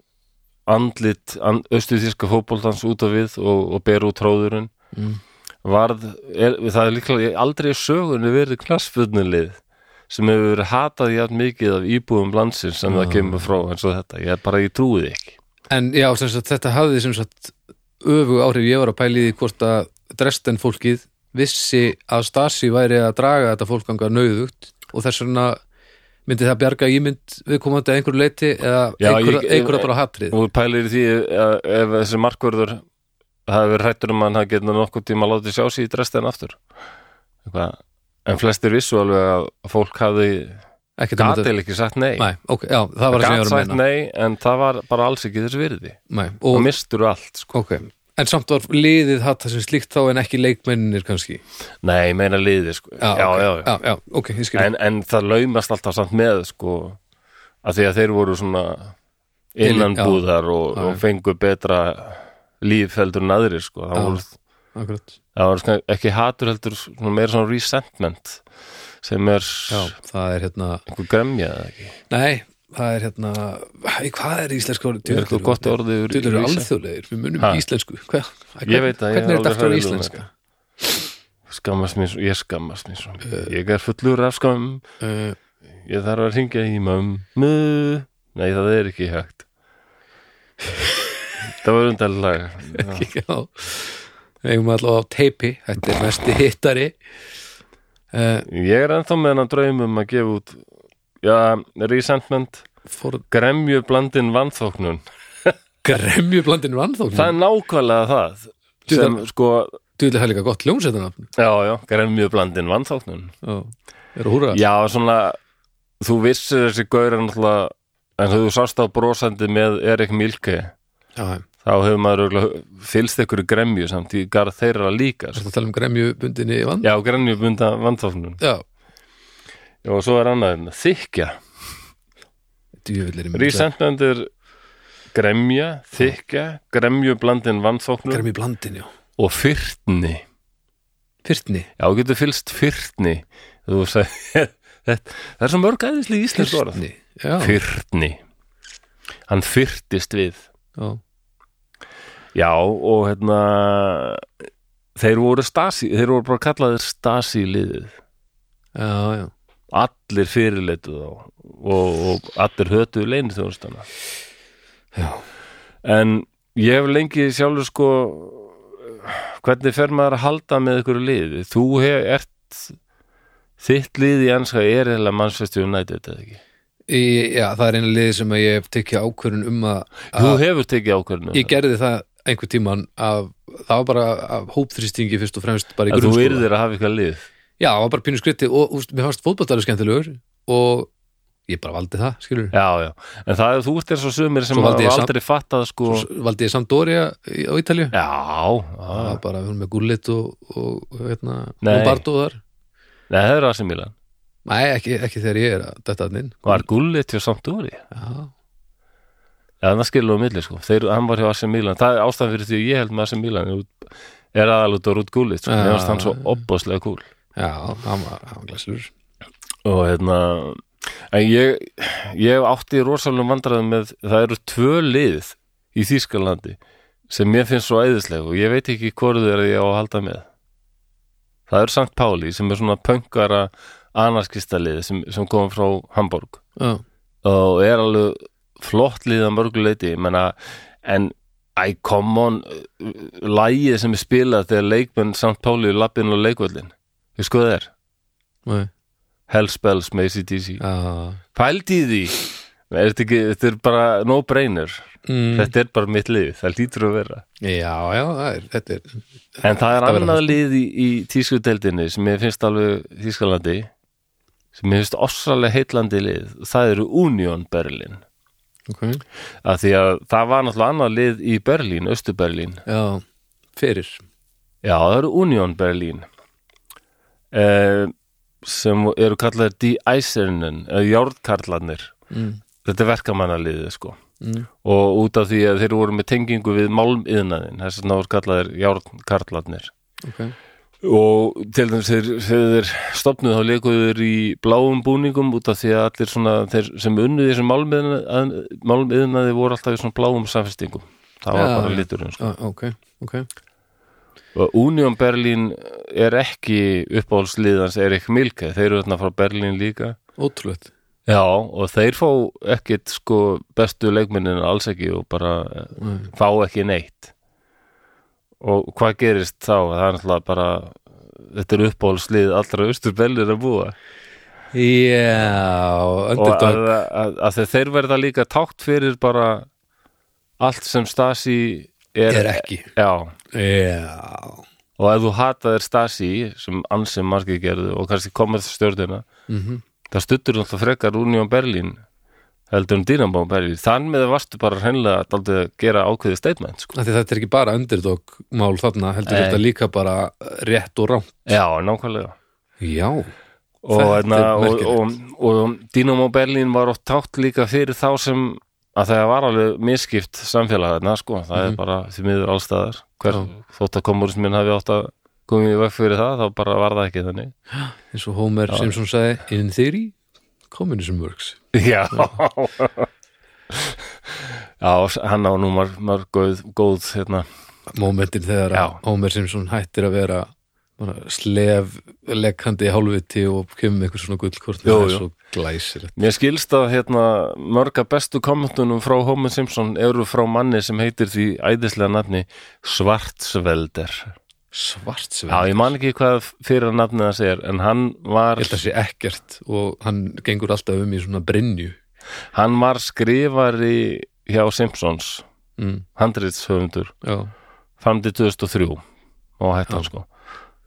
Speaker 1: andlit and, austuðíska fótboltans út á við og, og ber út tróðurinn
Speaker 2: Mm.
Speaker 1: varð, er, það er líklega aldrei í sögunni verið knassfjöldnulið sem hefur verið hatað jafn mikið af íbúum landsins sem
Speaker 2: Ah.
Speaker 1: það kemur frá eins og þetta, ég bara ég trúi því ekki
Speaker 2: En já, sem sagt, þetta hafði sem sagt öfu áhrif, ég var að pæli því hvort að Dresden fólkið vissi að Stasi væri að draga þetta fólkanga nauðugt og þess vegna myndi það bjarga ímynd viðkomandi að einhverju leiti eða
Speaker 1: Já,
Speaker 2: einhverja,
Speaker 1: ég-
Speaker 2: einhverja bara hatrið
Speaker 1: og þú pælir í því að ef þessi markvörður hafi verið hrættur um að hann hafi getna nokkuð tíma að láta sjá sig í drestin aftur eitthvað en flestir vissu alveg að fólk hafði
Speaker 2: Ekkert um þetta-
Speaker 1: gatil ekki sagt nei
Speaker 2: Nei, ok, já, það var að segja
Speaker 1: gat
Speaker 2: að
Speaker 1: sagt
Speaker 2: meina
Speaker 1: nei, en það var bara alls ekki þess virði
Speaker 2: Nei,
Speaker 1: og
Speaker 2: og,
Speaker 1: mistur allt, sko
Speaker 2: ok En samt var liðið hatt það sem slíkt þá en ekki leikmennir kannski
Speaker 1: nei, ég meina liði, sko já,
Speaker 2: ok,
Speaker 1: já, já.
Speaker 2: já, ok, ég skil
Speaker 1: En, en það laumast alltaf samt með, sko að því að þeir voru svona innanbúðar og, og fengu betra líf heldur en aðrir, sko það
Speaker 2: Já.
Speaker 1: voru
Speaker 2: Akkurat.
Speaker 1: það var svona ekki hatur heldur svona meira svona resentment sem er
Speaker 2: Já, það er hérna
Speaker 1: einhver gremja eða ekki
Speaker 2: Nei, það er hérna Æ, Hvað er íslenska orðið?
Speaker 1: er eitthvað gott orðið yfir
Speaker 2: Þetta eru
Speaker 1: resent-
Speaker 2: alþjóðlegir, við munum
Speaker 1: Ha.
Speaker 2: íslensku Hver,
Speaker 1: Ég veit
Speaker 2: Hvernig
Speaker 1: það, ég er
Speaker 2: er þetta
Speaker 1: alveg
Speaker 2: aftur á
Speaker 1: hræðilegur með
Speaker 2: íslenska?
Speaker 1: skammast mér svo, ég skammast mér svo ég er fullur af skam
Speaker 2: Uh,
Speaker 1: ég þarf að ringja í mömmu nei það er ekki
Speaker 2: [laughs]
Speaker 1: hægt það var undarlag já,
Speaker 2: [laughs] já Við eigum allavega á teipi Þetta er mesti hittari uh,
Speaker 1: ég er ennþá með hennan draum um að gefa út já, resentment
Speaker 2: For
Speaker 1: gremju blandin vanþóknun
Speaker 2: gremju blandinu anþókn
Speaker 1: það er nákvæmlega það
Speaker 2: Þú,
Speaker 1: sem sko,
Speaker 2: Þú vil það er líka gott ljónsetanafn
Speaker 1: já já, gremju blandin vanþóknun
Speaker 2: Er að húra
Speaker 1: Já, svona þú vissir þessi gaur er náttúrulega en þú sást á brosandi með Erik Milke
Speaker 2: já.
Speaker 1: þá hefur maður örugglega fylgst ykkur í gremju samt í garð þeirra líka
Speaker 2: Ertu
Speaker 1: sko.
Speaker 2: að tala um gremju bundinni vand?
Speaker 1: Já, gremju bunda vandþáfnun
Speaker 2: Já,
Speaker 1: og svo er annað hérna, þykja
Speaker 2: djöfullir
Speaker 1: Rísentmendur gremja, þykja gremju blandin vandþóknun
Speaker 2: Gremju blandin, já
Speaker 1: og fyrtni
Speaker 2: Fyrtni
Speaker 1: Já, þú getur fylgst fyrtni þú sagði [laughs] þetta, það er svo mörg æðislega íslensk orð
Speaker 2: Fyrtni, já,
Speaker 1: Fyrtni Hann fyrtist við
Speaker 2: já.
Speaker 1: Já, og hérna þeir voru Stasi, þeir voru bara kallaðir Stasi liðið.
Speaker 2: já, já.
Speaker 1: Allir fyrirleituð á og, og allir hötuðu leynir þjóðustana.
Speaker 2: Já.
Speaker 1: En ég hef lengi sjálfur sko hvernig fer maður að halda með ykkur liði? Þú hef, ert þitt lið í ennska er eða mannsvestu United eða ekki?
Speaker 2: Í, já, það er einu liði sem að ég hef tekið ákvörun um að,
Speaker 1: Þú
Speaker 2: að
Speaker 1: hefur tekið ákvörðinu.
Speaker 2: ég gerði það einhver tíman af, það var bara af hópþrýstingi fyrst og fremst bara í
Speaker 1: Að þú
Speaker 2: grunnskóla.
Speaker 1: yrðir að hafa ykkur lið.
Speaker 2: Já, það var bara pínu skritti og úst, mér fannst fótballtalur skemmtilegur og ég bara valdi það, skilur
Speaker 1: Já, já. En það er þú ert eins og sumir sem
Speaker 2: Svo valdi
Speaker 1: hafa
Speaker 2: ég samt-
Speaker 1: aldrei fattað sko.
Speaker 2: og valdi ég Sampdoria í- á Ítalju
Speaker 1: Já,
Speaker 2: það
Speaker 1: já.
Speaker 2: var bara, við erum með Gullit og, og hérna,
Speaker 1: Nei.
Speaker 2: Lombardo þar
Speaker 1: Nei, það er AC Milan
Speaker 2: Nei, ekki, ekki þegar ég er að detta hann inn
Speaker 1: Var gullit hjá Sampdóri?
Speaker 2: Já,
Speaker 1: Já, það skilur á milli, sko Þeir, Hann var hjá AC Milan Það er ástæðan fyrir því að ég held með AC Milan er- Er aðalut og rút gullit sko.
Speaker 2: Já.
Speaker 1: Mér varst hann svo opbóðslega kúl
Speaker 2: já, hann var, hann var glæsilur
Speaker 1: Og hérna En ég, ég hef átti rosalum vandræðum með Það eru tvö lið í Þýskalandi sem mér finnst svo æðisleg og ég veit ekki hvort þau er að ég á að halda með Það eru Sankt Páli sem er svona pöngara anarskistaliði sem, sem kom frá Hamburg
Speaker 2: Já,
Speaker 1: og er alveg flott liða mörguleiti menna, en I come on lægið sem er spilað þegar leikmenn samt Páli lappin og leikvöllin við skoðu þér,
Speaker 2: nei,
Speaker 1: Hell Spells með ACDC
Speaker 2: já
Speaker 1: pældi í því er þetta, ekki, þetta er bara no brainer
Speaker 2: mm,
Speaker 1: þetta er bara mitt lið, það lítur að vera
Speaker 2: Já, já, það er, þetta er
Speaker 1: en það er
Speaker 2: Þetta verður
Speaker 1: annað lið í, í tískudeldinni sem ég finnst alveg Þískalandi sem ég finnst ossalega heitlandi lið það eru Union Berlin
Speaker 2: okay.
Speaker 1: að því að það var náttúrulega annað lið í Berlín, Östu-Berlín
Speaker 2: Já, fyrir
Speaker 1: já, það eru Union Berlín eh, sem eru kallaðir Die Eisernen eða Járnkarlarnir
Speaker 2: mm.
Speaker 1: þetta er verkamannaliðið sko
Speaker 2: Mm.
Speaker 1: og út af því að þeir voru með tengingu við málmiðnaðin, þess að náður kallaðir Járnkarlarnir
Speaker 2: Ok,
Speaker 1: og til dæmis þeir, þegar þeir stopnuð þá leikuðu þeir í bláum búningum út af því að allir svona þeir sem unnu þessum málmiðnaði, málmiðnaði voru alltaf í svona bláum samfestingum það var
Speaker 2: Já,
Speaker 1: bara
Speaker 2: já.
Speaker 1: liturinn sko.
Speaker 2: já, ok, ok
Speaker 1: og Union Berlin er ekki uppáhaldsliðans Erik Milke þeir eru þarna frá Berlin líka
Speaker 2: Ótrúlegt
Speaker 1: já og þeir fá ekkit sko bestu leikminnin alls ekki og bara eh,
Speaker 2: Nei.
Speaker 1: fá ekki neitt og hvað gerist þá það er náttúrulega bara þetta er uppáhaldslið allra austur Berlin að búa
Speaker 2: Já,
Speaker 1: og að,
Speaker 2: underdog
Speaker 1: að, að þeir- þeir verða líka tákt fyrir bara allt sem Stasi er,
Speaker 2: er ekki
Speaker 1: já
Speaker 2: Já
Speaker 1: og ef þú hataðir Stasi sem ansið margir gerðu og kannski komið stjórnina
Speaker 2: Mhm.
Speaker 1: það stuttur náttúrulega frekar Union Berlin heldur um Dynamo Berlin þann með það varstu bara hreinlega dálítið að gera ákveðið statement sko.
Speaker 2: Af því Þetta er ekki bara underdog mál þarna heldur
Speaker 1: Nei.
Speaker 2: þetta líka bara rétt og rám
Speaker 1: já, nákvæmlega
Speaker 2: Já,
Speaker 1: og,
Speaker 2: Þetta er
Speaker 1: hérna, og, og,
Speaker 2: merkilegt.
Speaker 1: og Dynamo Berlin var oft tátt líka fyrir þá sem að það var alveg miskipt samfélag þarna sko, það er bara því miður allstæðar Hver,
Speaker 2: Mhm. Já.
Speaker 1: þótt að komurismin hafi átt að komið í veg fyrir það, þá bara var það ekki þannig
Speaker 2: eins og Homer Simpson sagði In theory, communism works
Speaker 1: Já Já, hann á nú marg, marg góð, góð hérna.
Speaker 2: Momentin þegar að
Speaker 1: Já.
Speaker 2: Homer Simpson hættir að vera bara slef lekkandi hálfviti og kemur með einhver svona gullkort
Speaker 1: Jú,
Speaker 2: það er
Speaker 1: jú.
Speaker 2: svo glæsir
Speaker 1: Mér skilst að hérna, mörga bestu kommentunum frá Homer Simpson eru frá manni sem heitir því æðislega nafni Svartsvelder
Speaker 2: svartsveg
Speaker 1: Já, ég man ekki hvað fyrir nafnið það segir en hann var,
Speaker 2: Ég held að sé ekkert og hann gengur alltaf um í svona brennju
Speaker 1: hann var skrifari hjá Simpsons
Speaker 2: mm,
Speaker 1: handritshöfundur
Speaker 2: Já,
Speaker 1: fram til 2003 og hættan sko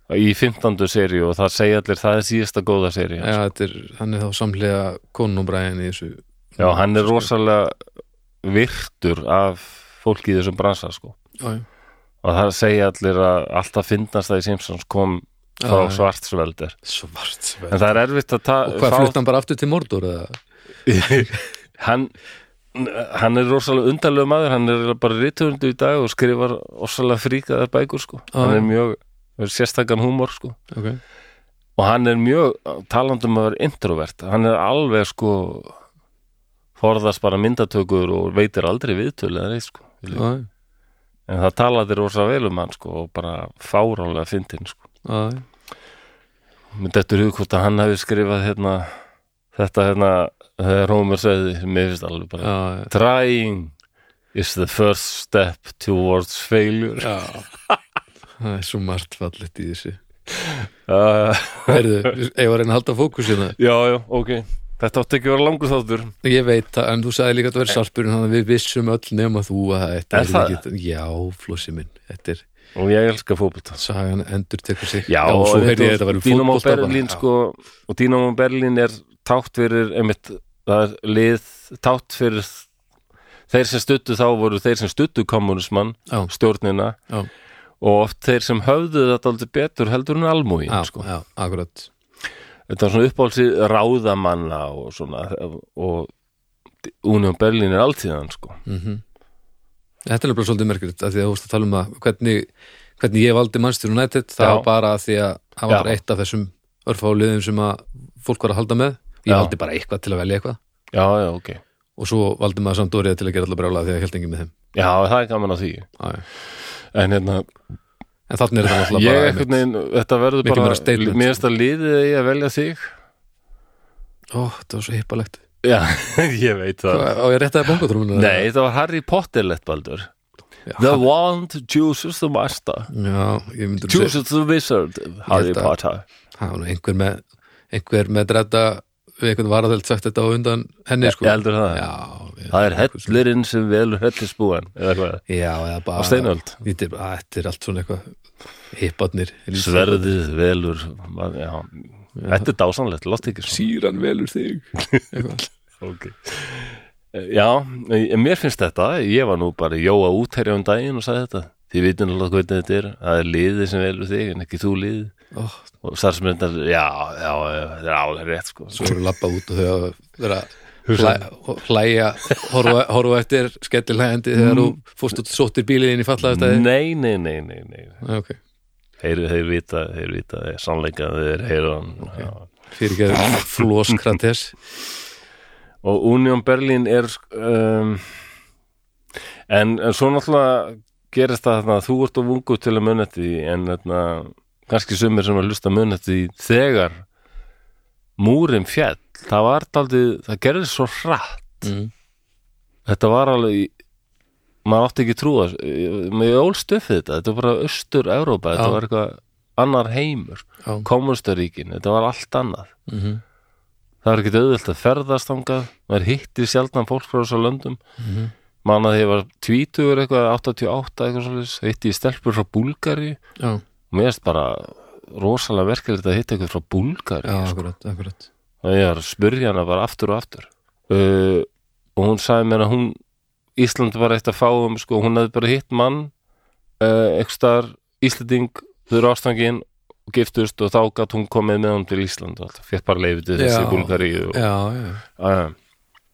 Speaker 1: í 15. seríu og það segja allir það er síðasta góða seríu
Speaker 2: Já þetta er, hann er þá samlega konunubræðin í þessu
Speaker 1: Já, hann er rosalega virtur af fólki í þessum bransa sko.
Speaker 2: Já, já
Speaker 1: og það segja allir að alltaf finnast það í Simpsons kom frá
Speaker 2: Já, já.
Speaker 1: svartsveldir
Speaker 2: Svartsveg
Speaker 1: en það er erfitt að ta-
Speaker 2: Og hvað, flutt hann bara aftur til Mordor eða?
Speaker 1: [laughs] hann, hann er rosalega undarlegu maður hann er bara rithundu í dag og skrifar rosalega fríkaðar bækur sko.
Speaker 2: Já,
Speaker 1: hann
Speaker 2: já.
Speaker 1: er mjög er sérstakann húmor sko.
Speaker 2: Ok,
Speaker 1: og hann er mjög talandum að vera introvert hann er alveg sko forðast bara myndatökur og veitir aldrei viðtölu eða neitt sko Ég
Speaker 2: já,
Speaker 1: en það talaði rosa vel um hann sko og bara fáránlega fyndin sko
Speaker 2: já
Speaker 1: með dettur hug hvort að hann hafi skrifað hérna, þetta hérna þegar Rómur segði, mér finnst alveg bara
Speaker 2: Já,
Speaker 1: trying is the first step towards failure
Speaker 2: já Það er svo margt fallegt í þessu
Speaker 1: uh,
Speaker 2: Heyrðu, ég var að reyna að halda hérna. fókusina
Speaker 1: já, já, ok þetta átti ekki að vera langur þáttur
Speaker 2: Ég veit það, en þú sagði líka að það verið sarpur Þannig að við vissum öll nema þú að þetta
Speaker 1: Eh. Er
Speaker 2: yrði
Speaker 1: það?
Speaker 2: ekki, Já, flossi minn, þetta er
Speaker 1: og ég elska fótbolta
Speaker 2: sagan endur tekur sig
Speaker 1: Já,
Speaker 2: og svo heyrði ég að þetta verið
Speaker 1: Dynamo
Speaker 2: fótbolta bara.
Speaker 1: Berlín
Speaker 2: Já.
Speaker 1: sko, og Dynamo Berlín er tátt fyrir einmitt, það er lið tátt fyrir þeir sem stuttu þá voru þeir sem stuttu kommunismann,
Speaker 2: Já.
Speaker 1: stjórnina
Speaker 2: Já.
Speaker 1: og oft þeir sem höfðu þetta aldrei betur heldur en almúin
Speaker 2: Já,
Speaker 1: sko.
Speaker 2: já, akkurat
Speaker 1: þetta var svona uppálsi ráðamanna og svona og Union Berlín er alltíðan sko.
Speaker 2: Þetta er nefnilega svolítið merkilegt að því að þú veist að tala um að hvernig, hvernig ég valdi mannstur United það
Speaker 1: Já.
Speaker 2: var bara af því að það var
Speaker 1: Já.
Speaker 2: bara eitt af þessum örfáliðum sem að fólk var að halda með ég
Speaker 1: Já.
Speaker 2: valdi bara eitthvað til að velja eitthvað
Speaker 1: já, já, ok
Speaker 2: og svo valdi maður samt orðið til að gera allar brjála því að held engin með þeim
Speaker 1: já, það er gaman að því
Speaker 2: Já, já.
Speaker 1: en hérna,
Speaker 2: en þannig er það alltaf
Speaker 1: ég
Speaker 2: bara
Speaker 1: ekkert neginn þetta verður
Speaker 2: Miklu meira
Speaker 1: bara,
Speaker 2: statement, sko.
Speaker 1: mér erst að liðið eigi að velja þig
Speaker 2: ó, það var svo hippalegt
Speaker 1: Já, [laughs] ég veit það
Speaker 2: og Sko, ég réttaði bongotrúmuna
Speaker 1: Nei, þetta var Harry Potterlett baldur The wand chooses the master
Speaker 2: já, ég myndi nú segja-
Speaker 1: Chooses the wizard Harry
Speaker 2: Ég held að-
Speaker 1: Potter
Speaker 2: það var nú einhver með einhver með dræta við einhvern varðeld sagt þetta á undan henni sko
Speaker 1: Ég heldur það
Speaker 2: já, sko. ég-
Speaker 1: Það er hellurinn sem velur hellisbúan Eða hvað,
Speaker 2: já, eða bara
Speaker 1: á steinöld
Speaker 2: Þetta er, að, þetta er allt svona eitthvað hippatnir
Speaker 1: Sverðið velur já. Þetta er dásanlegt, látt ekki svona
Speaker 2: Sýran velur þig Eitthvað.
Speaker 1: okay. Já, eh, mér finnst þetta Ég var nú bara jóa út herja um daginn og sagði þetta Þið vitum alveg hvernig þetta er Það er liðið sem velur þig en ekki þú liðið
Speaker 2: Ó,
Speaker 1: og starfsmyndar, já, já, já, þetta er alveg rétt sko.
Speaker 2: Svo eru lappa út og þau að vera hlæ, hlæja horfa, horfa eftir skellilægandi þegar
Speaker 1: Mm.
Speaker 2: þú fórst og sóttir bílið inn í fallaðastæði
Speaker 1: nei, nei, nei, nei, nei
Speaker 2: okay.
Speaker 1: þeir, þeir vita, þeir vita þeir sannleika, þeir heyra hann já.
Speaker 2: Fyrir
Speaker 1: [laughs]
Speaker 2: ekki flóskrates
Speaker 1: og Union Berlin er um, en, en svo náttúrulega gerist það þarna að þú ert of ungu til að muna eftir því en þarna, kannski sumir sem að hlusta muna eftir því þegar múrin fjall, það var daldið það gerðist svo hratt
Speaker 2: mm.
Speaker 1: þetta var alveg í- maður átti ekki trúa með ólstöfið þetta, þetta var bara austur Európa, þetta
Speaker 2: Já.
Speaker 1: var eitthvað annar heimur, sko.
Speaker 2: Já.
Speaker 1: komunastaríkin þetta var allt annað,
Speaker 2: mm -hmm.
Speaker 1: það var ekki auðvöld að ferðast þangað, maður hitti sjaldan fólk frá þessu löndum mm -hmm. man að ég var tvítugur eitthvað, 88 eitthvað svolítið, hitti ég stelpur frá Búlgari
Speaker 2: Já,
Speaker 1: mér erst bara rosalega verkefilegt að hitta ykkur frá Búlgari
Speaker 2: já, akkurat, akkurat
Speaker 1: og ég var að spurja hana bara aftur og aftur uh, og hún sagði mér að hún Ísland var eitt að fá um sko, hún hefði bara hitt mann uh, ekstar Íslanding þau eru ástangin og giftust og þá gat hún komið með hann til Ísland og allt, fétt bara leifið til þessi
Speaker 2: Já.
Speaker 1: Búlgari og,
Speaker 2: já, já,
Speaker 1: uh,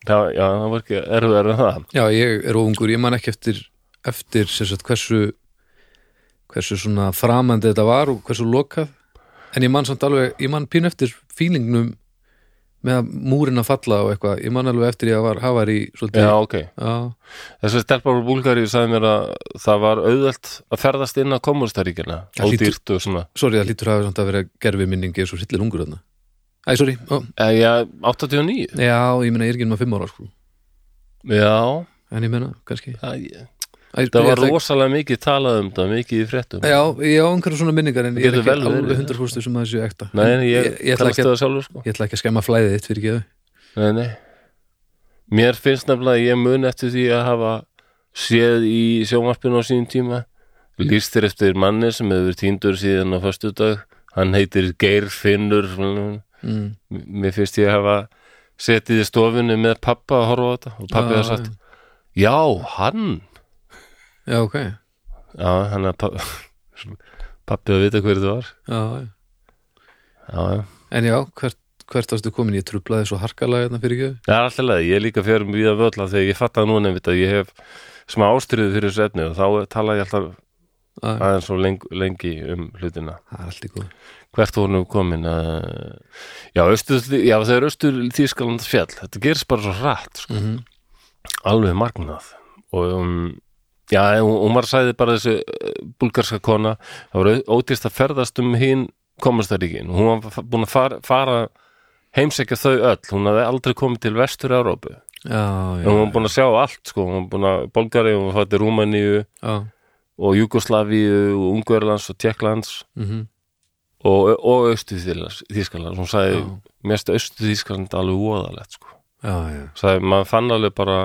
Speaker 1: það, já, það var ekki erfiðar en það
Speaker 2: já, ég er óungur ég man ekki eftir, eftir sem sagt, hversu hversu svona framandi þetta var og hversu lokað en ég man samt alveg, ég man pínu eftir fílingnum með að múrin að falla og eitthvað, ég man alveg eftir ég var hafar í svolítið
Speaker 1: já, ok,
Speaker 2: já,
Speaker 1: þessi stelpar úr Búlgari sagði mér að það var auðvelt að ferðast inn á kommunistaríkina
Speaker 2: Það hlýtur-
Speaker 1: ódýrt og svona
Speaker 2: sorry, það lítur að hafa samt að vera gerfi minningi eins og hryllir ungur þarna Æ, sorry, ó,
Speaker 1: Eh, Já, 89
Speaker 2: já, ég meina ég er ekki um að fimm ára sko
Speaker 1: Já,
Speaker 2: en ég meina, kannski Æ,
Speaker 1: það, ég-
Speaker 2: ég
Speaker 1: það var
Speaker 2: ætla ekki-
Speaker 1: rosalega mikið talað um það, mikið í fréttum
Speaker 2: Já, ég á einhverjum svona minningar en ég er
Speaker 1: Getur
Speaker 2: ekki
Speaker 1: vel verið,
Speaker 2: alveg
Speaker 1: já.
Speaker 2: 100% sem um að þessu ekta
Speaker 1: Nei, nei, ég,
Speaker 2: ég, ég, ætla
Speaker 1: kannast
Speaker 2: ekki,
Speaker 1: það sjálfur sko
Speaker 2: að- ég ætla ekki að skemma flæðið þitt fyrir geðu
Speaker 1: Nei, nei Mér finnst nefnilega að ég mun eftir því að hafa séð í sjónvarpinu á sínum tíma lýstir eftir manni sem hefur týndur síðan á föstudag hann heitir Geir Finnur
Speaker 2: mm.
Speaker 1: mér finnst ég að hafa setið í stofunni með pappa að horfa á þetta og pappi
Speaker 2: Já,
Speaker 1: hafði sagt já, hann
Speaker 2: Já, ok Já,
Speaker 1: já, hann að [laughs] pappi pappi að vita hver það var
Speaker 2: já.
Speaker 1: já, já,
Speaker 2: En já, hvert, hvert varstu komin? Ég trublaði svo harkalega hérna fyrir geðu
Speaker 1: það er alltaf leið ég er líka um fyrir mjög að völla þegar ég fatta núna einmitt að ég hef smá ástriðu fyrir þessu efni og þá tala ég alltaf
Speaker 2: Það
Speaker 1: aðeins svo lengi, lengi um hlutina
Speaker 2: er allt í góð
Speaker 1: hvert voru nú komin að já, austur, já það er austur Þískaland fjall, þetta gerist bara svo rætt sko.
Speaker 2: Mhm.
Speaker 1: alveg magnað og um, já, hún, hún var sæði bara þessi eh, búlgarska kona, það var au- ódýrst að ferðast um hinn komastaríkin hún var fa- búin að fara, fara heimsækja þau öll, hún hafði aldrei komið til vestur Európu,
Speaker 2: Já, já,
Speaker 1: hún var búin að sjá allt sko, hún var búin að Bólgari, hún var fætti Rúmaníu
Speaker 2: já
Speaker 1: og Júkoslavíu og Ungverlands og Tjekklands
Speaker 2: mhm.
Speaker 1: og, og austu þýskaland hún sagði,
Speaker 2: Já.
Speaker 1: mest austu þýskaland alveg voðalegt sko
Speaker 2: Já, já,
Speaker 1: sagði, maður fann alveg bara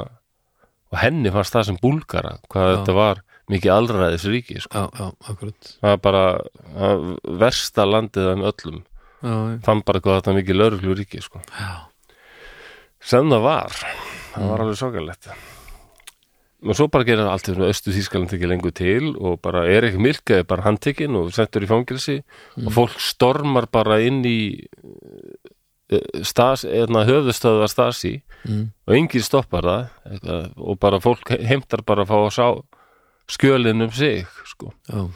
Speaker 1: og henni fannst það sem búlgara hvað
Speaker 2: Já.
Speaker 1: þetta var mikið allræðis ríki sko.
Speaker 2: já, já, akkurat
Speaker 1: það var bara það var versta landið um öllum
Speaker 2: Já, já,
Speaker 1: fann bara hvað þetta var mikið lauruglu ríki sko.
Speaker 2: já.
Speaker 1: sem það var það var alveg svakalegt og svo bara gerir það allt fyrir östu þýskaland ekki lengur til og bara er ekki milkaði bara handtekinn og settur í fangelsi og fólk stormar bara inn í eh, stas, eðna, höfðustöðar stasi
Speaker 2: Mm.
Speaker 1: og enginn stoppar það eitthvað, og bara fólk heimtar bara að fá að sá skjölin um sig sko.
Speaker 2: já.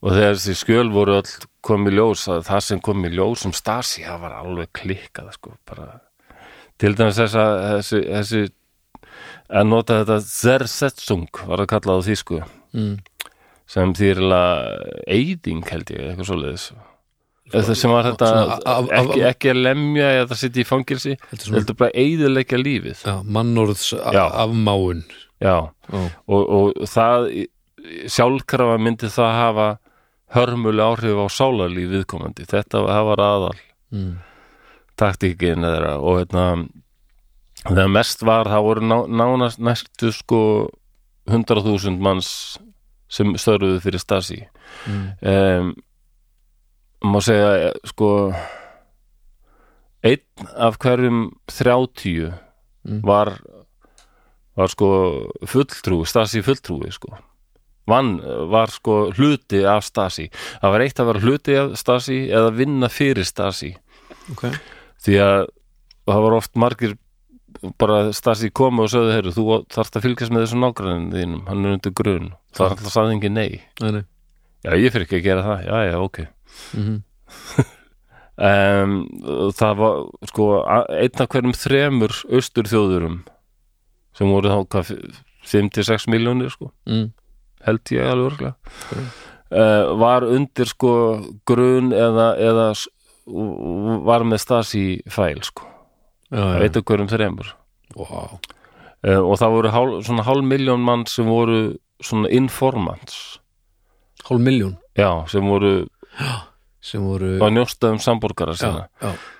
Speaker 1: og þegar þessi skjöl voru all kom í ljós að það sem kom í ljós um Stasi, það var alveg klikkað sko, bara til dæmis þessa, þessi, þessi að nota þetta Zersetzung var að kalla á þýsku
Speaker 2: Mm.
Speaker 1: sem þýrla eyðing held ég, eitthvað svoleiðis Eða sem var þetta
Speaker 2: svona af- af-
Speaker 1: ekki, ekki að lemja eða það sitja í fangilsi
Speaker 2: Þetta er svona
Speaker 1: heldur bara eyðileggja lífið
Speaker 2: já, mannorðs
Speaker 1: Já.
Speaker 2: a- afmáun
Speaker 1: já,
Speaker 2: Já,
Speaker 1: og, og það sjálfkrafa myndi það hafa hörmuleg áhrif á sálarlíf viðkomandi, þetta það var aðal
Speaker 2: mm.
Speaker 1: taktíkin þeirra og hérna þegar mest var, það voru ná, nánast næstu sko 100.000 manns sem störfuðu fyrir Stasi
Speaker 2: Mm.
Speaker 1: um, má segja eh, sko einn af hverjum 30
Speaker 2: Mm.
Speaker 1: var var sko fulltrúi, Stasi fulltrúi sko vann, eh, var sko hluti af Stasi það var eitt að vera hluti af Stasi eða vinna fyrir Stasi
Speaker 2: ok
Speaker 1: því að það var oft margir bara Stasi komu og sögðu heyrðu, þú þarft að fylgjast með þessu nágrannin þínum hann er undir grun, það er alltaf saðingi nei
Speaker 2: Nei, nei
Speaker 1: já, ég fyrir ekki að gera það, já, já, ok
Speaker 2: Mhm.
Speaker 1: um, það var sko a- einn af hverjum þremur austur þjóðurum sem voru þá hvað, 5-6 miljónir sko,
Speaker 2: mm.
Speaker 1: held ég alveg örgulega uh, var undir sko grun eða, eða s- var með stasi fæl sko,
Speaker 2: Já, já,
Speaker 1: einn af hverjum þremur
Speaker 2: Vá.
Speaker 1: uh, og það voru hál, svona hálf miljón mann sem voru svona informants
Speaker 2: hálf miljón
Speaker 1: já, sem voru
Speaker 2: sem voru
Speaker 1: að njósta um samborgara sinna
Speaker 2: já, já,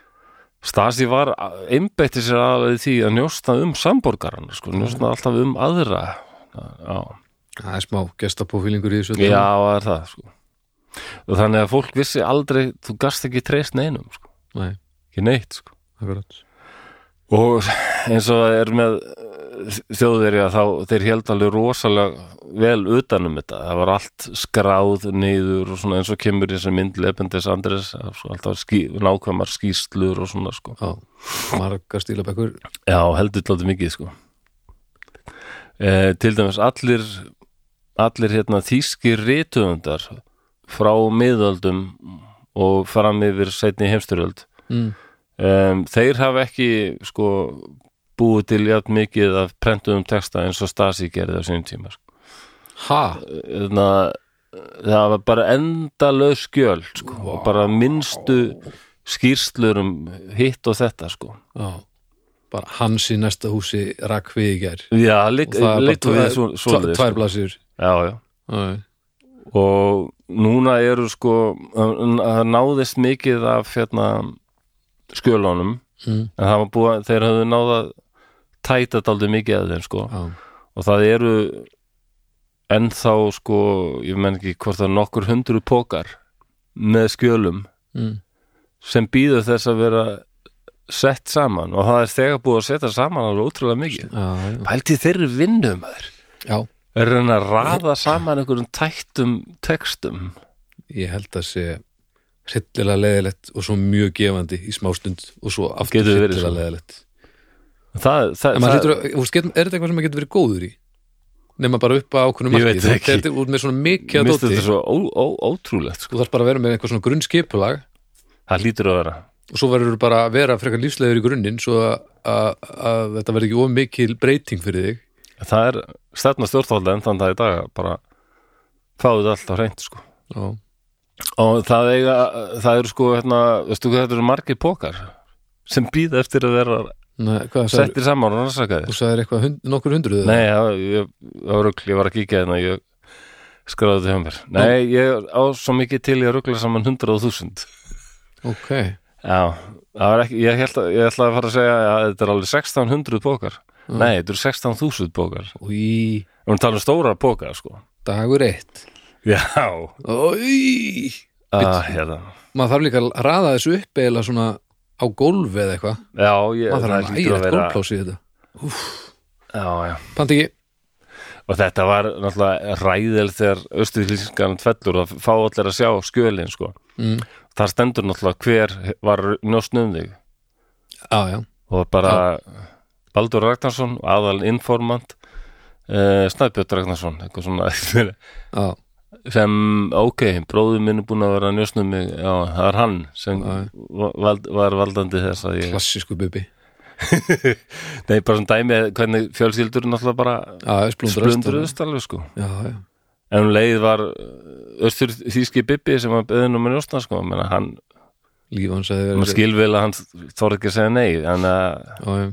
Speaker 1: Stasi var einbætti sér aðlega í því að njósta um samborgarana sko, njósta alltaf um aðra Já,
Speaker 2: það er smá gestapófílingur í þessu
Speaker 1: já það er það sko. og þannig að fólk vissi aldrei þú gast ekki treyst neinum sko.
Speaker 2: Nei,
Speaker 1: ekki neitt sko.
Speaker 2: akkurat
Speaker 1: og eins og það er með eh, þjóðverja þá þeir held alveg rosalega vel utanum þetta það var allt skráð niður og svona eins og kemur í þessi mynd Lependis Andres sko, alltaf ský, nákvæmar skýslur og svona sko
Speaker 2: Já, margar stílabækur
Speaker 1: Já, heldur tláttu mikið sko eh, Til dæmis allir allir hérna þýskir rituðundar frá miðöldum og fram yfir seinni heimsturöld
Speaker 2: mm.
Speaker 1: um, þeir hafa ekki sko búið til jafn mikið af prentuðum texta eins og Stasi gerði á sínum tíma sko.
Speaker 2: Ha,
Speaker 1: Þarna, það var bara endalaus skjöl sko, og bara minnstu skýrslur um hitt og þetta sko
Speaker 2: já bara hans í næsta húsi rakk við í gær
Speaker 1: Já,
Speaker 2: og það er
Speaker 1: leitt við
Speaker 2: bara
Speaker 1: svo,
Speaker 2: tvær,
Speaker 1: svo
Speaker 2: tvær, tvær blasir
Speaker 1: Já, já
Speaker 2: Já,
Speaker 1: og núna eru sko það það náðist mikið af hérna, skjölunum
Speaker 2: Mm.
Speaker 1: en það var búið, þeir höfðu náða tæta daldið mikið að þeim sko
Speaker 2: já,
Speaker 1: og það eru ennþá sko ég menn ekki hvort það er nokkur hundru pókar með skjölum
Speaker 2: mm.
Speaker 1: sem býður þess að vera sett saman og það er þegar búið að setja saman alveg ótrúlega mikið
Speaker 2: já, já.
Speaker 1: pælti þeirri vinnum þær
Speaker 2: já
Speaker 1: er hann að raða saman einhverjum tættum textum
Speaker 2: ég held að sé hryllilega leðilegt og svo mjög gefandi í smástund og svo aftur
Speaker 1: Getur verið
Speaker 2: hryllilega
Speaker 1: svona.
Speaker 2: leðilegt
Speaker 1: það, það,
Speaker 2: en maður
Speaker 1: það,
Speaker 2: hlýtur að, þú veist, getur- er þetta eitthvað sem maður getur verið góður í nema bara upp að ákveðnum
Speaker 1: Ég veit
Speaker 2: Þú-
Speaker 1: það ekki.
Speaker 2: þetta er út með svona mikið að
Speaker 1: Mér finnst
Speaker 2: dóti
Speaker 1: þetta svo ó, ó, ótrúlegt sko.
Speaker 2: þú þarf bara að vera með eitthvað svona grunnskipulag
Speaker 1: Það hlýtur að vera
Speaker 2: og svo verður bara að vera frekar lífslegur í grunninn svo að, að, að þetta verður ekki of mikil breyting fyrir þig
Speaker 1: Það er stefna stjórnvalda en þannig það í dag að bara fáið þetta allt á hreint sko.
Speaker 2: já,
Speaker 1: og það, eiga, það eru sko hérna, veistu hvað þetta eru margir pókar sem býða eftir að vera
Speaker 2: Nei, hvað, sagðir-
Speaker 1: settir saman og rannsakaði
Speaker 2: þú sagðir eitthvað hund, nokkur hundruð eða?
Speaker 1: Nei, það ég, það var rugl, ég var að kíkja hérna ég skráði þetta hjá mér Nei, ég á svo mikið til ég ruggla saman 100.000
Speaker 2: ok,
Speaker 1: Já, það var ekki, ég held að ég ætla að fara að segja að þetta er alveg 1600 pókar
Speaker 2: Mm.
Speaker 1: Nei, þetta eru 16.000 pókar
Speaker 2: og í
Speaker 1: Við erum að tala um stóra póka, sko.
Speaker 2: dagur eitt
Speaker 1: Já.
Speaker 2: og í
Speaker 1: Ah, hérna.
Speaker 2: maður þarf líka að raða þessu upp eða svona á gólfi eða eitthvað
Speaker 1: Já, ég,
Speaker 2: maður þarf
Speaker 1: það
Speaker 2: að
Speaker 1: hlýtur
Speaker 2: ægja gólplás í þetta
Speaker 1: Já, já.
Speaker 2: panta ekki,
Speaker 1: Og þetta var náttúrulega ræðil þegar austuðlýsingarinn tvellur að fá allir að sjá skjölin, sko.
Speaker 2: Mm.
Speaker 1: Það stendur náttúrulega hver var njósn um þig.
Speaker 2: já já
Speaker 1: Og bara Baldur Ragnarsson, aðal informant, uh, Snæbjörn Ragnarsson, eitthvað svona, [laughs]
Speaker 2: já,
Speaker 1: sem, ok, bróður minn er búin að vera að njósn um mig, já, það er hann sem
Speaker 2: Já.
Speaker 1: vald, var valdandi þess að ég...
Speaker 2: klassísku bubi
Speaker 1: Nei, bara svona dæmi hvernig fjölskyldur náttúrulega bara
Speaker 2: já, splundrast
Speaker 1: splundruðust alveg sko
Speaker 2: já, já,
Speaker 1: en um leið var östur þýski Bibbi sem var beðin um að njósna sko menna hann,
Speaker 2: líf hans að
Speaker 1: maður
Speaker 2: vera já,
Speaker 1: skil vel að hann þorði ekki að segja nei en uh, að,
Speaker 2: já.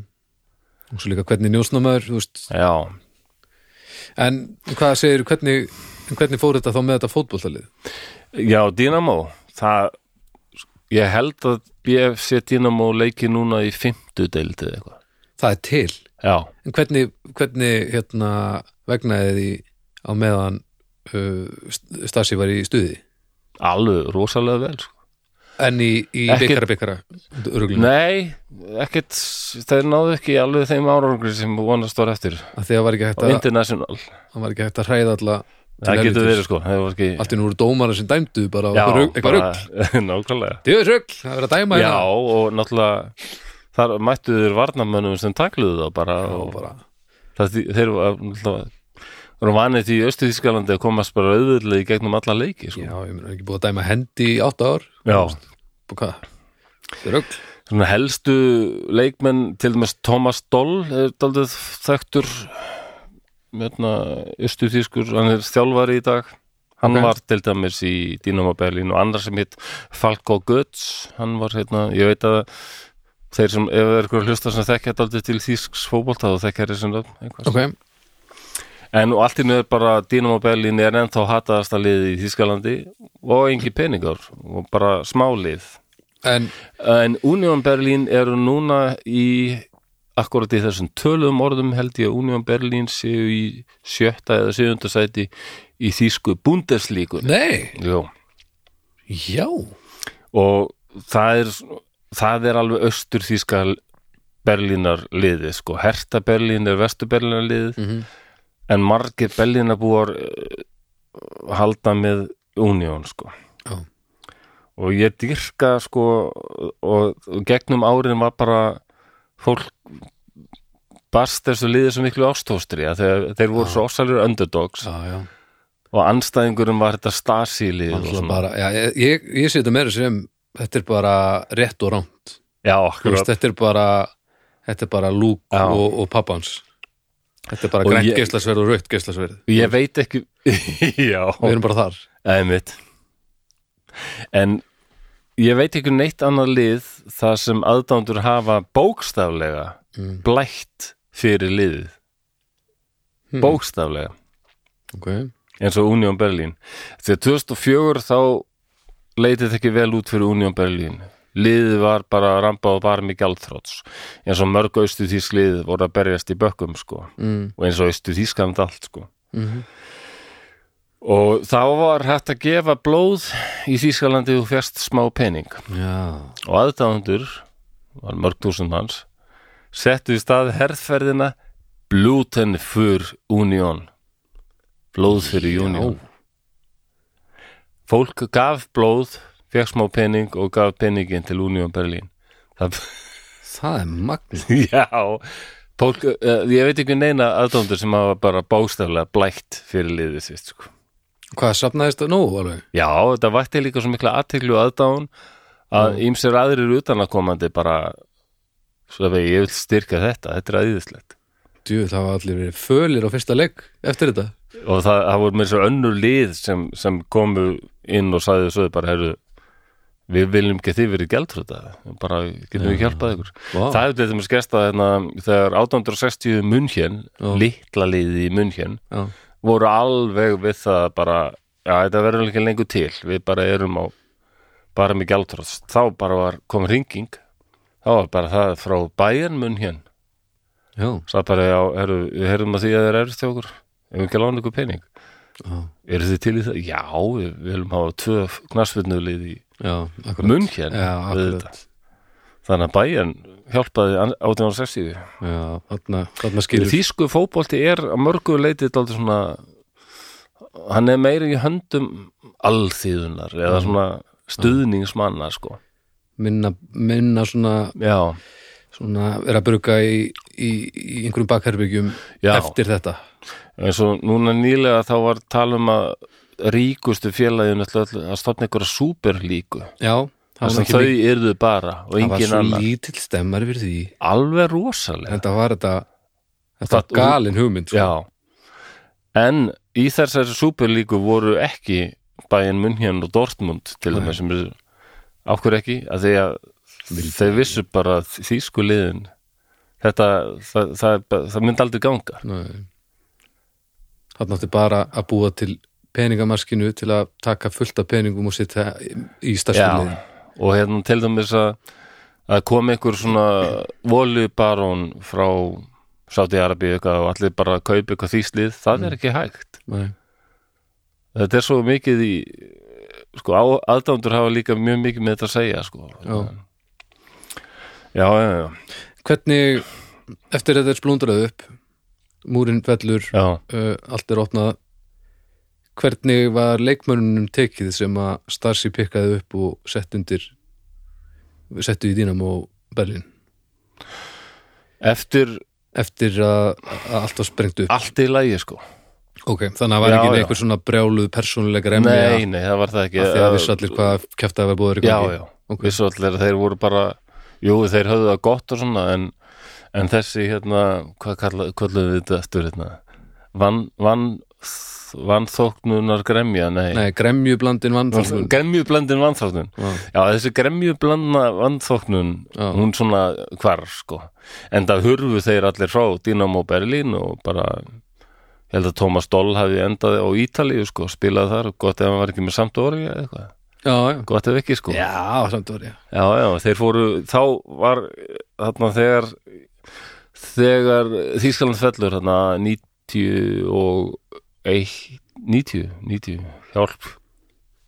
Speaker 2: og svo líka hvernig njósnamaður þú veist,
Speaker 1: já,
Speaker 2: en hvað segir hvernig, en hvernig fór þetta þá með þetta fótbollalið
Speaker 1: já, Dynamo það, ég held að ég sé Dynamo leiki núna í fimmtu deildið eitthvað
Speaker 2: það er til,
Speaker 1: já,
Speaker 2: en hvernig, hvernig hérna vegnaði því á meðan uh, Stasi var í stuði
Speaker 1: alveg rosalega vel sko.
Speaker 2: en í, í
Speaker 1: Ekki-
Speaker 2: byggara byggara öruglega,
Speaker 1: nei, ekkert þeir náðu ekki alveg þeim árangri sem vonast var eftir á
Speaker 2: að því að var ekki hægt að
Speaker 1: international,
Speaker 2: það var ekki hægt að hræða alla til
Speaker 1: það getur
Speaker 2: helvítis.
Speaker 1: verið sko það var ekki
Speaker 2: allt í nú eru dómarar sem dæmdu bara á
Speaker 1: Já,
Speaker 2: eitthvað rugg, eitthvað
Speaker 1: bara-
Speaker 2: rugg.
Speaker 1: [laughs] Nákvæmlega
Speaker 2: Þið er rugg, það er verið að dæma hérna.
Speaker 1: Já, og náttúrulega þar mættu þeir varnamönnum sem takluðu það bara
Speaker 2: og
Speaker 1: og
Speaker 2: bara,
Speaker 1: það, þý- þeir var- náttúrulega voru vanið því í Östu-Þískalandi að komast bara auðvöldlega í gegnum alla leiki
Speaker 2: já,
Speaker 1: sko.
Speaker 2: ég meina ekki búið að dæma hendi í átta ár
Speaker 1: Já,
Speaker 2: og hvað, þið er rugg
Speaker 1: svona helstu leikmenn til dæmis Thomas Doll er daldið þekktur Östu-Þískur, hann er þjálfari í dag Hann
Speaker 2: Ok.
Speaker 1: var til dæmis í Dynamo Berlin og annar sem hitt Falko Götz, hann var hérna, ég veit að þeir sem, ef það er ykkur að hlusta sem þekkja þetta aldrei til þýsks fótbolta þá þekkja þessi nöfn einhvers.
Speaker 2: ok,
Speaker 1: En og allt í nöður bara Dynamo Berlin er ennþá hataðasta liðið í Þýskalandi og engi peningar og bara smálið.
Speaker 2: en
Speaker 1: En Union Berlin eru núna í, akkurat í þessum töluðum orðum held ég að Union Berlin séu í sjötta eða sjöfunda sæti í þýsku búndeslíkur.
Speaker 2: nei,
Speaker 1: Jó,
Speaker 2: Já,
Speaker 1: og það er það er alveg austur þýska Berlínar liðið sko Herta Berlín er vestu Berlínar liðið
Speaker 2: Mhm.
Speaker 1: en margir Berlínarbúar eh, halda með Union sko
Speaker 2: Já.
Speaker 1: og ég dyrka sko og, og gegnum árin var bara fólk barst þessu liðið sem miklu ástóstri að þeir, þeir voru svo ósalur underdogs
Speaker 2: já, já
Speaker 1: og anstæðingurum var þetta Stasi liðið og
Speaker 2: Alltaf
Speaker 1: svona.
Speaker 2: bara, já, ég, ég, ég sé þetta meira sem þetta er bara rétt og rámt
Speaker 1: Já,
Speaker 2: Þú veist,
Speaker 1: akkurat
Speaker 2: þetta er bara þetta er bara lúk
Speaker 1: Já.
Speaker 2: og, og pappans þetta er bara
Speaker 1: Og
Speaker 2: grænt
Speaker 1: ég-
Speaker 2: geislasverð og rautt geislasverð
Speaker 1: Ég veit ekki [laughs] Já
Speaker 2: við erum bara þar
Speaker 1: Æmitt. En ég veit ekki um neitt annað lið þar sem aðdándur hafa bókstaflega
Speaker 2: Mm.
Speaker 1: blætt fyrir liðið. Bókstaflega.
Speaker 2: okay.
Speaker 1: Eins og Union Berlin. Þegar 2004 þá leitið ekki vel út fyrir Union Berlin. Liðið var bara rambað og barm í gjaldþróts. Eins og mörg austu þýsk liðið voru að berjast í bökkum sko.
Speaker 2: mm.
Speaker 1: Og eins og austu þýskam allt sko.
Speaker 2: Mm -hmm.
Speaker 1: Og þá var hægt að gefa blóð í Þýskalandi og fjast smá pening.
Speaker 2: já,
Speaker 1: og aðdáðundur var mörg túsund manns settu í stað herðferðina Bluten für Union blóð fyrir Union fólk gaf blóð fekk smá pening og gaf peningin til Union Berlin það,
Speaker 2: það er magna
Speaker 1: [laughs] já fólk, uh, ég veit ekki neina aðdáðundur sem hafa bara bóstaflega blækt fyrir liðið sitt sko.
Speaker 2: hvað safnaðist það nóg alveg
Speaker 1: já, þetta vætti líka svo mikla aðteglu aðdáðun að ýmsir aðrir utanakomandi bara svo að ég vil styrka þetta, þetta er aðýðislegt
Speaker 2: Djú, það var allir verið fölir á fyrsta legg eftir þetta
Speaker 1: og það, það voru með þessu önnur lið sem, sem komu inn og sagði þessu bara, heyrðu, við viljum ekki að þið verið gjaldröta, bara getum við hjálpað ykkur.
Speaker 2: Vá.
Speaker 1: Það er þetta með skesta hérna, þegar 860 munnhjön, litla liði í munnhjön,
Speaker 2: já,
Speaker 1: voru alveg við það bara, já, þetta verður ekki lengur til, við bara erum á bara með gjaldröts. Þá bara var, kom ringing, þá var bara það frá bæjan munnhjön,
Speaker 2: já,
Speaker 1: sagði bara, já, heyrðu, við heyrðum að því að þeir eru til okkur, ef við ekki að lána ykkur pening
Speaker 2: já,
Speaker 1: eru þið til í það? Já, við við viljum hafa tvö knarsfinnulið í
Speaker 2: já akkurat
Speaker 1: munn hérna
Speaker 2: já,
Speaker 1: við
Speaker 2: akkurat
Speaker 1: þetta. Þannig að bæjan hjálpaði an- 1860
Speaker 2: já, þarna, þarna
Speaker 1: Fyrir
Speaker 2: skilur
Speaker 1: Þýsku fótbolti er að mörgu leiti dálítið svona hann er meira í höndum alþýðunar eða
Speaker 2: Mm.
Speaker 1: svona stuðningsmanna sko.
Speaker 2: minna, minna svona,
Speaker 1: Já,
Speaker 2: svona er að bruka í, í, í einhverjum bakherbyggjum
Speaker 1: Já.
Speaker 2: eftir þetta
Speaker 1: eins og núna nýlega þá var tala um að ríkustu félaginu ætla öll að stofna einhverja súperlíku
Speaker 2: já, það
Speaker 1: þar
Speaker 2: var
Speaker 1: sem
Speaker 2: ekki
Speaker 1: þau
Speaker 2: mikið-
Speaker 1: yrðu bara og
Speaker 2: það var
Speaker 1: engin
Speaker 2: svo
Speaker 1: annar
Speaker 2: lítill stemmari fyrir því
Speaker 1: alveg rosalega
Speaker 2: þetta var þetta, þetta
Speaker 1: Það-
Speaker 2: var galin hugmynd sko.
Speaker 1: Já En í þessari súperlíku voru ekki bæinn München og Dortmund til þeim sem er ákvör ekki að því að þeir vissu bara að þýsku liðin þetta, það, það, það, það myndi aldrei ganga
Speaker 2: Nei. það nátti bara að búa til peningamaskinu til að taka fullt af peningum og setja í starfsfélagin
Speaker 1: og hérna til dæmis að að kom einhver svona voljubarón frá Sáti Arabíu og allir bara að kaupa eitthvað þýslið, það er ekki hægt þetta er svo mikið í sko, aðdándur hafa líka mjög mikið með þetta að segja sko.
Speaker 2: Já.
Speaker 1: já, já, já,
Speaker 2: hvernig, eftir þetta er splundrað upp múrin fellur
Speaker 1: já.
Speaker 2: uh, allt er opnað hvernig var leikmörunum tekið sem að Starsi pikkaði upp og sett undir settu í Dínam og Berlin
Speaker 1: eftir
Speaker 2: eftir að, að allt var sprengt upp
Speaker 1: allt í lægi sko.
Speaker 2: ok, þannig að það var
Speaker 1: Já,
Speaker 2: ekki
Speaker 1: já.
Speaker 2: einhver svona brjáluð persónulega remja
Speaker 1: nei, nei, það var það ekki
Speaker 2: af því að vissu allir hvað kæfti að vera búður í
Speaker 1: já,
Speaker 2: gangi.
Speaker 1: já,
Speaker 2: Ok.
Speaker 1: vissu allir að þeir voru bara jú, þeir höfðu það gott og svona en, en þessi hérna hvað kalla- kölluðum við þetta eftir hérna vann van, van þóknunar gremja, nei,
Speaker 2: nei, gremjublandin vann þarna.
Speaker 1: gremjublendin vannþóknun
Speaker 2: Já.
Speaker 1: Já, þessi gremjublandna vannþóknun,
Speaker 2: Já.
Speaker 1: hún svona hvarf, sko. En það hurfu þeir allir frá Dynamo Berlin og bara, ég held að Thomas Doll hafi endað á Ítalíu, sko, spilaði þar, gott ef hann var ekki með samt orði eða eitthvað,
Speaker 2: já, já,
Speaker 1: gott ef ekki, sko.
Speaker 2: já, samt var ég
Speaker 1: Já, já, þeir fóru, þá var, þarna þegar, þegar Þýskaland fellur, þarna 90 og 1, 90, 90, hjálp,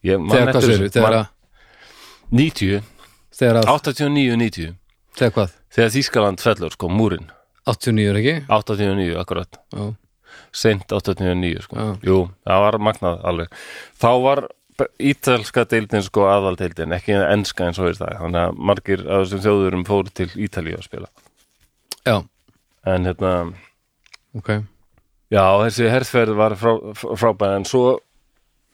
Speaker 1: Ég man
Speaker 2: Þegar
Speaker 1: eftir
Speaker 2: hvað
Speaker 1: þessu.
Speaker 2: séru? Þegar,
Speaker 1: Man-
Speaker 2: að-
Speaker 1: 90,
Speaker 2: þegar, að-
Speaker 1: 89, 90
Speaker 2: þegar hvað?
Speaker 1: Þegar Þískaland fellur, sko, múrin
Speaker 2: 89 er ekki?
Speaker 1: 89, akkurat
Speaker 2: Já,
Speaker 1: Seint 89, sko
Speaker 2: Já.
Speaker 1: Jú, það var magnað alveg Þá var ítalska deildin, sko, aðaldeildin Ekki enska eins og er það Þannig að margir af þessum þjóðurum fóru til Ítalíu að spila
Speaker 2: já
Speaker 1: En hérna,
Speaker 2: ok
Speaker 1: já, þessi herðferð var frá, frábæð En svo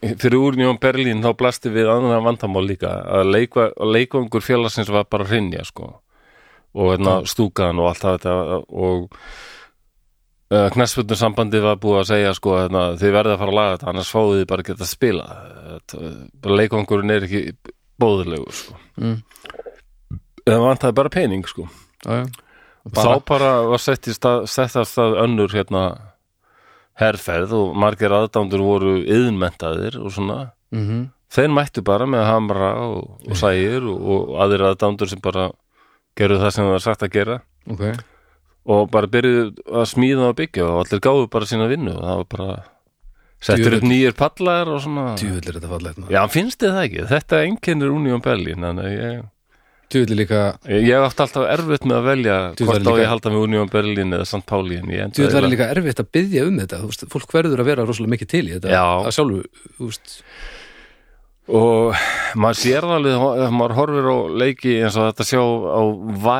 Speaker 1: fyrir úrnjón Berlín þá blasti við annan vandamál líka að leikva, leikvangur félagsins var bara að hrynja sko og hérna, stúkan og allt það þetta og uh, knæsfjöldnum sambandi var búið að segja sko hérna, þið verðið að fara að laga þetta annars fáið þið bara að geta að spila Þetta- bara leikvangurinn er ekki bóðilegur sko
Speaker 2: Mm.
Speaker 1: það vantaði bara pening sko
Speaker 2: já, já.
Speaker 1: bara. þá bara var sett í stað, sett af stað önnur hérna herferð og margir aðdándur voru yðnmentaðir og svona
Speaker 2: mm
Speaker 1: þeir mættu bara með hamra og, og sægir og, og aðrir aðdándur sem bara gerðu það sem það var sagt að gera
Speaker 2: ok
Speaker 1: og bara byrjuðu að smíða og byggja og allir gáðu bara sína vinnu og það var bara settur upp
Speaker 2: Djöfull.
Speaker 1: nýjir pallar og svona
Speaker 2: djúvill er þetta fallegt maður.
Speaker 1: Já, finnst þið það ekki? Þetta einkennir Union Berlin þannig að ég,
Speaker 2: djúvill er líka
Speaker 1: ég hef haft alltaf erfitt með að velja
Speaker 2: Djöfull er
Speaker 1: hvort á
Speaker 2: líka-
Speaker 1: ég að halda með Union Berlin eða St. Pauli en ég enda
Speaker 2: djúvill er
Speaker 1: eiginlega-
Speaker 2: líka erfitt að byggja um þetta þú veist, fólk verður að vera rosalega mikið til í þetta
Speaker 1: Já.
Speaker 2: að sjálfu þú veist
Speaker 1: og maður sér það alveg ef maður horfir á leiki eins og þetta sjá á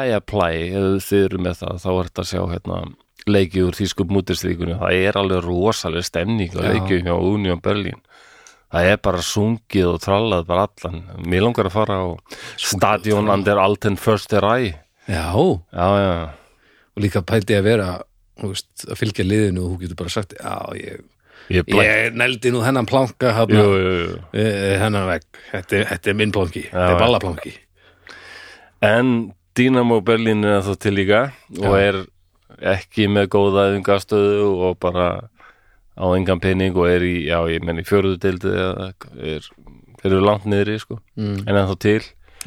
Speaker 1: Viaplay ef þið eru með það, þá er þetta að sjá hérna, leiki úr þýskup mútislíkunni það er alveg rosaleg stemning á
Speaker 2: Já.
Speaker 1: leiki hjá Union Berlin það er bara sungið og trallað bara allan, mér langar að fara á Stadion Ander Alten Förster Ræ
Speaker 2: já og
Speaker 1: já, já, já
Speaker 2: líka pældi að vera þú veist að fylgja liðinu og þú getur bara sagt já ég
Speaker 1: ég blæk,
Speaker 2: Ég neldi nú hennan planka hana,
Speaker 1: jú, jú, jú
Speaker 2: eh, hennan vegg, þetta, er- þetta er minn planki þetta
Speaker 1: já.
Speaker 2: er ballaplanki
Speaker 1: En Dynamo Berlin er það til líka og er ekki með góða yfingastöðu og bara á engan pening og er í, já, ég menn í fjörðu deildi eða er, þeir eru langt niðri, sko,
Speaker 2: Mm.
Speaker 1: en ennþá til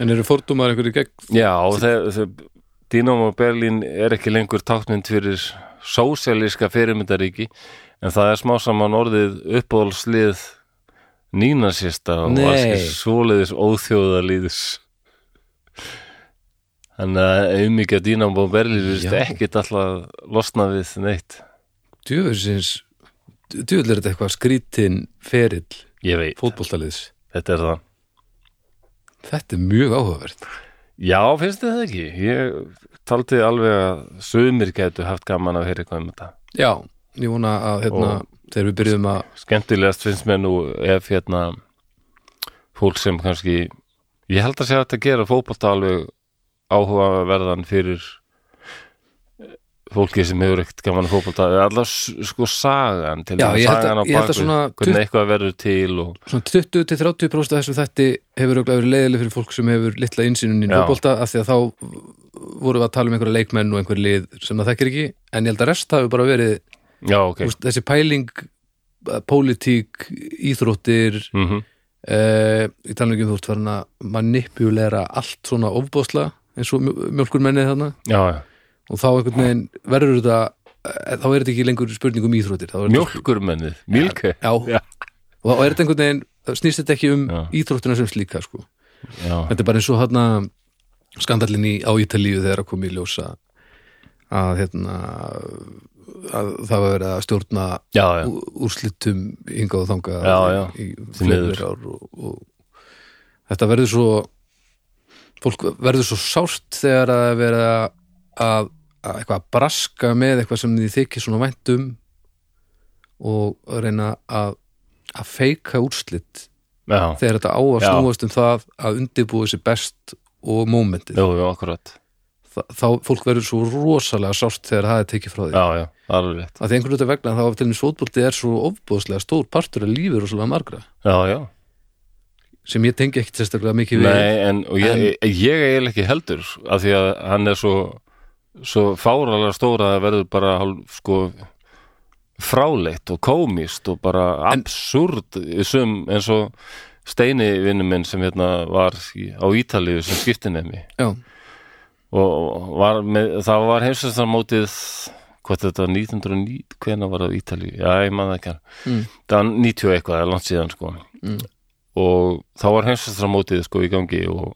Speaker 2: en eru fordómar einhverju gegn
Speaker 1: Já, og þeir, þeir Dynamo Berlin er ekki lengur táknind fyrir sósialíska fyrirmyndaríki en það er smá saman orðið uppbólslið nínasista og
Speaker 2: Nei.
Speaker 1: alls svoleiðis óþjóðalíðis Þannig að umíkja Dynamo Berlin vist
Speaker 2: Já.
Speaker 1: ekkit alltaf losna við neitt
Speaker 2: djöfusins djöfull er þetta eitthvað skrítin ferill
Speaker 1: Ég veit,
Speaker 2: fótboltaliðs
Speaker 1: þetta er það
Speaker 2: þetta er mjög áhugavert
Speaker 1: Já, finnst þið það ekki? Ég taldi alveg að sömur gætu haft gaman að heyra eitthvað um þetta
Speaker 2: já, ég vona að hérna, þegar við byrjum að
Speaker 1: skemmtilegast finnst mér nú ef hérna fólk sem kannski ég held að segja þetta gera fótbolta alveg áhugaverðan fyrir eh, fólki sem hefur ekkert gaman að fótbolta eða allar sko sagan til
Speaker 2: Já,
Speaker 1: dæmis,
Speaker 2: ég held að-
Speaker 1: sagan á
Speaker 2: ég held að
Speaker 1: bakvið,
Speaker 2: svona
Speaker 1: hvernig eitthvað verður til og,
Speaker 2: svona 20-30% af þessu þætti hefur auðvitað verið leiðileg fyrir fólk sem hefur litla insýnun í
Speaker 1: Já.
Speaker 2: fótbolta af því að þá vorum við að tala um einhverja leikmenn og einhverja lið sem það þekkir ekki en ég held að rest hafi bara verið
Speaker 1: já, ok
Speaker 2: okay. þessi pæling eh, pólitík, íþróttir
Speaker 1: mm
Speaker 2: eh, í talningu um þú ert farin að manipulera allt svona ofbóðsla eins og mjölkur mennið þarna
Speaker 1: já, já.
Speaker 2: og þá einhvern veginn verður þetta eh, þá er þetta ekki lengur spurning um íþróttir þá er þetta-
Speaker 1: mjólkurmennið, mjölke
Speaker 2: Já.
Speaker 1: Já.
Speaker 2: og þá er þetta einhvern veginn þá snýst þetta ekki um
Speaker 1: Já.
Speaker 2: íþróttina sem slíka sko.
Speaker 1: já,
Speaker 2: þetta er bara eins og hérna skandallin í, á Ítalíu þegar að koma í ljósa að hérna að það var verið að stjórna
Speaker 1: já, já.
Speaker 2: ú- úrslitum hingað og þangað
Speaker 1: Já, já.
Speaker 2: í
Speaker 1: Því miður.
Speaker 2: fleiri ár og, og þetta verður svo fólk verður svo sárt þegar að vera að, að eitthvað að braska með eitthvað sem þið þykir svona væntum og að reyna að að feika úrslit
Speaker 1: já.
Speaker 2: þegar þetta á að
Speaker 1: Já.
Speaker 2: snúast um það að undirbúið sér best og mómentið
Speaker 1: Jú, jú, akkurat
Speaker 2: Þa, þá fólk verður svo rosalega sárt þegar það er tekið frá því
Speaker 1: já, já, alveg rétt
Speaker 2: að því einhvern veginn vegna þá til þess fótbolti er svo ofbúðslega stór partur af lífið rosalega margra
Speaker 1: já, já
Speaker 2: sem ég tengi ekkit sérstaklega mikið við
Speaker 1: Nei, en, og ég, ég, ég eiginlega ekki heldur af því að hann er svo svo fáralega stóra að það verður bara hálf, sko fráleitt og komist og bara absúrt sum eins og Steini vinnu minn sem hérna var í, á Ítalíu sem skiptinemi
Speaker 2: Já,
Speaker 1: og var með, það var heimsvæmstar mótið hvað þetta var 1909 hvenær var það á Ítalíu, já ég man það ekki mm. það var 90 og eitthvað, það er langt síðan sko og þá var heimsastramótið sko í gangi og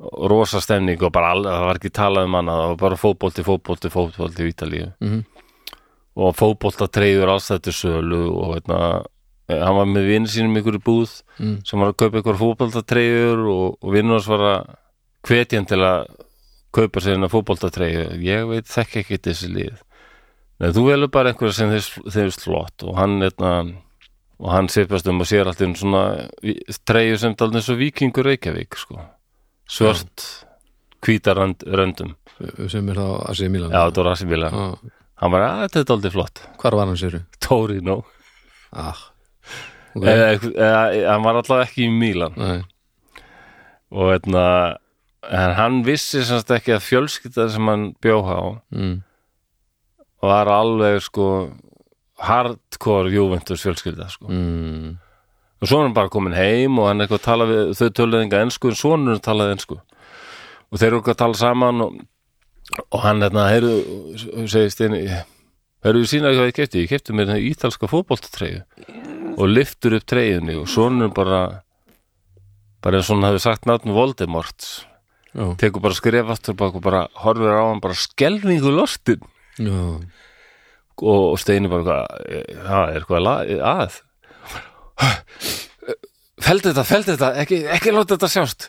Speaker 1: og rosa stemning og bara alveg, það var ekki talað um annað, það var bara fótbolti, fótbolti, fótbolti í Ítalíu
Speaker 2: Mhm.
Speaker 1: og fótbolta treyður allstættu sölu og veitna, hann var með vinur sínum í einhverju búð
Speaker 2: Mm.
Speaker 1: sem var að kaupa einhver fótbolta treyður og, og vinnur hans var að hvetja hann til að kaupa sér hennar fótbolta treyður ég veit þekki ekki þessi lið Nei, þú velur bara einhverja sem þeir, þeir slott og hann veitna, og hann sipast um og sér alltaf um svona treyður sem daldi eins og vikingur Reykjavík sko. svört hvítarönd röndum
Speaker 2: sem er þá að segja Milan
Speaker 1: Já, þetta var rasibíla
Speaker 2: Ah,
Speaker 1: Hann var að þetta er aldrei flott [laughs]
Speaker 2: hvar var hann sér
Speaker 1: Torino
Speaker 2: ah.
Speaker 1: eða, eitthvað- eða, eða, Hann var allavega ekki í Mílan
Speaker 2: Nei.
Speaker 1: og veitna, en hann vissi semst ekki að fjölskyldan sem hann bjóha á
Speaker 2: Mm.
Speaker 1: var alveg sko hardcore Juventus fjölskylda sko.
Speaker 2: Mm.
Speaker 1: og svo er hann bara komin heim og hann eitthvað tala við, þau töluðu enga ensku en sonur talaði ensku og þeir eru eitthvað að tala saman og, og hann hérna, heyrðu segist einu, heyrðu sína hvað ég kefti, ég kefti mér hérna ítalska fótboltatreyju og lyftur upp treyjunni og sonur bara bara eins og hann hafi sagt náttum Voldemort
Speaker 2: Já.
Speaker 1: tekur bara skref aftur bak og bara horfir á hann bara skelfingu lostin
Speaker 2: Já.
Speaker 1: og, og Steini bara eitthvað, það er eitthvað la- að feld þetta, feld þetta ekki, ekki láta þetta sjást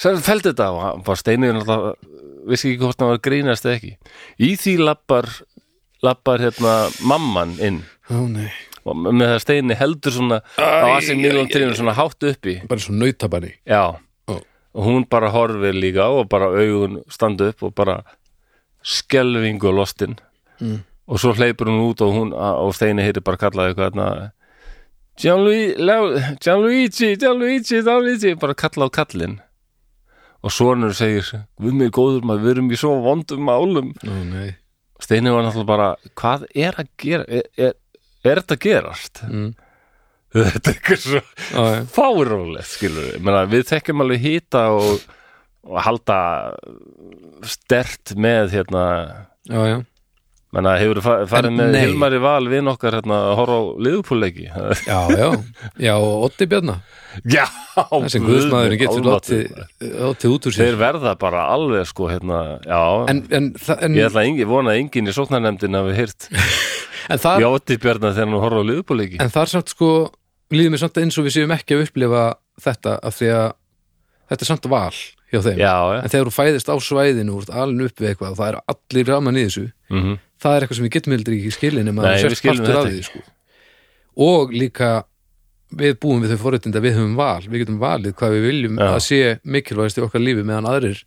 Speaker 1: Sæðan feld þetta og hann bara Steini náttúrulega vissi ekki hvort hann var að grínast eða ekki í því lappar lappar hérna mamman inn
Speaker 2: Ó, nei.
Speaker 1: og með það Steini heldur svona á Asi Milan trífum svona hátt uppi
Speaker 2: bara svo nautabanni
Speaker 1: já,
Speaker 2: Ó.
Speaker 1: og hún bara horfir líka á og bara augun standa upp og bara skelfingu lostin
Speaker 2: Mm.
Speaker 1: og svo hleypur hún út og hún og Steini heyri bara kallaði eitthvað þarna, "Gianlui- Lá- Gianluigi, Gianluigi, Gianluigi bara kalla á kallinn og sonur segir, við mig góður maður við erum í svo vondum málum
Speaker 2: Ó, nei.
Speaker 1: Steini var náttúrulega bara, hvað er að gera er, er, er þetta að gerast [laughs]
Speaker 2: Mm.
Speaker 1: þetta er eitthvað svo
Speaker 2: Ó, ja.
Speaker 1: fárólegt skilur við, Menna, við tekjum alveg hýta og, og halda stert með hérna
Speaker 2: Já, já.
Speaker 1: menna, hefur farið
Speaker 2: En
Speaker 1: með
Speaker 2: nei.
Speaker 1: Hilmari Val vinn okkar hérna að horfa á liðupúleiki
Speaker 2: já, já Já, og Otti Bjarnar
Speaker 1: já,
Speaker 2: það sem guðsmaðurinn getur
Speaker 1: almáttugur.
Speaker 2: látið látið út úr sér
Speaker 1: þeir verða bara alveg sko hérna, já,
Speaker 2: en, en, þa- en,
Speaker 1: ég ætla að engin, vona að engin í sóknarnefndin hafi heyrt
Speaker 2: en, þar,
Speaker 1: já, Otti Bjarnar þegar hann horfa á liðupúleiki
Speaker 2: en þar samt sko líður mér samt eins og við séum ekki að upplifa þetta af því að þetta er samt val hjá þeim
Speaker 1: já, já,
Speaker 2: en þegar þú fæðist á svæðinu úr alin upp við eitthvað og það er allir raman í þessu
Speaker 1: mhm
Speaker 2: það er eitthvað sem við getum heldur ekki skilin nema
Speaker 1: Nei,
Speaker 2: að
Speaker 1: við
Speaker 2: sérst
Speaker 1: skiljum
Speaker 2: partur
Speaker 1: þetta
Speaker 2: af því sko. og líka við búum við þau forréttinda við höfum val, við getum valið hvað við viljum
Speaker 1: Já.
Speaker 2: að sé mikilvægast í okkar lífi meðan aðrir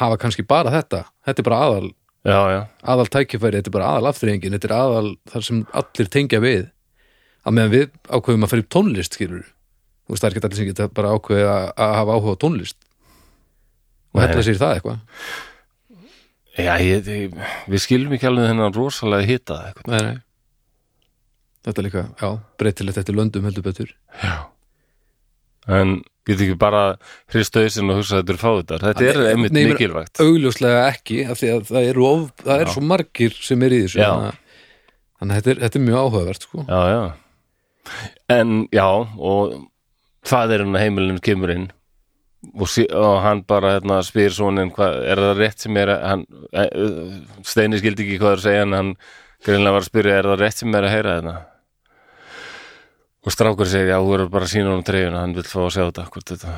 Speaker 2: hafa kannski bara þetta þetta er bara aðal,
Speaker 1: já, já,
Speaker 2: aðal tækifæri, þetta er bara aðal aftrengin þetta er aðal þar sem allir tengja við að meðan við ákveðum að fyrir tónlist skilur þú veist það er ekki allir sem geta bara ákveðið að, að hafa áhuga á tónlist og
Speaker 1: Nei.
Speaker 2: hella sér í það eitthvað
Speaker 1: já ég, ég, við skilum ekki alveg hennan rosalega hýta eitthvað,
Speaker 2: nei, nei. þetta er líka, já, breytilegt eftir löndum heldur betur
Speaker 1: en getur ekki bara hrist hausinn og hugsa að þetta er fáðutar þetta er
Speaker 2: Nei,
Speaker 1: einmitt
Speaker 2: nei, ég meina-
Speaker 1: mikilvægt
Speaker 2: augljóslega ekki af því að það eru, of, það eru
Speaker 1: Já.
Speaker 2: svo margir sem er í þessu
Speaker 1: Já.
Speaker 2: þannig að, þannig að þetta, er, þetta er mjög áhugavert sko.
Speaker 1: já, já en já, og það er hann að heimilin kemur inn og, sí, og hann bara hérna, spyr svonin, hvað, er það rétt sem er að- hann, e, Steini skildi ekki hvað er að segja en hann greinlega var að spyrja er það rétt sem er að heyra þetta og strákur segir já, þú verður bara að sína honum treyjuna, hann vil fá að sjá þetta, hvort þetta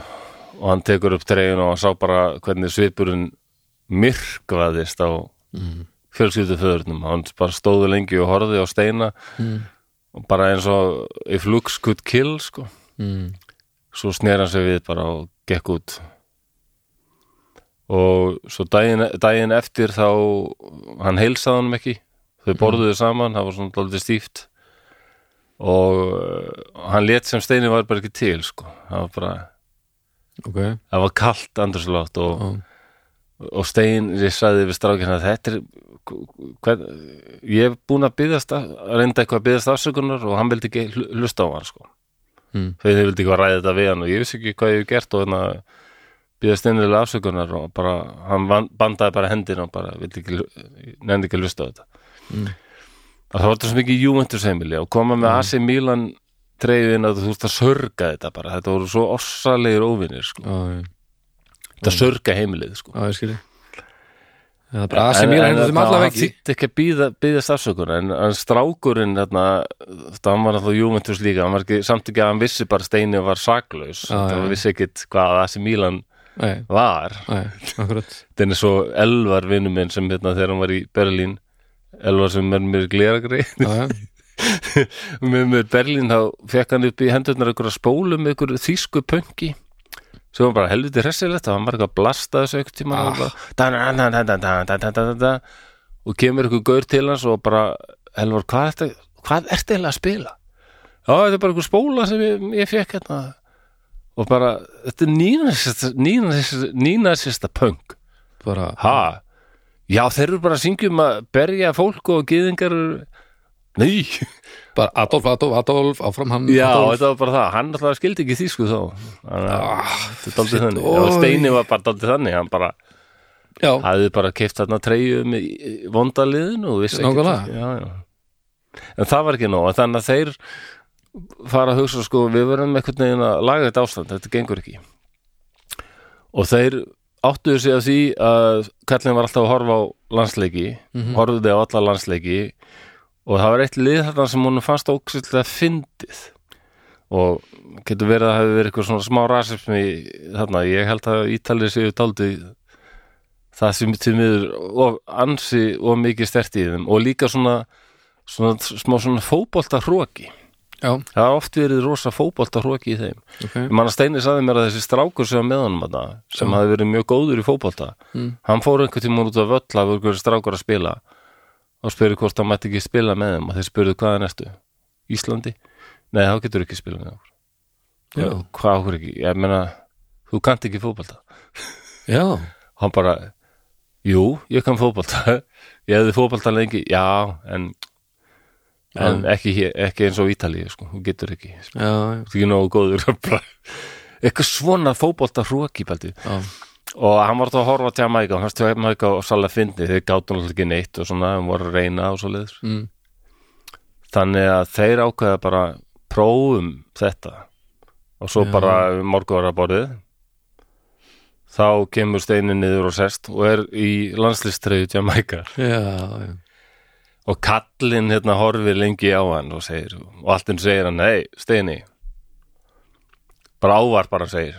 Speaker 1: og hann tekur upp treyjuna og hann sá bara hvernig svipurinn myrkvaðist á mm. fjölskylduföðurnum, hann bara stóðu lengi og horfði á Steina og bara eins og if looks could kill sko.
Speaker 2: mm.
Speaker 1: svo snera hann sig við bara og gekk út og svo daginn, daginn eftir þá hann heilsaði hann ekki þau borðuðu saman, það var svona daldið stíft og eh, hann lét sem steini var bara ekki til sko. það var bara
Speaker 2: ok,
Speaker 1: það var kalt andurslátt og,
Speaker 2: Já.
Speaker 1: og stein, ég sagði við strákina þetta er hvern, ég hef búin að byggðast að reynda eitthvað að byggðast afsökunar og hann vildi ekki hlu- hlusta á hann sko.
Speaker 2: Mm.
Speaker 1: þegar þið vildi ekki að ræða þetta við hann og ég vissi ekki hvað ég hef gert og þannig að byggðast innilega afsökunar og bara, hann van- bandaði bara hendina og bara vildi ekki, nefndi ekki að hlusta á þetta mm. það var þetta svo mikið Juventus heimili og koma með AC Milan treyðin að þú veist að sörga þetta bara þetta voru svo ossalegir óvinir sko.
Speaker 2: já,
Speaker 1: þetta sörga heimilið sko.
Speaker 2: já, ég skilji það er bara AC Milan hendur þeim
Speaker 1: þetta-
Speaker 2: allaveg
Speaker 1: hann
Speaker 2: ekki
Speaker 1: þýtti ekki að býða, býðast afsökun en, en strákurinn þarna, þetta hann var alltaf Juventus líka hann var ekki, samt ekki að hann vissi bara Steini var saklaus
Speaker 2: Já, já.
Speaker 1: hann vissi ekkit hvað AC Milan
Speaker 2: nei,
Speaker 1: var [laughs]
Speaker 2: nei, akkurat
Speaker 1: þetta er svo Elvar vinnu minn sem hérna þegar hann var í Berlín Elvar sem er mér gleragri
Speaker 2: já, já,
Speaker 1: með mér Berlín þá fekk hann upp í hendurnar einhverja spólu með einhverju þýsku pönki sem var bara helviti hressilegt og hann var eitthvað að blasta þessu einhvern tíma
Speaker 2: Ah.
Speaker 1: ah. bara, og kemur einhver gaur til hans og bara Elvar, hvað ertu hvað ertu eiginlega að spila? Já, þetta er bara einhver spóla sem ég, ég fekk hérna og bara, þetta er nýnasista nýnasista, nýnasista pönk
Speaker 2: bara
Speaker 1: ha, já þeir eru bara að syngjum að berja fólk og gyðingar eru- nei
Speaker 2: bara Adolf, Adolf, Adolf, áfram hann
Speaker 1: Já,
Speaker 2: Adolf.
Speaker 1: þetta var bara það, hann alltaf skildi ekki þýsku þá Þannig að
Speaker 2: Ah,
Speaker 1: Þetta er daldið þannig,
Speaker 2: oj.
Speaker 1: og Steini var bara daldið þannig hann bara,
Speaker 2: já,
Speaker 1: hafði bara keift þarna treyju með vondaliðin og vissi
Speaker 2: Nákvæmlega.
Speaker 1: ekki já, já. En það var ekki nóg, en þannig að þeir fara að hugsa sko, við verðum einhvern veginn að laga þetta ástand, þetta gengur ekki og þeir áttuðu sig að því að kallin var alltaf að horfa á landsleiki horfðuði á alla landsleiki og það var eitt lið þarna sem hún fannst óksildlega fyndið og getur verið að það hefur verið eitthvað svona smá rasismi þarna, ég held að Ítalið séu daldið það sem til miður of, ansi og mikið stert í þeim og líka svona, svona smá svona fótbolta hróki
Speaker 2: já,
Speaker 1: það har oft verið rosa fótbolta hróki í þeim
Speaker 2: ok
Speaker 1: Ég man að Steini sagði mér að þessi strákur sem var með honum þetta, sem
Speaker 2: Já.
Speaker 1: hafði verið mjög góður í fótbolta
Speaker 2: Mm.
Speaker 1: hann fór einhvern tímann út af völl af einhverju strákur að spila og spurði hvort hann mætti ekki spila með þeim og þeir spurðu hvað er næstu? Íslandi? Nei, þá getur ekki spila með okkur
Speaker 2: Já.
Speaker 1: Já, Hvað okkur ekki? Ég meina, þú kannt ekki fótbolta
Speaker 2: já,
Speaker 1: og hann bara, jú, ég kann fótbolta [laughs] ég hefði fótbolta lengi já, en, en ekki, hér- ekki eins og Ítalíu sko, þú getur ekki, þú
Speaker 2: já, já,
Speaker 1: getur ekki nógu góður Bara eitthvað svona fótbolta hróki bælti
Speaker 2: já,
Speaker 1: og hann var þá að horfa á Jamaica og hann stjá Jamaica og svolítið fyndi þeir gátu náttúrulega ekki neitt og svona hann voru að reyna og svo leiðis
Speaker 2: mm,
Speaker 1: þannig að þeir ákveða bara prófum þetta og svo
Speaker 2: Já.
Speaker 1: bara morgunvaraborðið þá kemur steinin niður og sest og er í landslistreyju Jamaica
Speaker 2: já, já
Speaker 1: og kallinn hérna horfir lengi á hann og segir, og allt hann segir hann nei, steini bara ávar bara segir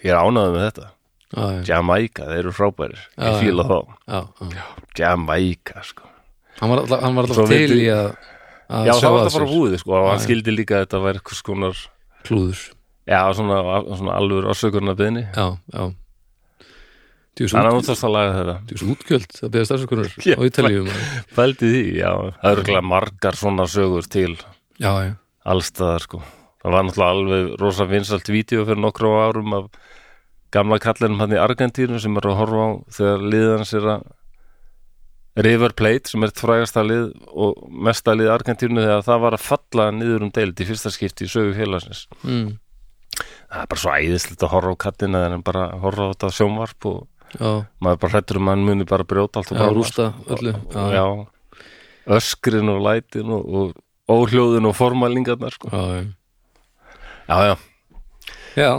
Speaker 1: ég er ánægður með þetta,
Speaker 2: já, já,
Speaker 1: Jamaica þeir eru frábærir,
Speaker 2: Já,
Speaker 1: ég fíla þá
Speaker 2: já, já.
Speaker 1: Jamaica sko.
Speaker 2: hann var alltaf, hann var
Speaker 1: Svo
Speaker 2: alltaf til
Speaker 1: vildi-
Speaker 2: í að að sjá
Speaker 1: Já, það var
Speaker 2: að
Speaker 1: það bara
Speaker 2: sér
Speaker 1: búið sko, og hann skildi líka að þetta var eitthvað skonar
Speaker 2: klúður
Speaker 1: já, svona, svona alveg ásökurna byrni
Speaker 2: já, já þú
Speaker 1: þannig að
Speaker 2: er
Speaker 1: hún þarst að laga þetta
Speaker 2: svo útgjöld að beða starfsökunar
Speaker 1: [laughs] Já.
Speaker 2: á Ítalíum
Speaker 1: Fældi því, já, það eru ekki margar svona sögur til
Speaker 2: já, já,
Speaker 1: allstaðar sko það var náttúrulega alveg rosa vinsalt vídeo fyrir nokkru árum af gamla kallinum hann í Argentínu sem er að horfa á þegar liðan sér að River Plate sem er frægasta lið og mesta lið Argentínu þegar það var að falla niður um deild í fyrsta skipti í sögu félagsins
Speaker 2: mm,
Speaker 1: það er bara svo æðislegt að horfa á kattina en bara horfa á þetta sjónvarp og
Speaker 2: já,
Speaker 1: maður bara hrættur um að hann muni bara brjóta allt og
Speaker 2: já,
Speaker 1: bara
Speaker 2: rústa öllu já, já,
Speaker 1: já, öskrin og lætin og, og óhljóðin og formalingarnar sko.
Speaker 2: já,
Speaker 1: já, já,
Speaker 2: já,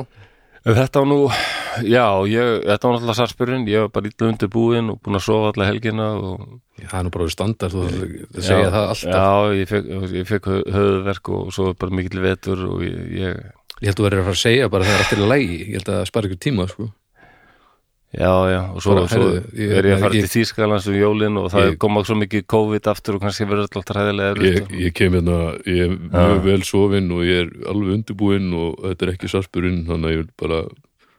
Speaker 1: en þetta var nú já, ég, þetta var náttúrulega sarspurinn ég var bara illa undirbúin og búin að sofa alla helgina og
Speaker 2: það er nú bara standart þú þarf að segja það alltaf
Speaker 1: já, ég fekk, ég fekk höfðverk og svo bara mikill vetur og ég, ég
Speaker 2: ég held að vera að fara að segja bara að það er alltaf lægi ég held að það spara ykkur tíma, sko
Speaker 1: Já, já, og svo,
Speaker 2: Bara,
Speaker 1: svo
Speaker 2: heyrðu, ég-
Speaker 1: er ég að fara
Speaker 2: ég-
Speaker 1: til Þýskalands um jólin og það
Speaker 2: Ég-
Speaker 1: koma svo mikið COVID aftur og kannski verður alltaf hræðilega
Speaker 3: ég,
Speaker 1: erfitt.
Speaker 3: ég kem hérna, ég er mjög vel sofin og ég er alveg undirbúinn og þetta er ekki sarpurinn, þannig að ég vil bara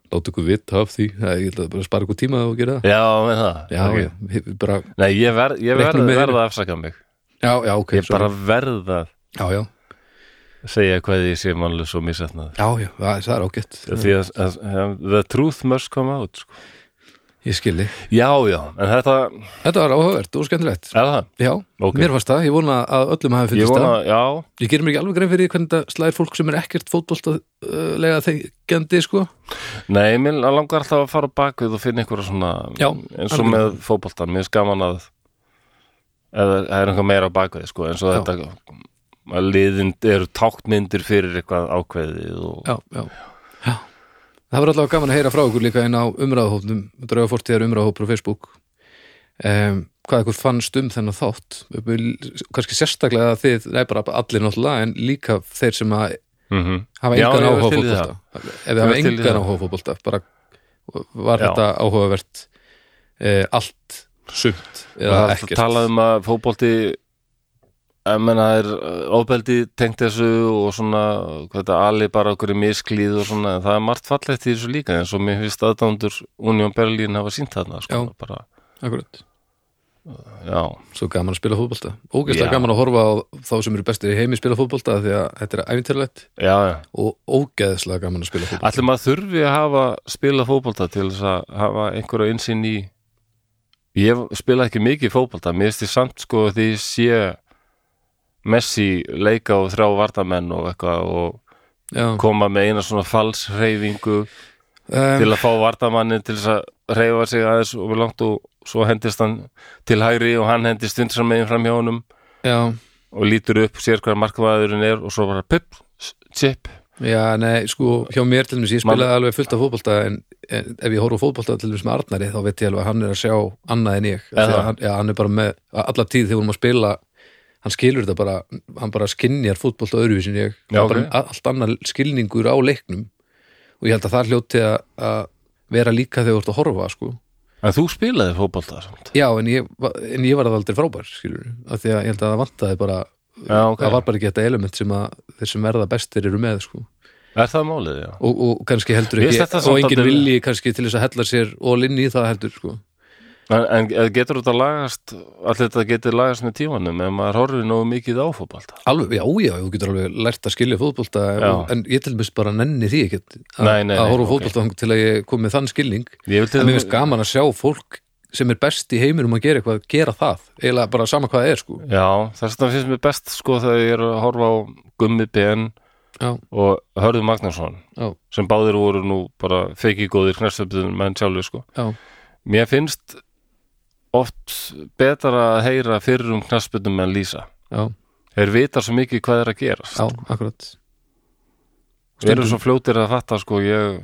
Speaker 3: láta ykkur vitt af því það, ég held að bara spara ykkur tíma og gera það
Speaker 1: Já, með það
Speaker 2: já,
Speaker 1: Ok.
Speaker 2: já, ég- bara,
Speaker 1: Nei, ég, ver, ég
Speaker 2: Leiknum
Speaker 1: verð,
Speaker 2: með-
Speaker 1: verð að afsaka mig
Speaker 2: já, já, ok
Speaker 1: Ég bara verð að
Speaker 2: já, já,
Speaker 1: segja hvað ég sé mannlega svo misetnað
Speaker 2: já, já, það það er ágætt
Speaker 1: Því að, að, að the truth must come out sko.
Speaker 2: ég skilji
Speaker 1: Já, já, en þetta
Speaker 2: Þetta var áhugavert og skemmtilegt
Speaker 1: er það
Speaker 2: Já,
Speaker 1: Ok.
Speaker 2: mér fannst það, ég vona að öllum hafi
Speaker 1: Ég
Speaker 2: fundist
Speaker 1: vona,
Speaker 2: það
Speaker 1: já,
Speaker 2: Ég gerir mér ekki alveg grein fyrir því hvernig þetta slæðir fólk sem er ekkert fótboltalega þegjandi sko
Speaker 1: nei, mér langar alltaf að fara á bakvið og finna einhverja svona
Speaker 2: Já,
Speaker 1: eins og með fótboltan, mér er skaman að eða það er einhver meira á bakvið sko, eins og
Speaker 2: Já.
Speaker 1: þetta að liðin eru tákmyndir fyrir eitthvað ákveðið og
Speaker 2: já, já. já. Það var allavega gaman að heyra frá ykkur líka inn á umræðahópnum, drauga fórtíðar umræðahópur á Facebook um, hvað ykkur fannst um þennan þátt kannski sérstaklega þið, nei bara allir náttúrulega en líka þeir sem að
Speaker 1: mm
Speaker 2: hafa
Speaker 1: Já,
Speaker 2: engan
Speaker 1: ég var
Speaker 2: áhuga á
Speaker 1: til í
Speaker 2: fótbolta ef þið hafa
Speaker 1: var til í
Speaker 2: engan
Speaker 1: það.
Speaker 2: áhuga á fótbolta bara var
Speaker 1: Já.
Speaker 2: þetta áhugavert e, allt sumt eða
Speaker 1: það
Speaker 2: ekkert
Speaker 1: talað um að fótbolti að menna það er uh, ofbeldi tengt þessu og svona hvað þetta ali bara okkur í misklíð og svona en það er margt fallegt í þessu líka eins og mér finnst aðdándur Union Berlin hafa sínt þarna sko,
Speaker 2: Já.
Speaker 1: bara,
Speaker 2: Akkurat.
Speaker 1: já,
Speaker 2: svo gaman að spila fótbolta ógeðslega
Speaker 1: Já.
Speaker 2: gaman að horfa á þá sem eru bestir í heimi spila fótbolta því að þetta er æfintirlegt
Speaker 1: já, já
Speaker 2: og ógeðslega gaman að spila fótbolta
Speaker 1: Allir maður þurfi að hafa spila fótbolta til þess að hafa einhverja einsinn í ég spila ekki mikið fótbolta mér finnst ég samt sko því ég sé Messi leika og þrjá vardamenn og eitthvað og
Speaker 2: Já.
Speaker 1: koma með eina svona falsreyfingu
Speaker 2: Um,
Speaker 1: til að fá vardamannin til þess að reyfa sig aðeins og við langt og svo hendist hann til hægri og hann hendist undsam megin fram hjá honum
Speaker 2: já,
Speaker 1: og lítur upp, sér hvað markmaðurinn er og svo bara pip, chip
Speaker 2: já, nei, sko hjá mér til dæmis, ég
Speaker 1: Man-
Speaker 2: spilaði alveg fullt af fótbolta en, en ef ég horf á fótbolta til dæmis með Arnari þá veit ég alveg að hann er að sjá annað en ég,
Speaker 1: Eða.
Speaker 2: þegar hann, já, hann er bara með alla tíð þegar hún maður spila hann skilur þetta bara, hann bara skinnjar fótbolta öðruvísin ég, Það
Speaker 1: Já,
Speaker 2: er
Speaker 1: ok.
Speaker 2: bara allt annar skilningur á leiknum og ég held að það er hljóti að, að vera líka þegar þú ert að horfa, sko
Speaker 1: En þú spilaði fótbolta samt
Speaker 2: Já, en ég, va- en ég var það aldrei frábær skilur, af því að ég held að það vantaði bara
Speaker 1: Já, ok.
Speaker 2: það var bara ekki þetta element sem að þeir sem verða bestir eru með sko.
Speaker 1: Er það málið, já?
Speaker 2: og, og kannski heldur
Speaker 1: Mér
Speaker 2: ekki
Speaker 1: finnst þetta samt
Speaker 2: og engin
Speaker 1: aldrei-
Speaker 2: vilji kannski til þess að hella sér og linn í það heldur sko.
Speaker 1: En, en getur þetta lagast allir þetta getur lagast með tímanum ef maður horfir nógu mikið á fótbolta
Speaker 2: alveg, já, já, þú getur alveg lært að skilja fótbolta
Speaker 1: Já.
Speaker 2: og, en ég til mest bara nenni því ekki að
Speaker 1: Nei, nei,
Speaker 2: að
Speaker 1: nei,
Speaker 2: horfa á
Speaker 1: ok.
Speaker 2: fótbolta þangað til að ég kom með þann skilning
Speaker 1: Ég vil til
Speaker 2: en mér finnst gaman að sjá fólk sem er best í heiminum að gera eitthvað, gera það eiginlega bara sama hvað það er sko.
Speaker 1: Já, þess vegna finnst mér best sko þegar ég er að horfa á Gummi BN
Speaker 2: já,
Speaker 1: og Hörður Magnússon
Speaker 2: já,
Speaker 1: sem báðir voru nú bara feiki góðir knarsöfnum menn sjálfur sko
Speaker 2: já,
Speaker 1: Mér finnst oft betra að heyra fyrir um knarsöfnum en lýsa
Speaker 2: já,
Speaker 1: Þeir vita svo mikið hvað er að gerast
Speaker 2: já, akkurat
Speaker 1: Við erum svo fljótir að fatta sko ég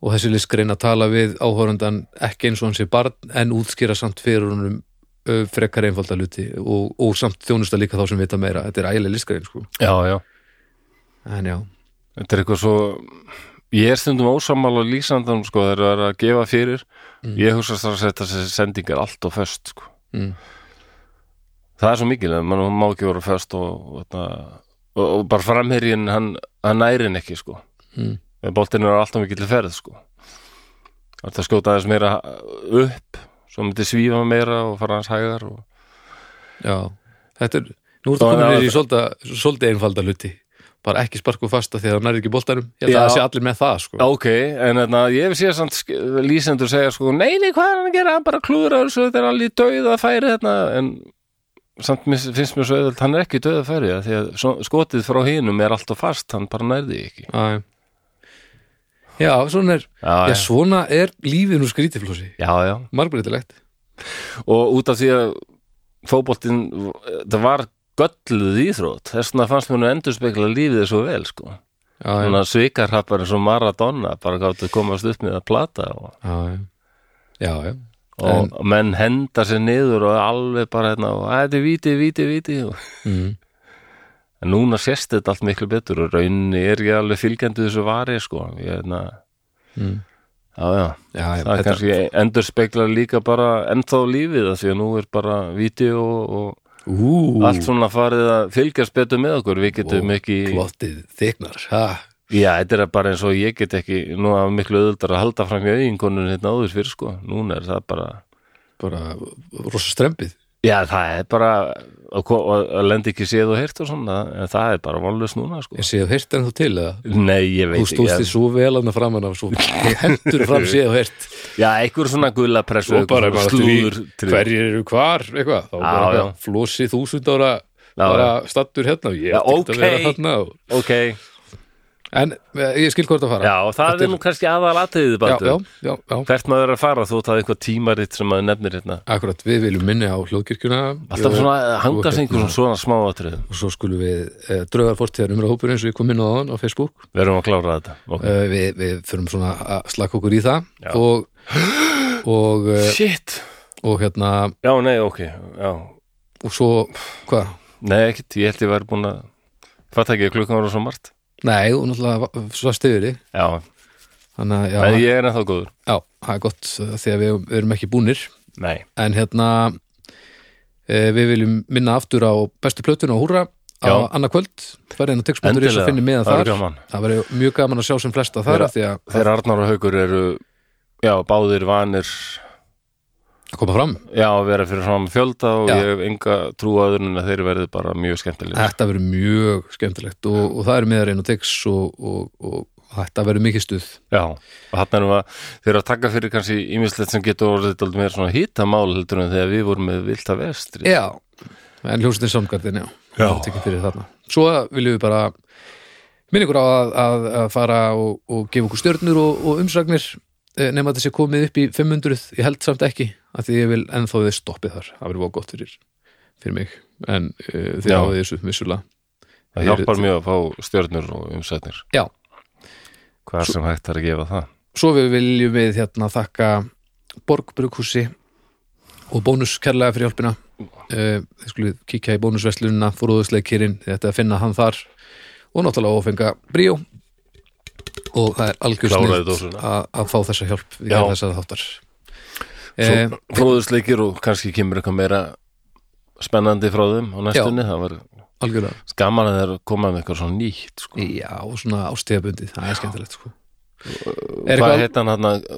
Speaker 2: og þessi listgrein að tala við áhórandan ekki eins og hann sé barn en útskýra samt fyrir honum ö, frekar einfalda luti og, og samt þjónusta líka þá sem vita meira þetta er ægileg listgrein sko
Speaker 1: Já, já
Speaker 2: en já,
Speaker 1: Þetta er eitthvað svo ég er stundum ósammála lýsandanum sko þegar það er að gefa fyrir ég hugsa strax að þessi sending er allt og föst sko.
Speaker 2: Mm.
Speaker 1: það er svo mikil að mann má ekki vera föst og, og, þetta- og, og bara framherjinn hann, hann nærin ekki sko
Speaker 2: Mm.
Speaker 1: en boltinn er alltaf mikil ferð sko það skjóta aðeins meira upp svo myndi svífa meira og fara hans hægar og
Speaker 2: já þetta er, nú er þetta
Speaker 1: Og
Speaker 2: komin
Speaker 1: það-
Speaker 2: niður í svolítið svolítið einfalda luti bara ekki sparku fasta því að það nær ekki boltanum ég held
Speaker 1: Já.
Speaker 2: að það sé allir með það sko
Speaker 1: Ok, en þarna, ég hef séð samt sk- lýsendur segja sko, nei, nei, hvað er hann að gera, hann bara klúður þessu, þetta er alveg döið að færi þarna, en samt mis- finnst mér svo auðvöld, hann er ekki döið að færi það, því að svo- skotið frá hinum er alltaf fast, hann bara nærði ekki.
Speaker 2: Æ. já, svona er
Speaker 1: Já,
Speaker 2: já, svona er lífið nú skrítiflósi
Speaker 1: já, já,
Speaker 2: margbreytilegt
Speaker 1: og út af því að fótboltinn, eh, það var gölluð íþrótt, þess vegna fannst mér nú endurspekla lífið svo vel, sko.
Speaker 2: já, já,
Speaker 1: Svona svikarhappar eins og Maradona, bara gáttu komast upp með að plata og...
Speaker 2: já, já. já, já.
Speaker 1: og menn henda sér niður og alveg bara hérna og "Æ, þetta er viti, viti, viti og-
Speaker 2: Mm.
Speaker 1: en núna sérst þetta allt miklu betur og rauninni er ég alveg fylgjandi þessu vari sko ég, hérna,
Speaker 2: Mm.
Speaker 1: já, já,
Speaker 2: já, já
Speaker 1: það
Speaker 2: þetta-
Speaker 1: er kannski endur speklar líka bara ennþá lífið af því að nú er bara viti og, og
Speaker 2: Ú,
Speaker 1: allt svona farið að fylgjast betur með okkur við getum
Speaker 2: Ó,
Speaker 1: ekki
Speaker 2: plottið þyknar ha.
Speaker 1: Já, þetta er bara eins og ég get ekki nú að miklu auðvöldar að halda fram hjá eiginkonun hérna áður fyrir sko, núna er það bara
Speaker 2: bara rosa strempið
Speaker 1: Já, það er bara að, ko- að, að lenda ekki séð og heyrt og svona en það er bara vonlust núna sko.
Speaker 2: ég sé að heyrt en þú til eða
Speaker 1: Nei, ég veit
Speaker 2: þú stóðst því
Speaker 1: ekki
Speaker 2: svo vel hann að framan af svo hendur fram séð og heyrt [laughs]
Speaker 1: Já, einhver svona gulla pressu
Speaker 3: og bara
Speaker 1: einhver
Speaker 3: maður
Speaker 1: svona
Speaker 3: eftir
Speaker 1: slúður
Speaker 3: því hverjir eru hvar eitthvað, þá bara
Speaker 1: Já, já.
Speaker 3: eitthvað flosi þúsund ára
Speaker 1: Já,
Speaker 3: bara stattur hérna og ég
Speaker 1: Já,
Speaker 3: ætti ekkert að
Speaker 1: ok.
Speaker 3: vera hérna og
Speaker 1: Ok,
Speaker 2: en eh, ég skil hvort að fara
Speaker 1: Já, og það
Speaker 2: Þetta
Speaker 1: er nú kannski aðal atriðið
Speaker 2: já,
Speaker 1: bara
Speaker 2: já, já, já,
Speaker 1: Hvert maður er að fara þú það er eitthvað tímaritt sem maður nefnir hérna
Speaker 2: akkurat, við viljum minni á hljóðkirkjuna
Speaker 1: Alltaf svona
Speaker 2: eh,
Speaker 1: hangast einhverjum svona smá atriðum
Speaker 2: og svo skulum við eh, draugar fórtíðar umræða hópur eins og ég kom inn á þann á Facebook
Speaker 1: Við erum að klára þetta okay.
Speaker 2: uh, við, við förum svona að slaka okkur í það og, og, uh,
Speaker 1: Shit
Speaker 2: og hérna
Speaker 1: Já, nei, ok já.
Speaker 2: og svo, hvað?
Speaker 1: Nei, ekkert, ég held ég væri búin að Fatt ekki, klukkan var svo margt
Speaker 2: Nei, og náttúrulega svo stiður þig
Speaker 1: Já,
Speaker 2: þannig að
Speaker 1: en
Speaker 2: já,
Speaker 1: ég er ennþá góður
Speaker 2: já, það er gott uh, því að við, við erum ekki búnir
Speaker 1: Nei,
Speaker 2: en hérna eh, við viljum minna aftur á bestu plötuna og húra á
Speaker 1: Já.
Speaker 2: annað kvöld farið inn á textbundur þess
Speaker 1: Endilega.
Speaker 2: að finni meðan
Speaker 1: Það
Speaker 2: þar
Speaker 1: verður gaman.
Speaker 2: það verður mjög gaman að sjá sem flesta þar
Speaker 1: Þeirra-
Speaker 2: af því að
Speaker 1: þeir Arnar og Haukur eru Já, báðir vanir
Speaker 2: koma fram
Speaker 1: Já, að vera fyrir fram fjölda og
Speaker 2: Já.
Speaker 1: ég hef enga trú aður en að þeir verði bara mjög skemmtilega
Speaker 2: þetta verður mjög skemmtilegt og, og það eru meðar einn og text og, og, og þetta verður mikið stuð
Speaker 1: Já, og hann erum að þeir eru að taka fyrir kannski ímislegt sem getur orðið dálítið meira svona hýtamál heldur en þegar við vorum með vilda vestri
Speaker 2: já, en hljómsveitin samgarðin já,
Speaker 1: Já.
Speaker 2: Það tekið fyrir þarna svo viljum við bara minna ykkur á að, að, að fara og, og gefa okkur stjörnur og, og umsagnir eh, nema þetta sé komið upp í 500 ég held samt ekki, af því ég vil ennþá við stoppið þar, það verður voða gott fyrir fyrir mig, en uh, þið
Speaker 1: Já.
Speaker 2: náðu þessu vissulega
Speaker 1: Það hjálpar mjög að fá stjörnur og umsætnir
Speaker 2: já,
Speaker 1: Hvað sem hægt er að gefa það
Speaker 2: svo við viljum við hérna þakka Borgbrukhúsi og bónus kærlega fyrir hjálpina Eh, þið skulum kíkja í bónusveslunina fóruðusleikirinn, þetta að finna hann þar og náttúrulega ófenga bríó og það er algjör
Speaker 1: Kláraði
Speaker 2: snilt
Speaker 1: dósina.
Speaker 2: að að fá þessa hjálp við
Speaker 1: Já.
Speaker 2: gerðum þessa þáttar eh,
Speaker 1: Svo fróðusleikir og kannski kemur eitthvað meira spennandi frá þeim á næstunni Það var
Speaker 2: algjörlega,
Speaker 1: gaman að þeir koma með eitthvað svona nýtt sko. Uh,
Speaker 2: já, og svona ástíðabundið það er skemmtilegt sko er
Speaker 1: Hvað
Speaker 2: eitthvað-
Speaker 1: heit hann hann að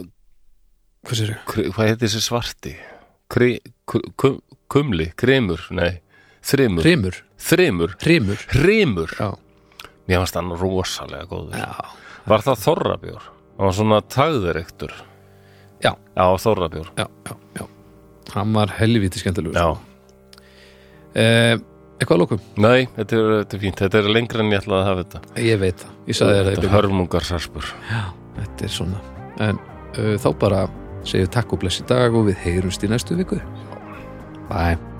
Speaker 2: Hvað sérðu?
Speaker 1: Hvað heit þessi svarti? Kri, kum, kumli? Kremur? Nei, þrimur
Speaker 2: Hrimur,
Speaker 1: Þrimur?
Speaker 2: hrimur
Speaker 1: Hrimur?
Speaker 2: Já,
Speaker 1: Mér fannst hann rosalega góður
Speaker 2: já,
Speaker 1: Var það Þorrabjór? Það var svona tagðureyktur
Speaker 2: Já.
Speaker 1: Já, Þorrabjór
Speaker 2: já, já, já Hann var helviti skemmtilegur
Speaker 1: Já
Speaker 2: eh, Eitthvað að lókum?
Speaker 1: Nei, þetta er, þetta er fínt, þetta er lengra en ég ætlaði að hafa þetta
Speaker 2: Ég veit það, ég sagði þér það í
Speaker 1: Þetta
Speaker 2: byrjun.
Speaker 1: er hörmungar sarpur
Speaker 2: Já, þetta er svona En eh, uh, þá bara segjum við takk og bless í dag og við heyrumst í næstu viku Bye